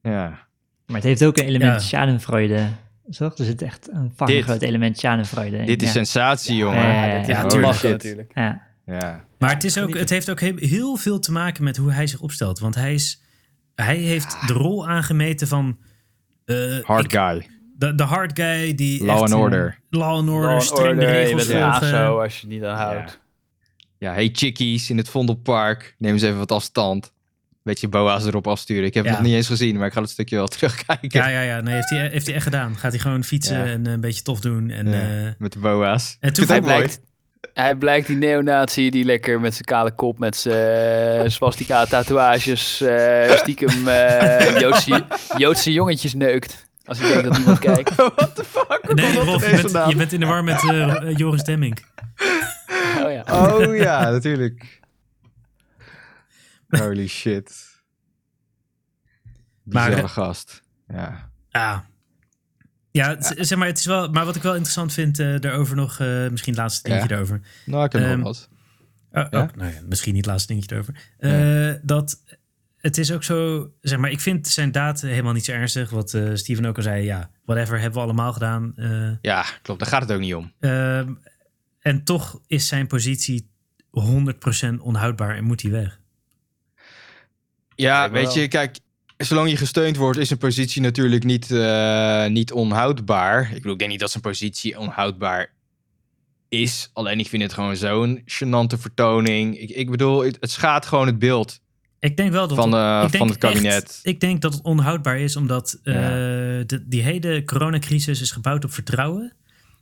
E: ja.
D: Maar het heeft ook een
B: Ja.
D: element schadenfreude. Toch? Er zit echt een fucking
E: Dit.
D: groot element schadenfreude in.
E: Dit is
D: ja.
E: sensatie, jongen.
D: Ja,
E: Ja,
D: ja,
H: Ja,
E: holy
H: tuurlijk.
E: shit.
H: natuurlijk.
D: Ja.
E: ja.
B: Maar het, is ook, het heeft ook he- heel veel te maken met hoe hij zich opstelt. Want hij, is, hij heeft de rol aangemeten van... eh,
E: Hard
B: ik-
E: guy.
B: De, de hard guy die
E: Law
B: echt,
E: and order.
B: Law and order,
H: Law and
B: streng de
H: order, je
B: regels
H: bent een
B: volgen.
H: ASO als je het niet aan houdt.
E: Ja, hey chickies in het Vondelpark. Neem eens even wat afstand. Beetje boa's erop afsturen. Ik heb
B: Ja.
E: het nog niet eens gezien, maar ik ga het stukje wel terugkijken.
B: Ja, ja, ja. Nee, heeft hij, heeft hij echt gedaan. Gaat hij gewoon fietsen
E: Ja.
B: en eh, een beetje tof doen. En,
E: Ja,
B: eh,
E: Met de boa's. Ik vind
B: toen
E: het
B: vond-
E: ook mooi.
H: blijkt- Hij blijkt die neonazi die lekker met zijn kale kop, met zijn eh, swastika tatoeages, eh, stiekem eh, Joodse, Joodse jongetjes neukt. Als ik denk dat niemand kijkt.
B: Oh,
E: What the fuck?
B: nee, Rolf, je
E: ineens
B: bent,
E: vandaan?
B: je bent in de war met eh, Joris Demming.
H: Oh ja.
E: Oh ja, natuurlijk. Holy shit.
B: Maar,
E: Bizarre
B: eh,
E: gast. Ja.
B: Ja. Ja, het- zeg maar, het is wel... Maar wat ik wel interessant vind eh, daarover nog... eh, misschien het laatste dingetje
E: Ja.
B: daarover.
E: Nou, ik heb nog
B: ehm,
E: wat.
B: Oh,
E: Ja?
B: oh, nou ja, misschien niet het laatste dingetje erover. Eh, Dat het is ook zo, zeg maar, ik vind zijn daad helemaal niet zo ernstig. Wat eh, Steven ook al zei, ja, whatever, hebben we allemaal gedaan. Eh,
E: Ja, klopt. Daar gaat het ook niet om.
B: ehm, en toch is zijn positie 100% onhoudbaar en moet hij weg.
E: Ja,
H: Kijk,
E: weet
H: wel.
E: je, kijk, zolang je gesteund wordt, is een positie natuurlijk niet, eh, niet onhoudbaar. Ik bedoel, ik denk niet dat zijn positie onhoudbaar is. Alleen ik vind het gewoon zo'n gênante vertoning. Ik, ik bedoel, het, het schaadt gewoon het beeld
B: Ik denk wel dat
E: van, eh,
B: ik denk
E: van het kabinet.
B: echt- ik denk dat het onhoudbaar is, omdat eh, de- die hele coronacrisis is gebouwd op vertrouwen.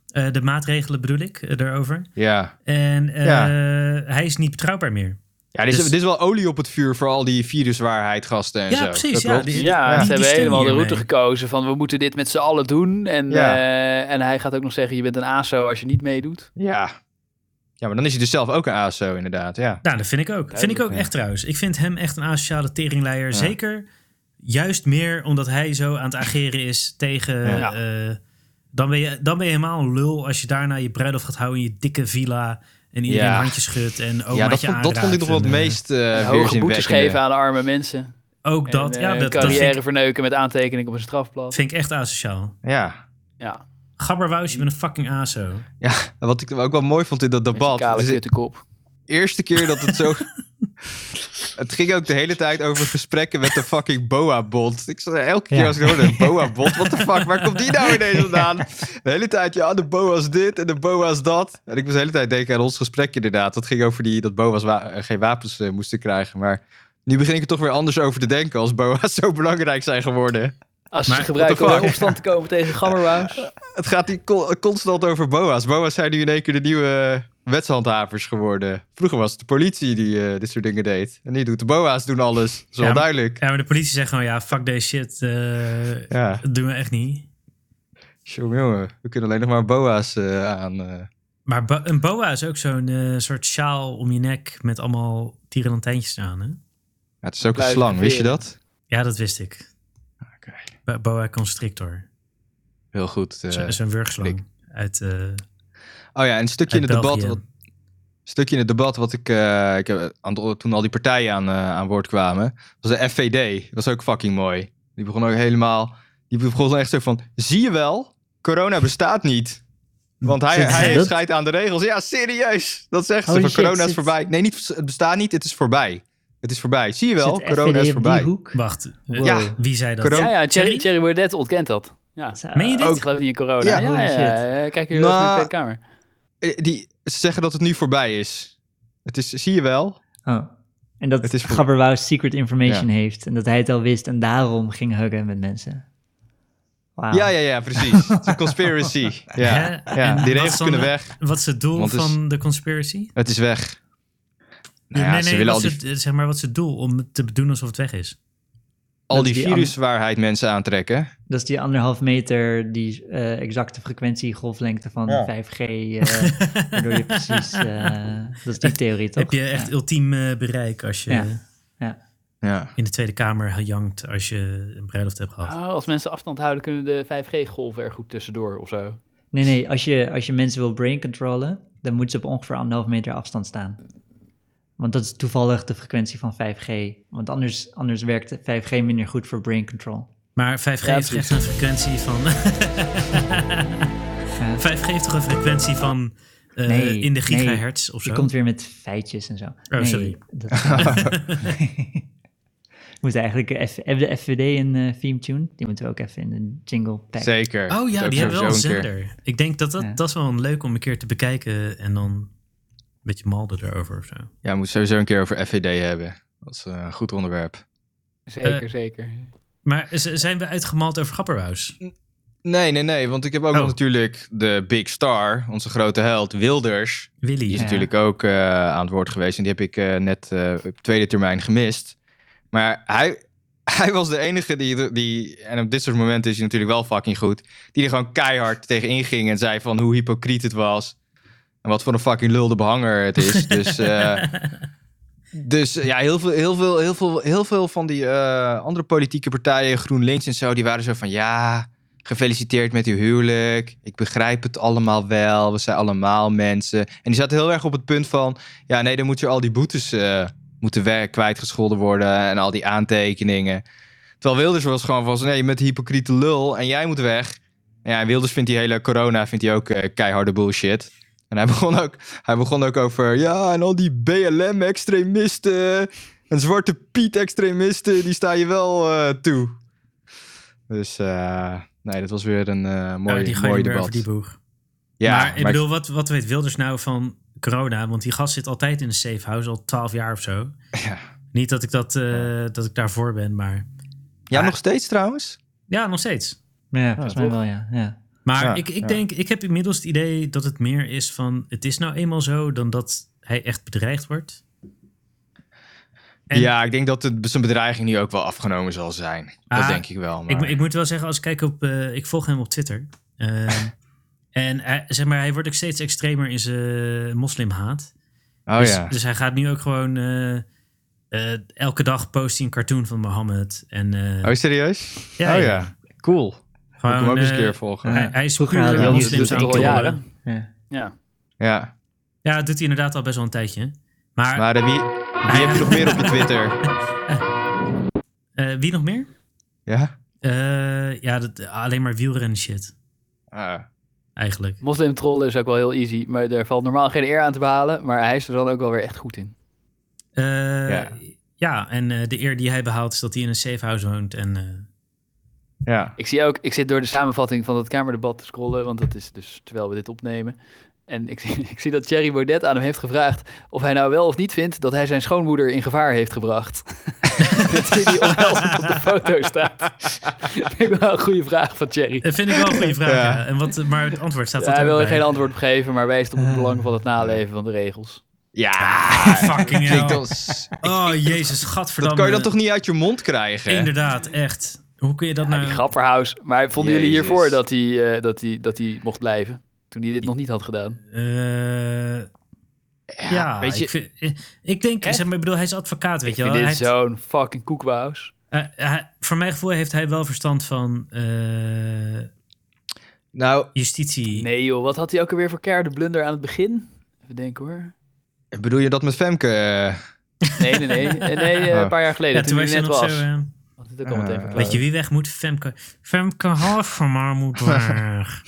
B: Eh, de maatregelen bedoel ik eh, daarover.
E: Ja,
B: En eh,
E: Ja.
B: hij is niet betrouwbaar meer.
E: ja dit, is,
B: Dus-
E: dit is wel olie op het vuur voor al die viruswaarheid gasten en
B: Ja,
E: zo.
B: precies,
E: Dat
B: ja,
E: klopt.
B: die-
H: Ja,
E: die
H: ze hebben
B: steun
H: helemaal de
B: hiermee.
H: route gekozen van we moeten dit met z'n allen doen. En,
E: Ja.
H: eh, en hij gaat ook nog zeggen je bent een ASO als je niet meedoet.
E: ja. ja, maar dan is hij dus zelf ook een ASO inderdaad, ja.
B: Nou, dat vind ik ook. vind ik ook echt trouwens. Ik vind hem echt een asociale teringleier. Zeker juist meer omdat hij zo aan het ageren is tegen...
E: Ja.
B: eh, dan, ben je, dan ben je helemaal een lul als je daarna je bruiloft gaat houden in je dikke villa... en iedereen
E: Ja.
B: handjes schudt en omaatje
E: ja, dat vond, dat vond ik nog wel het
B: aanraakt en,
E: meest eh
H: Hoge boetes
E: weerzinwekkende.
H: geven aan de arme mensen.
B: eh, ook dat,
H: en, eh,
B: ja,
H: hun
B: dat, dat
H: carrière
B: vind, ik,
H: verneuken met aantekening op een strafblad.
B: vind ik echt asociaal.
E: Ja.
H: Ja,
B: Gabberwous, je bent een fucking aso.
E: ja, wat ik ook wel mooi vond in dat
H: met zijn
E: debat.
H: kale
E: dus-
H: kuttenkop.
E: eerste keer dat het zo. het ging ook de hele tijd over gesprekken met de fucking Boa-bond. Ik zei elke keer
D: Ja.
E: als ik hoorde: Boa-bond, what the fuck, waar komt die nou ineens vandaan? De hele tijd, ja, de Boa's dit en de Boa's dat. En ik was de hele tijd denken aan ons gesprek inderdaad. Dat ging over die, dat Boa's wa- eh, geen wapens eh, moesten krijgen. Maar nu begin ik er toch weer anders over te denken als Boa's zo belangrijk zijn geworden.
H: Als
B: Maar-
H: ze gebruiken om
E: What
H: in
E: the fuck?
H: opstand te komen tegen Gammerwaus.
E: Het gaat hier con- constant over Boa's. Boa's zijn nu in één keer de nieuwe eh, wetshandhavers geworden. Vroeger was het de politie die eh, dit soort dingen deed. En nu doet de Boa's doen alles. Dat is wel
B: Ja, maar-
E: duidelijk.
B: Ja, maar de politie zegt gewoon, ja, fuck deze shit. eh,
E: Ja,
B: Dat doen we echt niet.
E: jongen, jongen. We kunnen alleen nog maar Boa's eh, aan. eh.
B: Maar bo- een boa is ook zo'n eh, soort sjaal om je nek met allemaal tierenlantijntjes aan, hè?
E: Ja, het is ook een
H: Pluizen
E: slang, wist je
H: veren.
E: dat?
B: Ja, dat wist ik.
E: Oké.
B: Bo- Boa constrictor.
E: Heel goed. eh.
B: Zo- Zo'n wurgslang. Uit, eh,
E: Oh ja, en een stukje in
B: uit
E: het debat.
B: België.
E: Wat, stukje in het debat wat ik, eh, ik heb, aan, de- toen al die partijen aan, eh, aan woord kwamen, was de FVD. Dat was ook fucking mooi. Die begon ook helemaal, die begon echt zo van, zie je wel, corona bestaat niet. Want hij,
D: Zit-
E: hij
D: dat?
E: scheidt aan de regels. Ja, serieus. Dat zegt ze,
D: Holy
E: van
D: shit,
E: corona is
D: zit-
E: voorbij. Nee, niet, het bestaat niet, het is voorbij. Het is voorbij. Zie je
D: Zit
E: wel,
D: FVD op
E: corona is
D: die
E: voorbij.
D: hoek?
B: Wacht, eh,
E: Ja.
B: wie zei dat?
E: Corona-
H: Ja, ja, Thierry,
B: Thierry?
H: Thierry Baudet ontkent dat. Ja.
D: Zo.
B: Meen je dit?
H: Ik geloof niet in corona. Ja,
E: Ja,
H: ja,
D: holy
H: ja,
D: shit.
H: Eh, Kijk hier wel eens naar de Tweede
E: Nou,
H: Kamer.
E: Eh, Die, ze zeggen dat het nu voorbij is. Het is, zie je wel.
D: Oh. En dat
E: Het is voor-
D: Gabberwous secret information
E: Ja.
D: heeft. En dat hij het al wist en daarom ging huggen met mensen. Wauw.
E: Ja, ja, ja, precies. Het is een conspiracy.
B: Hè?
E: Ja,
B: En
E: ja.
B: wat
E: die
B: is
E: regels
B: dan
E: kunnen
B: de-
E: weg.
B: Wat is het doel
E: Want het is-
B: van de conspiracy?
E: Het is weg. Nou ja,
B: nee,
E: ze
B: nee,
E: willen
B: wat
E: al
B: is
E: die...
B: het, eh, zeg maar, wat is het doel? Om het te doen alsof het weg is.
E: al
D: Dat
E: die
D: die andere-
E: viruswaarheid mensen aantrekken.
D: Dat is die anderhalf meter, die eh, exacte frequentie, golflengte van 5G. eh, waardoor je precies. eh, dat is die theorie toch?
B: Heb je echt ultiem eh, bereik als je
D: Ja. Ja.
E: Ja.
B: in de Tweede Kamer gejankt als je een bruiloft hebt gehad.
C: Oh, als mensen afstand houden, kunnen de 5G-golven er goed tussendoor of zo.
D: Nee, nee, als je, als je mensen wil brain controlen, dan moeten ze op ongeveer anderhalf meter afstand staan. Want dat is toevallig de frequentie van 5G. Want anders, anders werkt 5G minder goed voor brain control.
B: Maar 5G heeft echt een frequentie van. 5G heeft toch een frequentie van. eh,
D: Nee,
B: in de
D: nee.
B: gigahertz of
D: Je
B: zo? Oh,
D: komt weer met feitjes en zo. nee,
B: sorry.
D: Dat... we moeten eigenlijk even, hebben de FVD een eh, theme tune. Die moeten we ook even in de jingle pack.
E: Zeker.
B: Oh ja,
E: Ook
B: die hebben wel een
E: sowieso keer.
B: zender. Ik denk dat dat,
D: Ja.
B: dat is wel een leuk om een keer te bekijken en dan een beetje malden erover of zo.
E: Ja, we moeten sowieso een keer over FVD hebben. Dat is eh, een goed onderwerp.
C: Zeker, zeker.
B: Maar z- zijn we uitgemald over Grapperhaus?
E: Nee, nee, nee. Want ik heb ook
B: Oh.
E: nog natuurlijk de Big Star, onze grote held, Wilders.
B: Willy.
E: Die is
D: Ja.
E: natuurlijk ook eh, aan het woord geweest. En die heb ik eh, net eh, op tweede termijn gemist. Maar hij, hij was de enige die, die... En op dit soort momenten is hij natuurlijk wel fucking goed. Die er gewoon keihard tegen inging en zei van hoe hypocriet het was. En wat voor een fucking lulde behanger het is. dus... eh, Dus eh, ja, heel veel, heel veel, heel veel, heel veel van die eh, andere politieke partijen, GroenLinks en zo, die waren zo van ja, gefeliciteerd met uw huwelijk. Ik begrijp het allemaal wel. We zijn allemaal mensen. En die zaten heel erg op het punt van ja, nee, dan moet je al die boetes eh, moeten werk kwijtgescholden worden en al die aantekeningen. Terwijl Wilders was gewoon van nee, met hypocriete lul en jij moet weg. En ja, en Wilders vindt die hele corona vindt hij ook eh, keiharde bullshit. En hij begon ook, hij begon ook over, ja, en al die BLM-extremisten en Zwarte Piet-extremisten, die sta je wel eh, toe. Dus eh, nee, dat was weer een eh mooi,
B: Oh, die gooien
E: mooi
B: weer over
E: debat.
B: die boeg.
E: ja,
B: maar ik bedoel, wat, wat weet Wilders nou van corona? Want die gast zit altijd in een safe house, al twaalf jaar of zo.
E: Ja.
B: Niet dat ik, dat, eh, dat ik daarvoor ben, maar...
E: ja, nog steeds trouwens.
B: Ja, nog steeds.
D: Ja, volgens mij wel, ja. ja.
B: Maar
E: Ja,
B: ik, ik
E: ja.
B: denk, ik heb inmiddels het idee dat het meer is van... het is nou eenmaal zo dan dat hij echt bedreigd wordt. En-
E: Ja, ik denk dat het, zijn bedreiging nu ook wel afgenomen zal zijn.
B: Ah,
E: dat denk ik wel. Maar...
B: Ik, mo- ik moet wel zeggen, als ik kijk op... eh, ik volg hem op Twitter. Ehm, en hij, zeg maar, hij wordt ook steeds extremer in zijn eh, moslimhaat.
E: oh
B: dus,
E: ja.
B: dus hij gaat nu ook gewoon... eh, eh, elke dag post hij een cartoon van Mohammed. En, eh,
E: Oh, serieus?
B: ja,
E: oh
B: ja.
E: ja. Cool. Moet ik hem ook eens een
B: eh,
E: keer volgen.
B: Hij, hij is
D: Vroeger
B: puur
D: hadden we
B: moslims
D: dat
B: aan
C: dus al
B: het
C: jaren.
B: trollen.
E: Ja.
B: Ja, dat doet hij inderdaad al best wel een tijdje. Maar,
E: Maar eh, wie, wie heb je nog meer op je Twitter?
B: eh, wie nog meer?
E: Ja?
B: Eh, ja, dat, alleen maar wielrennen shit,
E: Ah.
B: eigenlijk.
C: Moslim trollen is ook wel heel easy, maar daar valt normaal geen eer aan te behalen. Maar hij is er dan ook wel weer echt goed in.
B: Eh, ja.
E: Ja.
B: en eh, de eer die hij behaalt is dat hij in een safe house woont. En, eh,
E: ja.
C: Ik zie ook, ik zit door de samenvatting van dat Kamerdebat te scrollen, want dat is dus terwijl we dit opnemen. En ik zie, ik zie dat Thierry Baudet aan hem heeft gevraagd of hij nou wel of niet vindt dat hij zijn schoonmoeder in gevaar heeft gebracht. dat zie je omhelzend op de foto staat. Ik vind ik wel een goede vraag van Thierry.
B: dat vind ik wel een goede vraag.
E: Ja.
B: ja. En wat, maar het antwoord staat
C: Ja,
B: er
C: hij wil
B: ook
C: er
B: bij. Eh.
C: geen antwoord op geven, maar wijst op het belang van het naleven van de regels.
E: Ja,
B: Ah, Fucking
E: klinkt
B: hell.
E: als...
B: Oh, jezus,
E: Dat
B: gadverdamme.
E: kan je dan toch niet uit je mond krijgen?
B: Inderdaad, echt. Hoe kun je dat
C: Ja,
B: nou...
C: die grapperhaus. Maar vonden jullie
E: Jezus.
C: hiervoor dat hij, eh, dat, hij, dat hij mocht blijven? Toen hij dit nog niet had gedaan.
B: Eh, ja,
E: weet je-
B: ik, vind- eh, ik denk,
C: Echt?
B: zeg maar, ik bedoel, hij is advocaat, weet
C: Ik
B: je
C: vind
B: wel.
C: dit
B: Hij heeft-
C: zo'n fucking koekwaus.
B: eh, hij- voor mijn gevoel heeft hij wel verstand van eh,
E: Nou,
B: justitie.
C: Nee joh, wat had hij ook alweer voor keiharde blunder aan het begin? Even denken hoor.
E: bedoel je dat met Femke? eh?
C: Nee, nee, nee. Eh, nee eh,
E: Oh.
C: een paar jaar geleden,
B: ja,
C: toen,
B: toen was
C: hij
B: je
C: net
B: nog
C: was.
B: zo... eh,
C: Had hij het ook al meteen
E: Eh,
C: verklaard.
B: Weet je wie weg moet? Femke, Femke Halvermaar moet weg.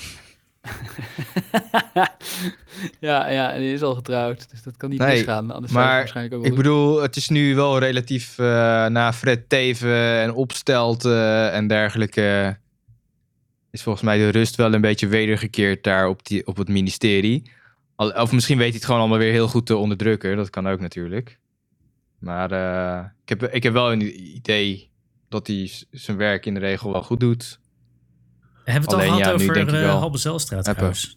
C: ja, ja, en hij is al getrouwd, dus dat kan niet
E: Nee,
C: misgaan. Anders zou hij
E: maar
C: het waarschijnlijk ook wel
E: ik
C: doen.
E: bedoel, het is nu wel relatief eh, na Fred Teven en Opstelten en dergelijke... is volgens mij de rust wel een beetje wedergekeerd daar op, die, op het ministerie. Al- Of misschien weet hij het gewoon allemaal weer heel goed te onderdrukken. Dat kan ook natuurlijk. Maar eh, ik, heb, ik heb wel een idee dat hij z- zijn werk in de regel wel goed doet.
B: Hebben we het
E: Alleen,
B: al
E: ja,
B: gehad
E: nu denk
B: over
E: ik
B: eh
E: wel.
B: Halbe Zijlstraat
E: Hebben.
B: trouwens?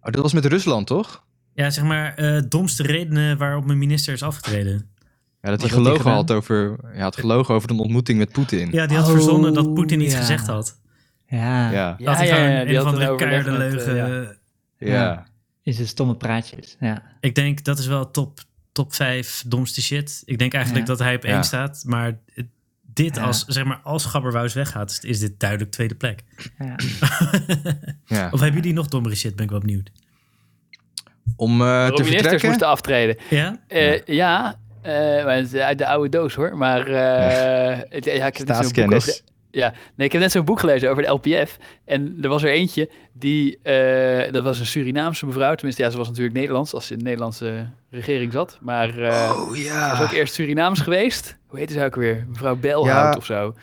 E: Oh, dat was met Rusland, toch?
B: Ja, zeg maar, eh domste redenen waarop mijn minister is afgetreden.
E: Ja, dat hij
D: Wat had hij
E: gelogen had
D: gedaan?
E: over, hij had gelogen over een ontmoeting met Poetin.
B: Ja, die had
D: Oh,
B: verzonnen dat Poetin iets
D: ja.
B: gezegd had.
D: Ja,
E: ja.
B: dat hij gewoon een
C: die
B: of
C: had
B: andere
C: overleg
B: keiharde
C: met, eh,
B: leugen...
C: ja.
E: ja.
D: is een stomme praatjes. Ja.
B: Ik denk dat is wel top, top 5 domste shit. Ik denk eigenlijk
D: Ja.
B: dat hij op
E: Ja.
B: 1 staat. Maar het- dit
D: Ja.
B: als, zeg maar, als Gabberwous weggaat, is- is dit duidelijk tweede plek.
D: Ja.
E: ja.
B: Of hebben jullie nog dommere shit? Ben ik wel benieuwd.
E: Om eh, te
C: Waarom ministers
E: vertrekken.
C: moesten aftreden.
B: Ja?
C: Eh, ja, eh, maar het is uit de oude doos hoor. Maar eh, het- ja, ik heb net zo'n boek
E: Staatskennis.
C: over de- ja, nee, ik heb net zo'n boek gelezen over de LPF. En er was er eentje die, eh, dat was een Surinaamse mevrouw. Tenminste, ja, ze was natuurlijk Nederlands als ze in de Nederlandse regering zat. Maar eh,
E: Oh
C: ze
E: ja.
C: was ook eerst Surinaams geweest. Hoe heette ze ook weer? Mevrouw Belhout
E: Ja.
C: of zo.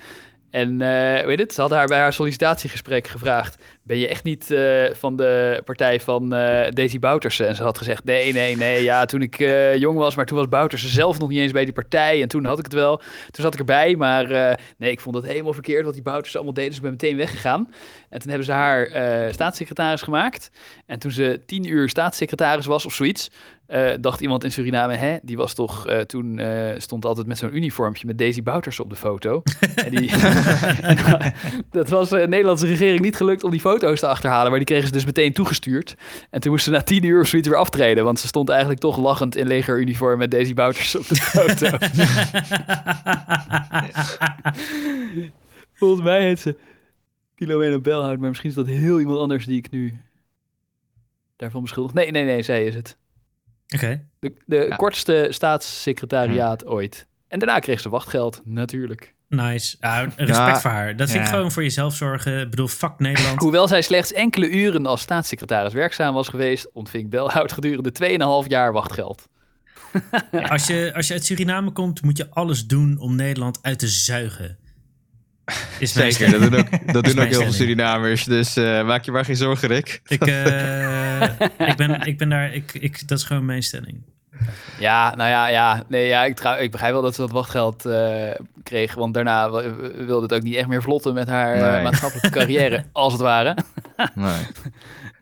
C: En eh, weet het, ze had haar bij haar sollicitatiegesprek gevraagd: Ben je echt niet eh, van de partij van eh, Daisy Boutersen? En ze had gezegd: Nee, nee, nee. Ja, toen ik eh, jong was, maar toen was Boutersen zelf nog niet eens bij die partij. En toen had ik het wel. Toen zat ik erbij, maar eh, nee, ik vond dat helemaal verkeerd wat die Boutersen allemaal deden. Dus ik ben meteen weggegaan. En toen hebben ze haar eh, staatssecretaris gemaakt. En toen ze tien uur staatssecretaris was of zoiets, eh, dacht iemand in Suriname, hè, die was toch eh, toen eh, stond altijd met zo'n uniformpje met Daisy Bouters op de foto. en die, dat was eh, de Nederlandse regering niet gelukt om die foto's te achterhalen, maar die kregen ze dus meteen toegestuurd. En toen moesten ze na tien uur of zoiets weer aftreden, want ze stond eigenlijk toch lachend in legeruniform met Daisy Bouters op de foto. Volgens mij heet ze Kilomena Belhout, maar misschien is dat heel iemand anders die ik nu daarvan beschuldig. Nee, nee, nee, zij is het.
B: Oké.
C: De, de
E: Ja. Hm.
C: kortste staatssecretariaat ooit. En daarna kreeg ze wachtgeld, natuurlijk.
B: Nice. Ja, respect
E: Ja.
B: voor haar. Dat vind ik
E: Ja.
B: gewoon voor jezelf zorgen. Ik bedoel, fuck
E: Hm.
B: Nederland.
C: Hoewel zij slechts enkele uren als staatssecretaris werkzaam was geweest, ontving Belhout gedurende 2,5 jaar wachtgeld.
B: Als je, als je uit Suriname komt, moet je alles doen om Nederland uit te zuigen. Is mijn
E: Zeker, dat doen ook, dat
B: Is
E: doen
B: mijn
E: ook heel veel
B: stelling.
E: Surinamers. Dus eh, maak je maar geen zorgen, Rick.
B: Ik, eh, ik, ben, ik ben daar, ik, ik, dat is gewoon mijn stelling.
C: Ja, nou ja, ja. Nee, ja ik, trouw- ik begrijp wel dat ze dat wachtgeld eh, kreeg. Want daarna w- w- wilde het ook niet echt meer vlotten met haar eh,
E: Nee.
C: maatschappelijke carrière, als het ware.
E: Nee.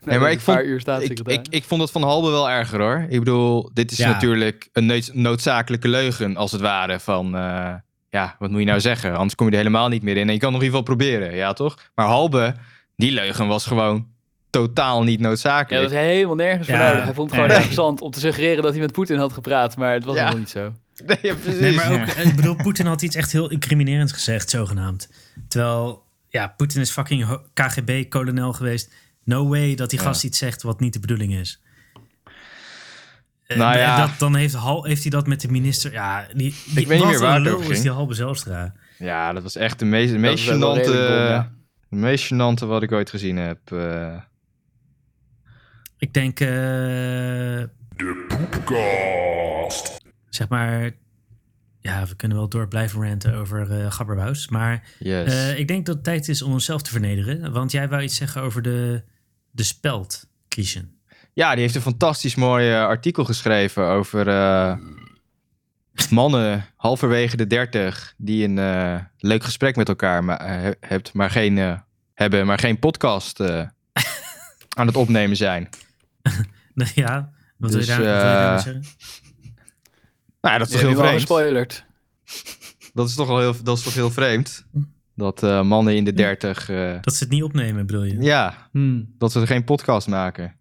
C: Nee,
E: maar ik
C: een paar
E: vond-
C: uur
E: ik,
C: staatssecretaris.
E: ik, ik vond het van Halbe wel erger hoor. Ik bedoel, dit is
B: Ja.
E: natuurlijk een neus- noodzakelijke leugen, als het ware. Van eh, ja, wat moet je nou zeggen? Anders kom je er helemaal niet meer in. En je kan nog in ieder geval proberen, ja toch? Maar Halbe, die leugen was gewoon totaal niet
C: Ja, dat
E: noodzakelijk.
C: was helemaal nergens voor
B: Ja,
C: nodig. Hij vond het gewoon
B: nee.
C: interessant om te suggereren dat hij met Poetin had gepraat, maar het was
E: Ja.
C: helemaal niet zo.
E: Nee, ja, precies.
B: Nee, maar ook, eh, ik bedoel, Poetin had iets echt heel incriminerends gezegd, zogenaamd. Terwijl, ja, Poetin is fucking ho- KGB-kolonel geweest. No way dat die gast iets zegt wat niet de bedoeling is. Eh,
E: Nou
B: en
E: ja.
B: dat, dan heeft, Hal, heeft hij dat met de minister. Ja, die, die,
E: weet niet
B: wat
E: meer waar
B: een
E: het
B: lul
E: over
B: is
E: ging.
B: die Halbe Zelstra.
E: Ja, dat was echt de meest, de meest
C: is wel
E: gênante,
C: redelijk dom, ja.
E: de meest gênante wat ik ooit gezien heb. eh.
B: Ik denk, eh,
F: Poepkast.
B: zeg maar, ja, we kunnen wel door blijven ranten over eh Gabberhuis, maar...
E: yes.
B: Eh, ik denk dat het tijd is om onszelf te vernederen. Want jij wou iets zeggen over de, de speld, Christian.
E: Ja, die heeft een fantastisch mooi eh, artikel geschreven over eh, mannen halverwege de dertig die een eh, leuk gesprek met elkaar ma- eh, he- hebt, maar geen, eh, hebben, maar geen podcast eh, aan het opnemen zijn.
B: Nou ja, wat
E: Dus,
B: wil je daar- wat wil je daarmee
E: eh,
B: zeggen?
E: Nou, ja, dat is
C: Ja,
E: toch
C: nu
E: heel
C: al
E: vreemd.
C: gespoilerd.
E: Dat is toch al heel, dat is toch heel vreemd. Dat eh, mannen in de dertig, eh,
B: Dat ze het niet opnemen, bedoel je?
E: ja,
D: Hmm.
E: dat ze geen podcast maken.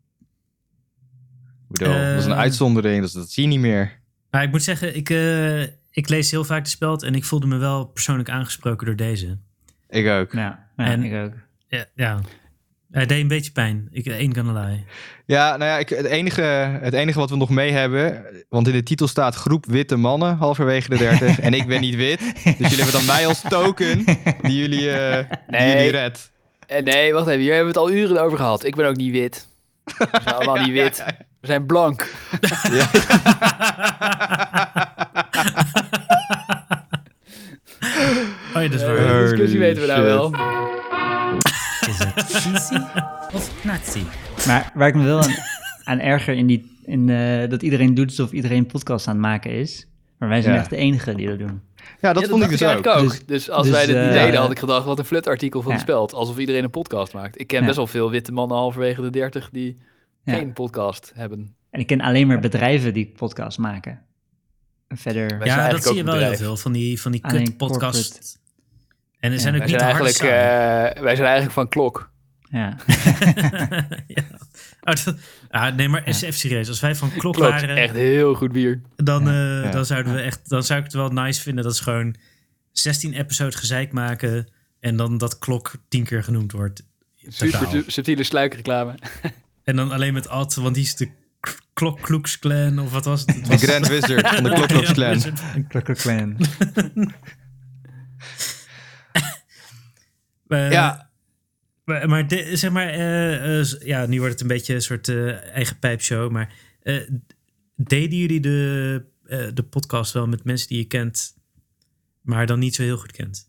E: Ik bedoel, dat is een
B: Eh.
E: uitzondering, dat, dat zie je niet meer.
B: Maar ik moet zeggen, ik, eh, ik lees heel vaak de speld. En ik voelde me wel persoonlijk aangesproken door deze.
E: Ik ook.
D: Ja, ja
B: En-
D: ik ook.
B: Ja. ja. Hij deed een beetje pijn. Ik eh, ain't gonna lie.
E: Ja, nou ja, ik, het, enige, het enige wat we nog mee hebben. Want in de titel staat groep witte mannen halverwege de 30. en ik ben niet wit. Dus jullie hebben dan mij als token die jullie, eh die
C: Nee.
E: jullie redt.
C: Eh, nee, wacht even. Hier hebben we het al uren over gehad. Ik ben ook niet wit. We zijn allemaal niet wit. We zijn blank.
B: Oh ja, dat is waar.
E: Eh.
C: Die discussie weten we nou wel.
E: shit.
B: Is het Nazi of Nazi?
D: Maar waar ik me wel aan, aan erger in, die, in eh, dat iedereen doet alsof iedereen een podcast aan het maken is. Maar wij zijn
E: Ja.
D: echt de enigen die dat doen.
E: Ja, dat
C: Ja,
E: vond ik dus ook.
C: eigenlijk ook. Dus,
D: Dus-
C: als
D: dus,
C: wij dit niet
D: eh,
C: deden, had ik gedacht, wat een flutartikel van
D: ja.
C: het speld. Alsof iedereen een podcast maakt. Ik ken
D: Ja.
C: best wel veel witte mannen halverwege de dertig die
D: Ja.
C: geen podcast hebben.
D: En ik ken alleen maar bedrijven die podcasts maken.
H: zijn
D: verder.
B: ja,
H: eigenlijk
B: dat zie
H: ook
B: je
H: een
B: wel heel
H: bedrijf.
B: veel van die, van die
D: Alleen
B: kut podcast. En er zijn ook
C: Wij
B: niet
C: zijn,
B: de harde
C: eigenlijk,
B: samen.
C: eh, wij zijn eigenlijk van klok.
D: Ja.
B: ja. Oh, dat- ah, nee, maar SF-serieus. Als wij van klok
C: Klopt,
B: waren,
C: echt heel goed bier.
B: dan, eh,
E: Ja.
B: dan zouden we echt, dan zou ik het wel nice vinden dat ze gewoon 16 episodes gezeik maken en dan dat klok 10 keer genoemd wordt.
H: Super
B: Totaal.
H: su- subtiele sluikreclame.
B: En dan alleen met Ad, want die is de K- Klok Klooks Clan of wat was het? Het
E: De
B: was-
E: Grand Wizard van de Klok Klok Clan.
D: Klokker Clan.
B: Eh,
E: Ja.
B: Maar, maar de- zeg maar, eh, eh, s- ja, nu wordt het een beetje een soort eh, eigen pijpshow. Maar eh, deden jullie de, eh, de podcast wel met mensen die je kent, maar dan niet zo heel goed kent?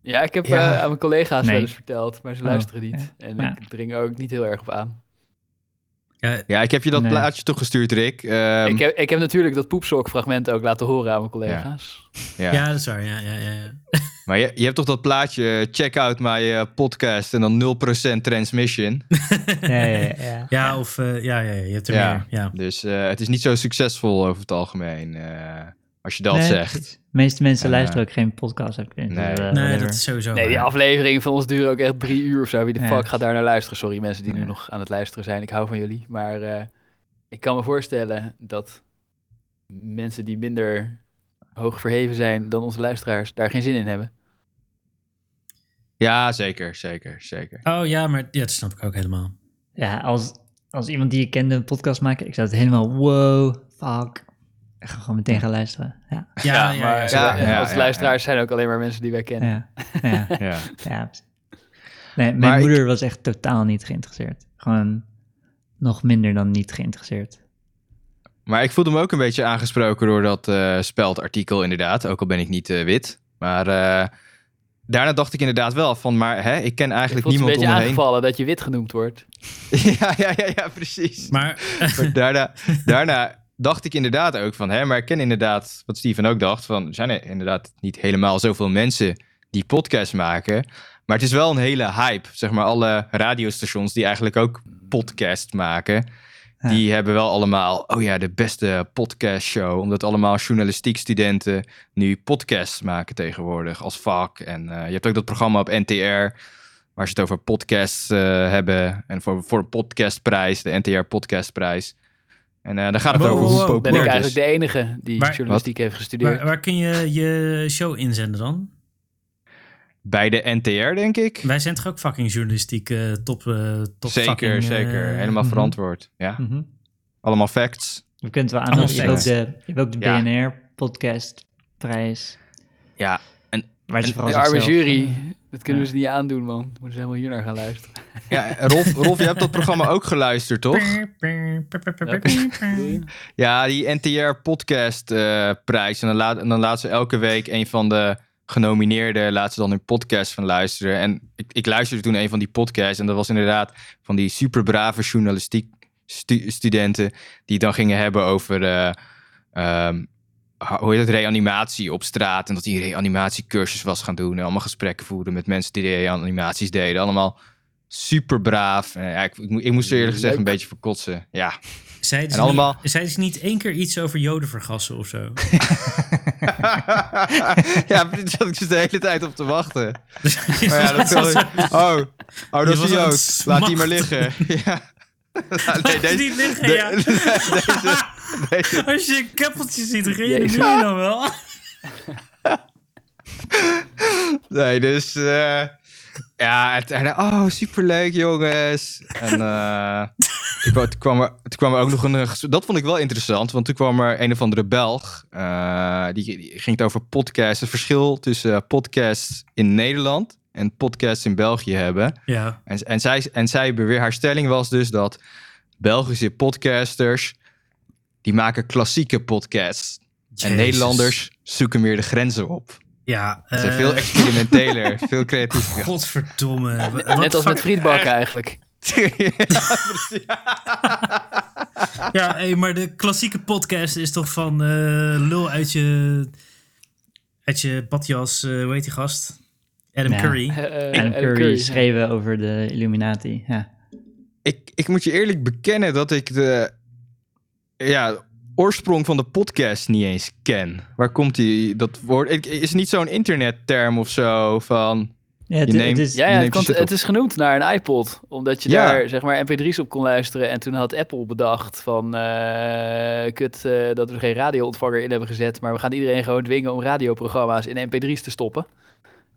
C: Ja, ik heb
D: Ja.
C: eh, aan mijn collega's
D: Nee.
C: wel eens verteld, maar ze
D: Oh,
C: luisteren niet. En
D: Ja.
C: ik dring er ook niet heel erg op aan.
B: Ja,
E: Ja, ik heb je dat
D: Nee.
E: plaatje toch gestuurd, Rick. Ehm,
C: ik, heb, ik heb natuurlijk dat poepsokfragment ook laten horen aan mijn collega's.
E: ja.
B: ja, dat is waar. Ja, ja, ja, ja.
E: Maar je, je hebt toch dat plaatje, check out my eh, podcast en dan 0% transmission.
D: Ja, ja, ja.
B: ja of eh, ja, ja, ja, je hebt er
E: Ja.
B: meer. Ja.
E: Dus eh, het is niet zo succesvol over het algemeen, eh, als je dat
D: Nee,
E: zegt.
D: precies. De meeste mensen
E: Eh,
D: luisteren ook geen podcast, heb ik de indruk.
E: nee.
D: Eh,
B: Nee,
D: whatever.
B: dat is sowieso
C: Nee, die
B: waar.
C: aflevering van ons duren ook echt drie uur of zo. Wie de
D: Ja.
C: fuck gaat daar naar luisteren? Sorry mensen die nu
D: Ja.
C: nog aan het luisteren zijn. Ik hou van jullie. Maar eh, ik kan me voorstellen dat mensen die minder hoog verheven zijn dan onze luisteraars daar geen zin in hebben.
E: Ja, zeker, zeker, zeker.
B: Oh ja, maar ja, dat snap ik ook helemaal.
D: Ja, als, als iemand die je kende een podcast maakt, ik zou het helemaal wow, fuck. Gewoon meteen gaan luisteren. Ja,
B: Ja, ja,
C: maar
B: ja,
E: ja,
B: zeker.
C: eh,
E: ja,
C: als
E: ja,
C: luisteraars zijn ook alleen maar mensen die wij kennen.
D: ja, ja.
E: Ja.
D: ja. Nee, mijn
E: Maar ik-
D: moeder was echt totaal niet geïnteresseerd. Gewoon nog minder dan niet geïnteresseerd.
E: Maar ik voelde me ook een beetje aangesproken door dat eh speldartikel inderdaad. Ook al ben ik niet eh, wit. Maar eh, daarna dacht ik inderdaad wel van, maar hè, ik ken
C: Ik
E: eigenlijk
C: voel het een
E: niemand om
C: beetje
E: me heen.
C: aangevallen dat je wit genoemd wordt.
E: ja, ja, ja, ja, precies.
B: Maar
E: Maar daarna, daarna dacht ik inderdaad ook van, hè, maar ik ken inderdaad, wat Steven ook dacht, van er zijn er inderdaad niet helemaal zoveel mensen die podcasts maken. Maar het is wel een hele hype. Zeg maar, alle radiostations die eigenlijk ook podcast maken,
D: Ja.
E: die hebben wel allemaal, oh ja, de beste podcastshow. Omdat allemaal journalistiek studenten nu podcasts maken tegenwoordig als vak. En eh, je hebt ook dat programma op NTR. Waar ze het over podcasts eh, hebben. En voor, voor een podcastprijs, de NTR Podcastprijs. En eh daar gaat het
B: Wow,
E: over
B: wow,
E: hoe
B: wow.
C: Ben ik
E: populair het is.
C: eigenlijk de enige die
B: Maar-
C: journalistiek heeft gestudeerd.
B: waar, waar kun je je show inzenden dan?
E: Bij de NTR, denk ik.
B: Wij zijn toch ook fucking journalistiek eh, top, eh top
E: zeker,
B: fucking, eh,
E: zeker. Helemaal
D: mhm.
E: verantwoord. Ja,
D: Mhm.
E: allemaal facts.
D: We kunnen het wel
B: Allemaal
D: aanmelden. Je hebt ook
B: facts.
D: de, je hebt ook de
E: Oh, Ja.
D: BNR-podcastprijs.
E: Ja,
D: Waar ze
C: De
D: vooral
C: arme
D: zichzelf-
C: jury, dat kunnen ze niet aandoen, man. Moeten ze helemaal hier naar gaan luisteren.
E: ja Rolf, Rolf, je hebt dat programma ook geluisterd, toch? Ja, die NTR-podcast-prijs. eh, en, dan laat- en dan laat ze elke week een van de genomineerden... laat ze dan hun podcast van luisteren. En ik, ik luisterde toen een van die podcasts... en dat was inderdaad van die superbrave journalistiek stu- studenten... die het dan gingen hebben over... eh, ehm, ha- hoe heet dat? Reanimatie op straat. En dat die reanimatiecursus was gaan doen. En allemaal gesprekken voeren met mensen die reanimaties deden. Allemaal superbraaf. Eh, ja, ik, ik, mo- ik moest er eerlijk gezegd een
C: Leuk.
E: beetje voor kotsen. Ja.
B: Zeiden ze,
E: En allemaal-
B: niet, zeiden ze niet één keer iets over joden vergassen of zo? Oh
E: ja, maar dit zat ik dus de hele tijd op te wachten.
B: Maar
E: Maar ja, dat kan Oh, oh dat
B: Je
E: is
B: was
E: een
B: aan
E: jood.
B: het
E: Laat die maar
B: smachten.
E: liggen. Ja.
B: Laat die
E: deze-
B: niet liggen,
E: de-
B: ja.
E: deze- deze-
B: Als je een keppeltje ziet rennen,
C: Jezus.
B: doe je dan wel?
E: Nee, dus... eh, ja, het, en, oh, superleuk jongens. En eh, toen, kwam, toen, kwam er, toen kwam er ook nog een... eh, ges- Dat vond ik wel interessant, want toen kwam er een of andere Belg. eh, die, die ging het over podcasts. Het verschil tussen eh, podcasts in Nederland en podcasts in België hebben.
B: Ja,
E: En, en, zij, en zij beweer, haar stelling was dus dat Belgische podcasters, die maken klassieke podcasts.
B: Jezus.
E: En Nederlanders zoeken meer de grenzen op.
B: Ja,
E: Ze zijn
B: eh,
E: veel experimenteler, veel creatiever.
B: godverdomme. Wat
C: Net als
B: fuck-
C: met frietbakken eigenlijk.
B: Ja, hey, maar de klassieke podcast is toch van eh, lul uit je, uit je badjas, eh, hoe heet die gast? Adam
D: Ja.
B: Curry.
C: Eh, eh,
D: Adam
C: Adam
D: Curry,
C: Curry.
D: schreven over de Illuminati. Ja.
E: ik, ik moet je eerlijk bekennen dat ik de. Ja, oorsprong van de podcast niet eens ken. Waar komt die, dat woord? Ik- Is het niet zo'n internetterm of zo van...
D: Ja, het,
E: Je neemt-
D: het is,
E: Ja,
H: Ja,
E: Je
H: ja het,
E: neemt
H: kan-
E: je shit
H: het
E: op.
H: is genoemd naar een iPod. Omdat je
E: Ja.
H: daar zeg maar mp3's op kon luisteren. En toen had Apple bedacht van... eh, kut eh, dat we er geen radioontvanger in hebben gezet. Maar we gaan iedereen gewoon dwingen om radioprogramma's in mp3's te stoppen.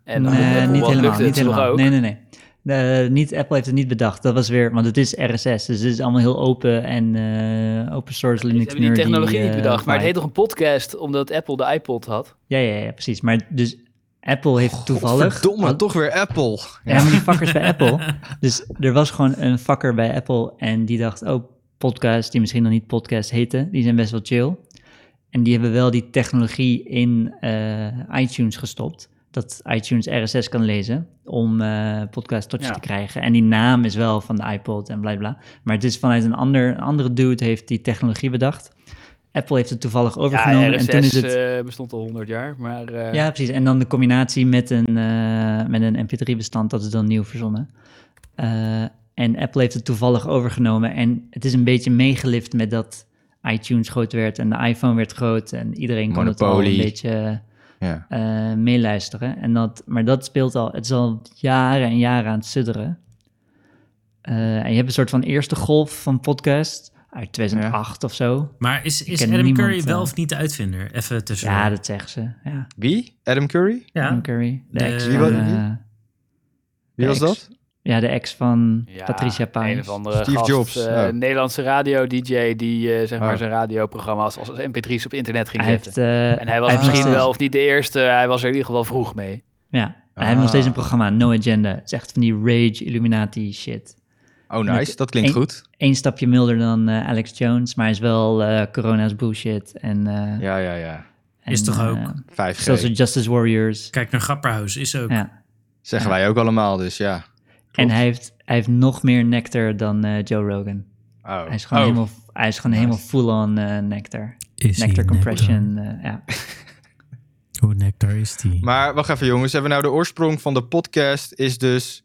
H: En dan
D: nee,
H: Apple,
D: niet
H: wat
D: helemaal.
H: lukte
D: Niet
H: het toch
D: helemaal.
H: ook?
D: Nee, nee, nee. Eh, niet, Apple heeft het niet bedacht. Dat was weer, want het is RSS, dus het is allemaal heel open en eh, open
H: Ze
D: source Linux.
H: hebben die
D: nerdy,
H: technologie niet
D: eh,
H: bedacht. Maar het
D: vibe.
H: heet toch een podcast omdat Apple de iPod had?
D: Ja, ja, ja, precies. Maar dus Apple heeft toevallig.
E: Verdomme,
D: had-
E: toch weer Apple.
D: Ja, maar die fuckers bij Apple. Dus er was gewoon een fucker bij Apple en die dacht, oh, podcast, die misschien nog niet podcast heten, die zijn best wel chill. En die hebben wel die technologie in eh, iTunes gestopt, dat iTunes RSS kan lezen om eh podcast tot je
H: Ja.
D: te krijgen. En die naam is wel van de iPod en bla bla. Maar het is vanuit een, ander, een andere dude heeft die technologie bedacht. Apple heeft het toevallig overgenomen
H: Ja,
D: en toen is
H: RSS
D: het...
H: eh, bestond al 100 jaar. Maar eh,
D: Ja, precies. En dan de combinatie met een, eh, met een mp3-bestand, dat is dan nieuw verzonnen. Eh, en Apple heeft het toevallig overgenomen. En het is een beetje meegelift met dat iTunes groot werd en de iPhone werd groot. En iedereen kon het al een
E: Monopoly.
D: beetje
E: Ja.
D: eh, meeluisteren. En dat, maar dat speelt al, het is al jaren en jaren aan het sudderen. Eh, en je hebt een soort van eerste golf van podcast uit 2008 of zo.
B: Maar is, is
D: ken
B: Adam
D: niemand,
B: Curry wel
D: eh.
B: of niet de uitvinder? Even tussen.
D: Ja, dat zeggen ze. Ja,
E: Wie? Adam Curry?
B: Ja.
D: Tim Curry. De
B: Eh,
D: ex
B: Wie
D: van,
E: wa- wie?
D: eh,
E: Wie was
D: Ex.
E: dat?
D: Ja, de ex van
H: Ja,
D: Patricia
H: Een
D: Paans.
H: of andere
E: Steve
H: gast,
E: Jobs,
H: eh,
E: ja.
H: Nederlandse radio-dj die eh, zeg maar
E: Oh.
H: zijn radioprogramma's als, als mp3's op internet ging
D: Hij
H: zetten.
D: heeft, eh,
H: en hij was
D: hij heeft
H: misschien
D: nog
H: wel of niet de eerste, hij was er in ieder geval vroeg mee.
D: steeds- Ja, hij heeft nog
E: Ah.
D: steeds een programma, No Agenda. Het is echt van die rage Illuminati shit.
E: Oh, nice.
D: Met-
E: Dat klinkt
D: Eén-
E: goed.
D: Eén stapje milder dan eh, Alex Jones, maar hij is wel eh, corona's bullshit. En, eh,
E: Ja, ja, ja.
D: en,
B: Is toch ook?
D: eh,
E: 5G.
D: Zelfs de Justice Warriors.
B: Kijk naar Grapperhaus, is ook.
D: Ja.
E: Zeggen wij ook allemaal, dus ja.
D: En hij heeft, hij heeft nog meer nectar dan eh, Joe Rogan.
E: Oh.
D: Hij is gewoon
E: Oh.
D: helemaal, hij is gewoon helemaal full on eh, nectar. nectar compression, eh, ja.
B: Hoe nectar is die?
E: Maar wacht even, jongens. Hebben we nou de oorsprong van de podcast is dus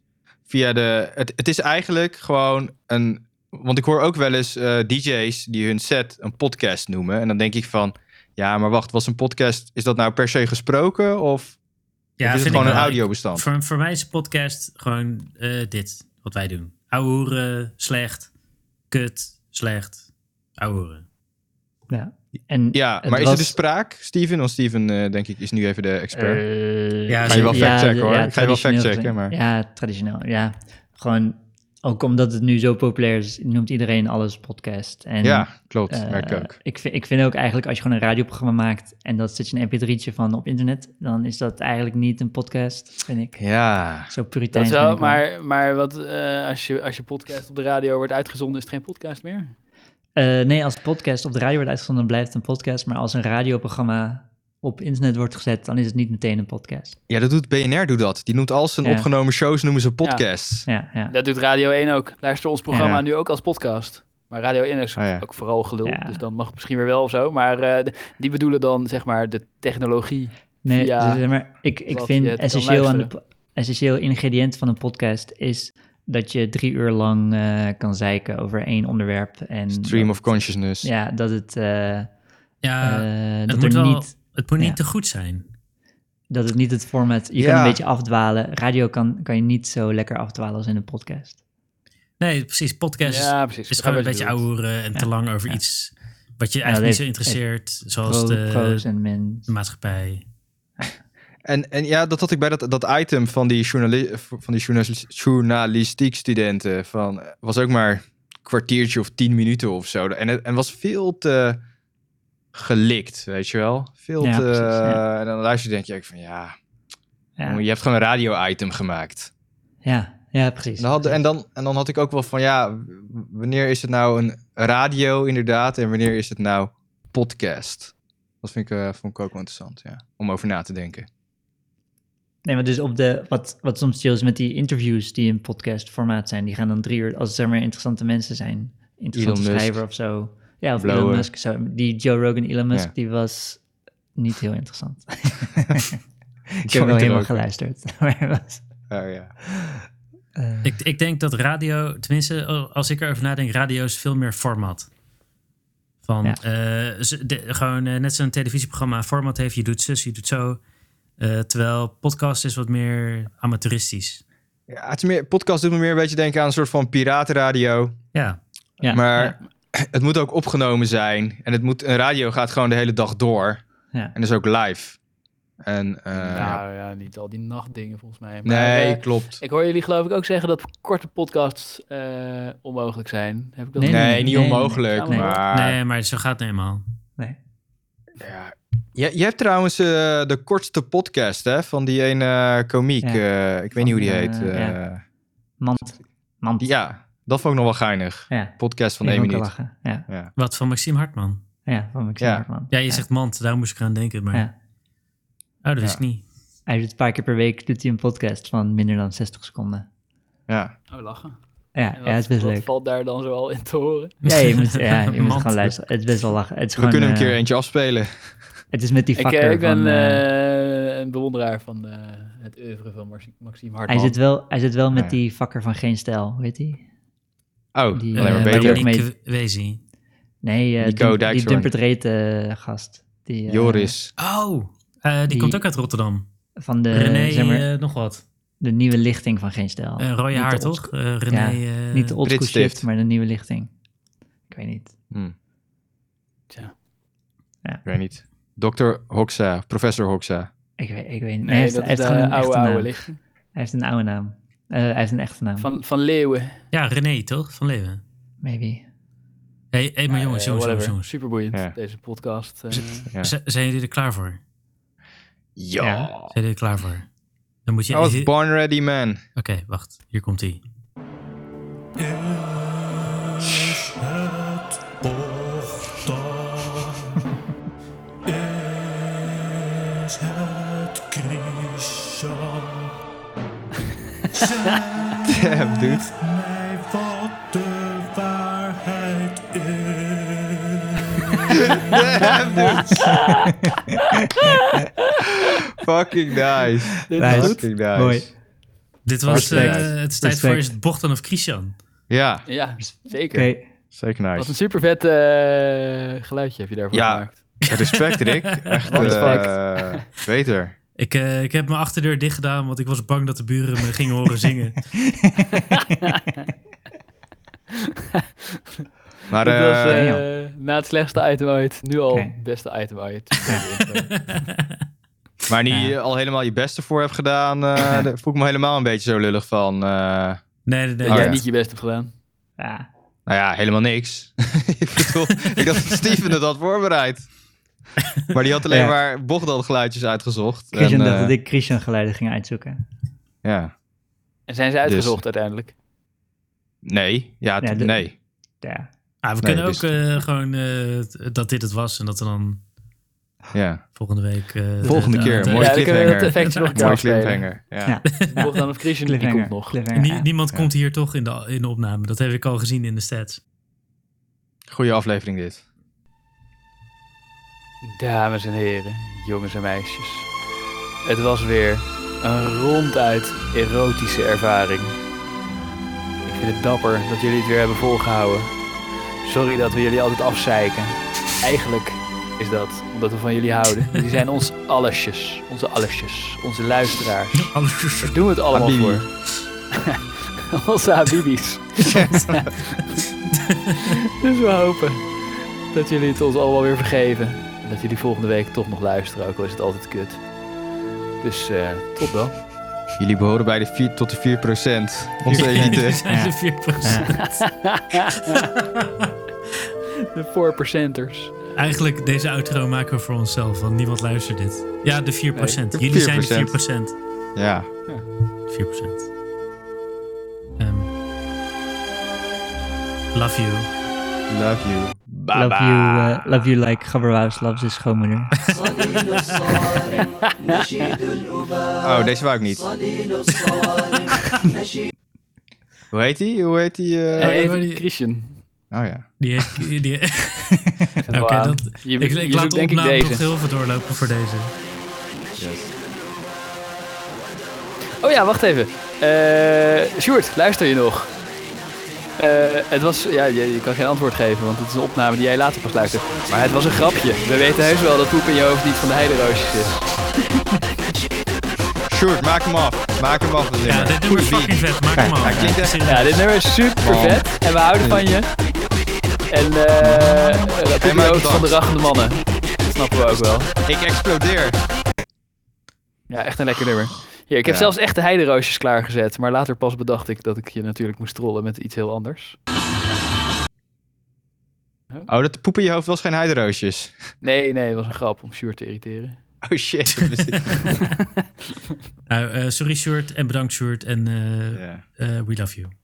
E: via de. Het, het is eigenlijk gewoon een. Want ik hoor ook wel eens eh, DJ's die hun set een podcast noemen. En dan denk ik van. Ja, maar wacht, was een podcast. Is dat nou per se gesproken? Of, of is het gewoon een audiobestand?
B: Voor, voor mij is een podcast gewoon eh, dit, wat wij doen. Ouwe hoeren, slecht, kut, slecht, ouwe hoeren.
D: ja. En
E: Ja, maar is
D: was-
E: er dus spraak, Steven? Want Steven, eh, denk ik, is nu even de expert.
D: Eh,
B: Ja, Ga je wel
E: factchecken, hoor.
D: ja,
E: Ik ga je wel
D: traditioneel gezien.
E: factchecken, maar-
D: Ja, traditioneel. Ja, gewoon ook omdat het nu zo populair is, noemt iedereen alles podcast. En,
E: ja, klopt.
D: eh,
E: merk ik ook.
D: Ik vind, ik vind ook eigenlijk als je gewoon een radioprogramma maakt en dat zit je een mp3'tje van op internet, dan is dat eigenlijk niet een podcast, vind ik.
E: Ja.
D: Zo
H: Dat
D: puriteins. ben
H: wel,
D: ik wel.
H: maar, maar wat, eh, als, je, als je podcast op de radio wordt uitgezonden, is het geen podcast meer?
D: Eh, nee, als podcast op de radio wordt uitgezonden, dan blijft het een podcast. Maar als een radioprogramma op internet wordt gezet, dan is het niet meteen een podcast.
E: ja, dat doet BNR, doet dat. Die noemt al zijn
D: Ja.
E: opgenomen shows, noemen ze podcasts.
D: Ja, ja.
H: Dat doet Radio 1 ook. Luister ons programma
E: Ja.
H: nu ook als podcast. Maar Radio 1 is
E: Oh ja.
H: ook vooral gelul,
D: Ja.
H: dus dan mag het misschien weer wel of zo. Maar eh, de- die bedoelen dan zeg maar de technologie.
D: Nee,
H: via
D: dus, maar ik, ik
H: wat
D: vind
H: je kan
D: essentieel, aan de,
H: luisteren.
D: po- essentieel ingrediënt van een podcast is dat je drie uur lang eh, kan zeiken over één onderwerp. En
E: Stream of consciousness.
D: Ja, dat het, eh,
B: Ja,
D: eh,
B: het,
D: dat
B: moet
D: er
B: wel,
D: niet,
B: het moet niet
D: ja.
B: te goed zijn.
D: dat het niet het format, je kan
E: Ja.
D: een beetje afdwalen. Radio kan, kan je niet zo lekker afdwalen als in een podcast.
B: Nee, precies. Podcast is-
H: Ja, precies.
B: is
C: Dus
H: Ik
B: gewoon
H: snap
B: een
H: wat je
B: beetje
H: bedoelt.
B: ouwe hoeren en te lang over iets wat je
D: dat
B: eigenlijk niet zo
D: heeft-
B: interesseert, zoals
D: Pro,
B: de,
D: pro's en min.
B: de maatschappij.
E: En, en ja, dat had ik bij dat, dat item van die, journali van die journalis- journalistiek studenten. Van, eh, was ook maar een kwartiertje of tien minuten of zo. En het en was veel te gelikt, weet je wel. Veel
D: Ja,
E: te...
D: precies, ja.
E: En dan luister je denk je ook van, ja,
D: Ja,
E: jongen, je hebt gewoon een radio-item gemaakt.
D: ja, ja, precies.
E: En dan, had, en, dan, en dan had ik ook wel van, ja, w- wanneer is het nou een radio inderdaad? En wanneer is het nou podcast? Dat vind ik, eh, vond ik ook wel interessant, ja. Om over na te denken.
D: Nee, maar dus op de, wat, wat soms chill is met die interviews die in podcastformaat zijn, die gaan dan drie uur, als het zeg maar interessante mensen zijn, interessante
E: Elon Musk.
D: schrijver of zo. Ja, of Elon
E: Blower.
D: Musk. Zo, die Joe Rogan Elon Musk,
E: Ja.
D: die was niet heel interessant. ik heb
E: Joe
D: wel helemaal
E: Rogan.
D: geluisterd. maar hij was-
E: Oh, ja.
B: Ik, ik denk dat radio, tenminste als ik erover nadenk, radio is veel meer format. Van,
D: Ja.
B: eh, ze- de- gewoon eh, net zo'n televisieprogramma format heeft. Je doet zus, je doet zo. Eh, terwijl podcast is wat meer amateuristisch.
E: Ja, het is meer, podcast doet me meer een beetje denken aan een soort van piratenradio.
B: Ja,
D: Ja,
E: maar
D: ja,
E: het moet ook opgenomen zijn. En het moet, een radio gaat gewoon de hele dag door.
D: ja.
E: En is ook live. En, eh,
C: Nou ja, niet al die nachtdingen volgens mij. Maar,
E: nee,
C: eh,
E: klopt.
C: ik hoor jullie geloof ik ook zeggen dat korte podcasts eh, onmogelijk zijn. Heb ik dat
D: Nee,
E: nee,
D: nee,
E: niet
D: nee,
E: onmogelijk,
D: nee.
E: maar...
B: nee, maar zo gaat het nou eenmaal.
D: Nee.
E: Ja. Je, je hebt trouwens eh, de kortste podcast hè, van die ene eh, komiek.
D: Ja.
E: eh, ik weet niet hoe die
D: eh,
E: heet. eh,
D: ja. Mand. Mand.
E: Ja, dat vond ik nog wel geinig.
D: ja.
E: Podcast van
D: die
E: één
D: vond ik wel
E: minuut.
D: lachen. Ja,
E: Ja.
B: Wat van Maxime Hartman?
D: ja, van mijn
E: Ja.
D: Hartman.
B: Ja, je zegt mand, daar moest ik aan denken. Maar...
D: Ja.
B: Oh, dat wist ik niet.
D: Hij doet een paar keer per week doet hij een podcast van minder dan 60 seconden.
E: Ja.
C: Oh, lachen.
D: Ja,
C: En
D: ja het is best
C: wat
D: leuk.
C: valt daar dan zo al in te horen?
D: Ja, je moet, ja, je moet
B: Mand.
D: gewoon luisteren. Het is best wel lachen. Het is
E: We
D: gewoon,
E: kunnen een
D: eh,
E: keer eentje afspelen.
D: Het is met die
C: Ik, eh,
D: factor
C: ik ben
D: van... eh,
C: eh, een bewonderaar van eh, het oeuvre van Mar- Maxime
D: hij,
C: Hartman.
D: zit wel, hij zit wel met
E: Ja.
D: die vakker van geen stijl, hoe heet die?
E: Oh,
D: die,
E: alleen maar
D: eh,
B: Eh,
E: beter.
D: die-
B: Monique Wezi.
D: Nee, eh,
E: Nico
D: Dum- die
E: Dijkshoorn.
D: Dumpert Reet eh, gast. Die, eh,
E: Joris.
B: Oh, eh, die,
D: Die-
B: komt ook uit Rotterdam.
D: Van de,
B: René,
D: zeg maar,
B: eh, nog wat.
D: de nieuwe lichting van geen stijl.
B: Eh rode
D: Niet
B: haar,
D: de old-
B: toch? Eh, René. eh,
D: Niet de oldschool shit,
E: Britstift.
D: maar de nieuwe lichting. Ik weet niet.
E: Hm.
C: Tja.
D: Ja.
E: Ik weet niet. Dokter Hoxa, professor Hoxa.
D: Ik weet, ik weet niet.
C: Nee,
D: hij heeft,
C: dat
D: hij
C: is
D: heeft
C: de
D: gewoon een
C: oude,
D: echte
C: oude
D: naam.
C: licht.
D: Hij heeft een oude naam. Eh, hij heeft een echte naam.
C: Van, van
E: Oh,
C: Leeuwen.
B: Ja, René, toch? Van Leeuwen.
D: Maybe.
B: Hé, hey, maar jongens,
C: Eh,
B: jongens, jongens,
C: whatever.
B: jongens.
C: Superboeiend,
E: Ja.
C: deze podcast. eh.
E: Ja.
B: Z- zijn jullie er klaar voor? Zijn
E: Ja.
D: Ja.
B: jullie er klaar voor? Dan moet je...
E: I was
B: Oké,
E: born ready, man.
B: wacht. Hier komt ie.
F: Is het of dan? Is het Christian?
E: Damn, dude.
F: Mij wat de waarheid is.
E: Damn, dude. Fucking nice.
D: Nice.
E: Fucking nice.
D: Mooi.
B: Dit was... eh,
D: Respect.
B: het is tijd voor
D: Respect.
B: is het Bochtan of Christian.
E: Ja,
C: ja, zeker.
D: Oké.
E: zeker
C: Wat
E: nice.
C: een super vet geluidje heb je daarvoor
E: Ja.
C: gemaakt.
E: Respect, Rick. Echt eh, beter.
B: Ik, eh, ik heb mijn achterdeur dicht gedaan, want ik was bang dat de buren me gingen horen zingen.
E: Maar
C: Dit was,
E: eh,
C: eh,
D: ja.
C: na het slechtste item ooit, nu al
D: Oké.
C: het beste item ooit. Ja.
E: Waar niet
D: Ja.
E: je al helemaal je beste voor hebt gedaan, eh, daar voel ik me helemaal een beetje zo lullig van. eh,
B: Nee, nee, nee.
E: Oh,
C: Dat jij
E: ja.
C: niet je best hebt gedaan.
D: Ja.
E: nou ja, helemaal niks. ik bedoel, ik dacht dat Steven het had voorbereid. Maar die had alleen
D: Ja.
E: maar Bogdan geluidjes uitgezocht.
D: Christian
E: en,
D: dacht
E: eh,
D: dat ik Christian geluiden ging uitzoeken.
E: Ja.
C: En zijn ze uitgezocht
E: Dus,
C: uiteindelijk?
E: Nee, ja,
D: Ja,
E: t-
D: de-
E: nee.
D: Ja.
B: Ah, we
E: Nee,
B: kunnen ook
E: dus-
B: eh, gewoon eh, t- dat dit het was en dat we dan
E: Ja.
B: volgende week... eh,
E: Volgende
B: de-
E: keer,
B: de-
E: Mooi
C: ja, dan kunnen we dat
E: cliffhanger.
C: effectje nog een keer
E: Mooi
C: afspelen.
E: cliffhanger. Ja.
D: Ja.
C: Mocht dan of Christian, die
D: Cliffhanger.
C: komt nog.
D: Cliffhanger,
B: Nie-
D: ja.
B: niemand
E: Ja.
B: komt hier toch in de, in de opname. Dat heb ik al gezien in de stats.
E: Goeie aflevering dit.
C: Dames en heren, jongens en meisjes. Het was weer een ronduit erotische ervaring. Ik vind het dapper dat jullie het weer hebben volgehouden. Sorry dat we jullie altijd afzeiken. Eigenlijk is dat omdat we van jullie houden. Jullie zijn ons allesjes, onze allesjes, onze luisteraars.
B: Alles
C: Daar doen we het allemaal
E: Habibi.
C: voor. Onze Habibis. dus we hopen dat jullie het ons allemaal weer vergeven. En dat jullie volgende week toch nog luisteren, ook al is het altijd kut. Dus eh, tot dan.
E: Jullie behoren bij de 4 tot de 4%. Onze elite.
B: zijn de
D: Ja.
B: 4%.
C: De
B: Oh,
C: 4%ers.
B: Eigenlijk, deze outro maken we voor onszelf, want niemand luistert dit. Ja, de 4%.
E: de
B: Jullie zijn de 4%.
E: 4%. ja.
B: 4%. Ehm, love you.
E: Love you. Bye
C: Ah,
D: Love you, eh, love you like Gabberwaus loves his schoonmoeder.
A: صليل الصوارم نشيد الأباء
E: Oh, deze wou ik niet.
A: صليل الصوارم نشيد
E: Hoe heet die? Hoe heet die? eh?
B: Eh,
C: Even
B: maar die-
C: Christian.
E: Oh ja.
B: Die, die, die- Oké,
C: Wauw.
B: dat-
C: Je-
B: ik,
C: je
B: ik
C: zoekt
B: laat de
C: denk ik
B: opname nog
C: deze.
B: heel veel doorlopen voor deze.
C: Oh ja, wacht even. Eh Sjoerd, luister je nog? Eh, het was, ja, je, je kan geen antwoord geven, want het is een opname die jij later pas luistert. Maar het was een grapje. We weten heus wel dat poep in je hoofd niet van de heideroosjes is.
E: Sjoerd, maak hem af. Maak hem af.
B: Ja, dit nummer is fucking vet. Maak hem
E: Hij klinkt echt-
B: al.
C: Ja, dit nummer is super vet en we houden van je. En eh poep in je hoofd van de rachende mannen. Dat snappen we ook wel.
E: Ik explodeer.
C: Ja, echt een lekker nummer. Hier, ik heb
E: Ja.
C: zelfs echt de heideroosjes klaargezet, maar later pas bedacht ik dat ik je natuurlijk moest trollen met iets heel anders.
E: Oh, dat poep in je hoofd was geen heideroosjes.
C: Nee, nee, het was een grap om Sjoerd te irriteren.
E: Oh shit.
B: Nou, eh, sorry Sjoerd en bedankt Sjoerd en eh,
E: ja.
B: eh, we love you.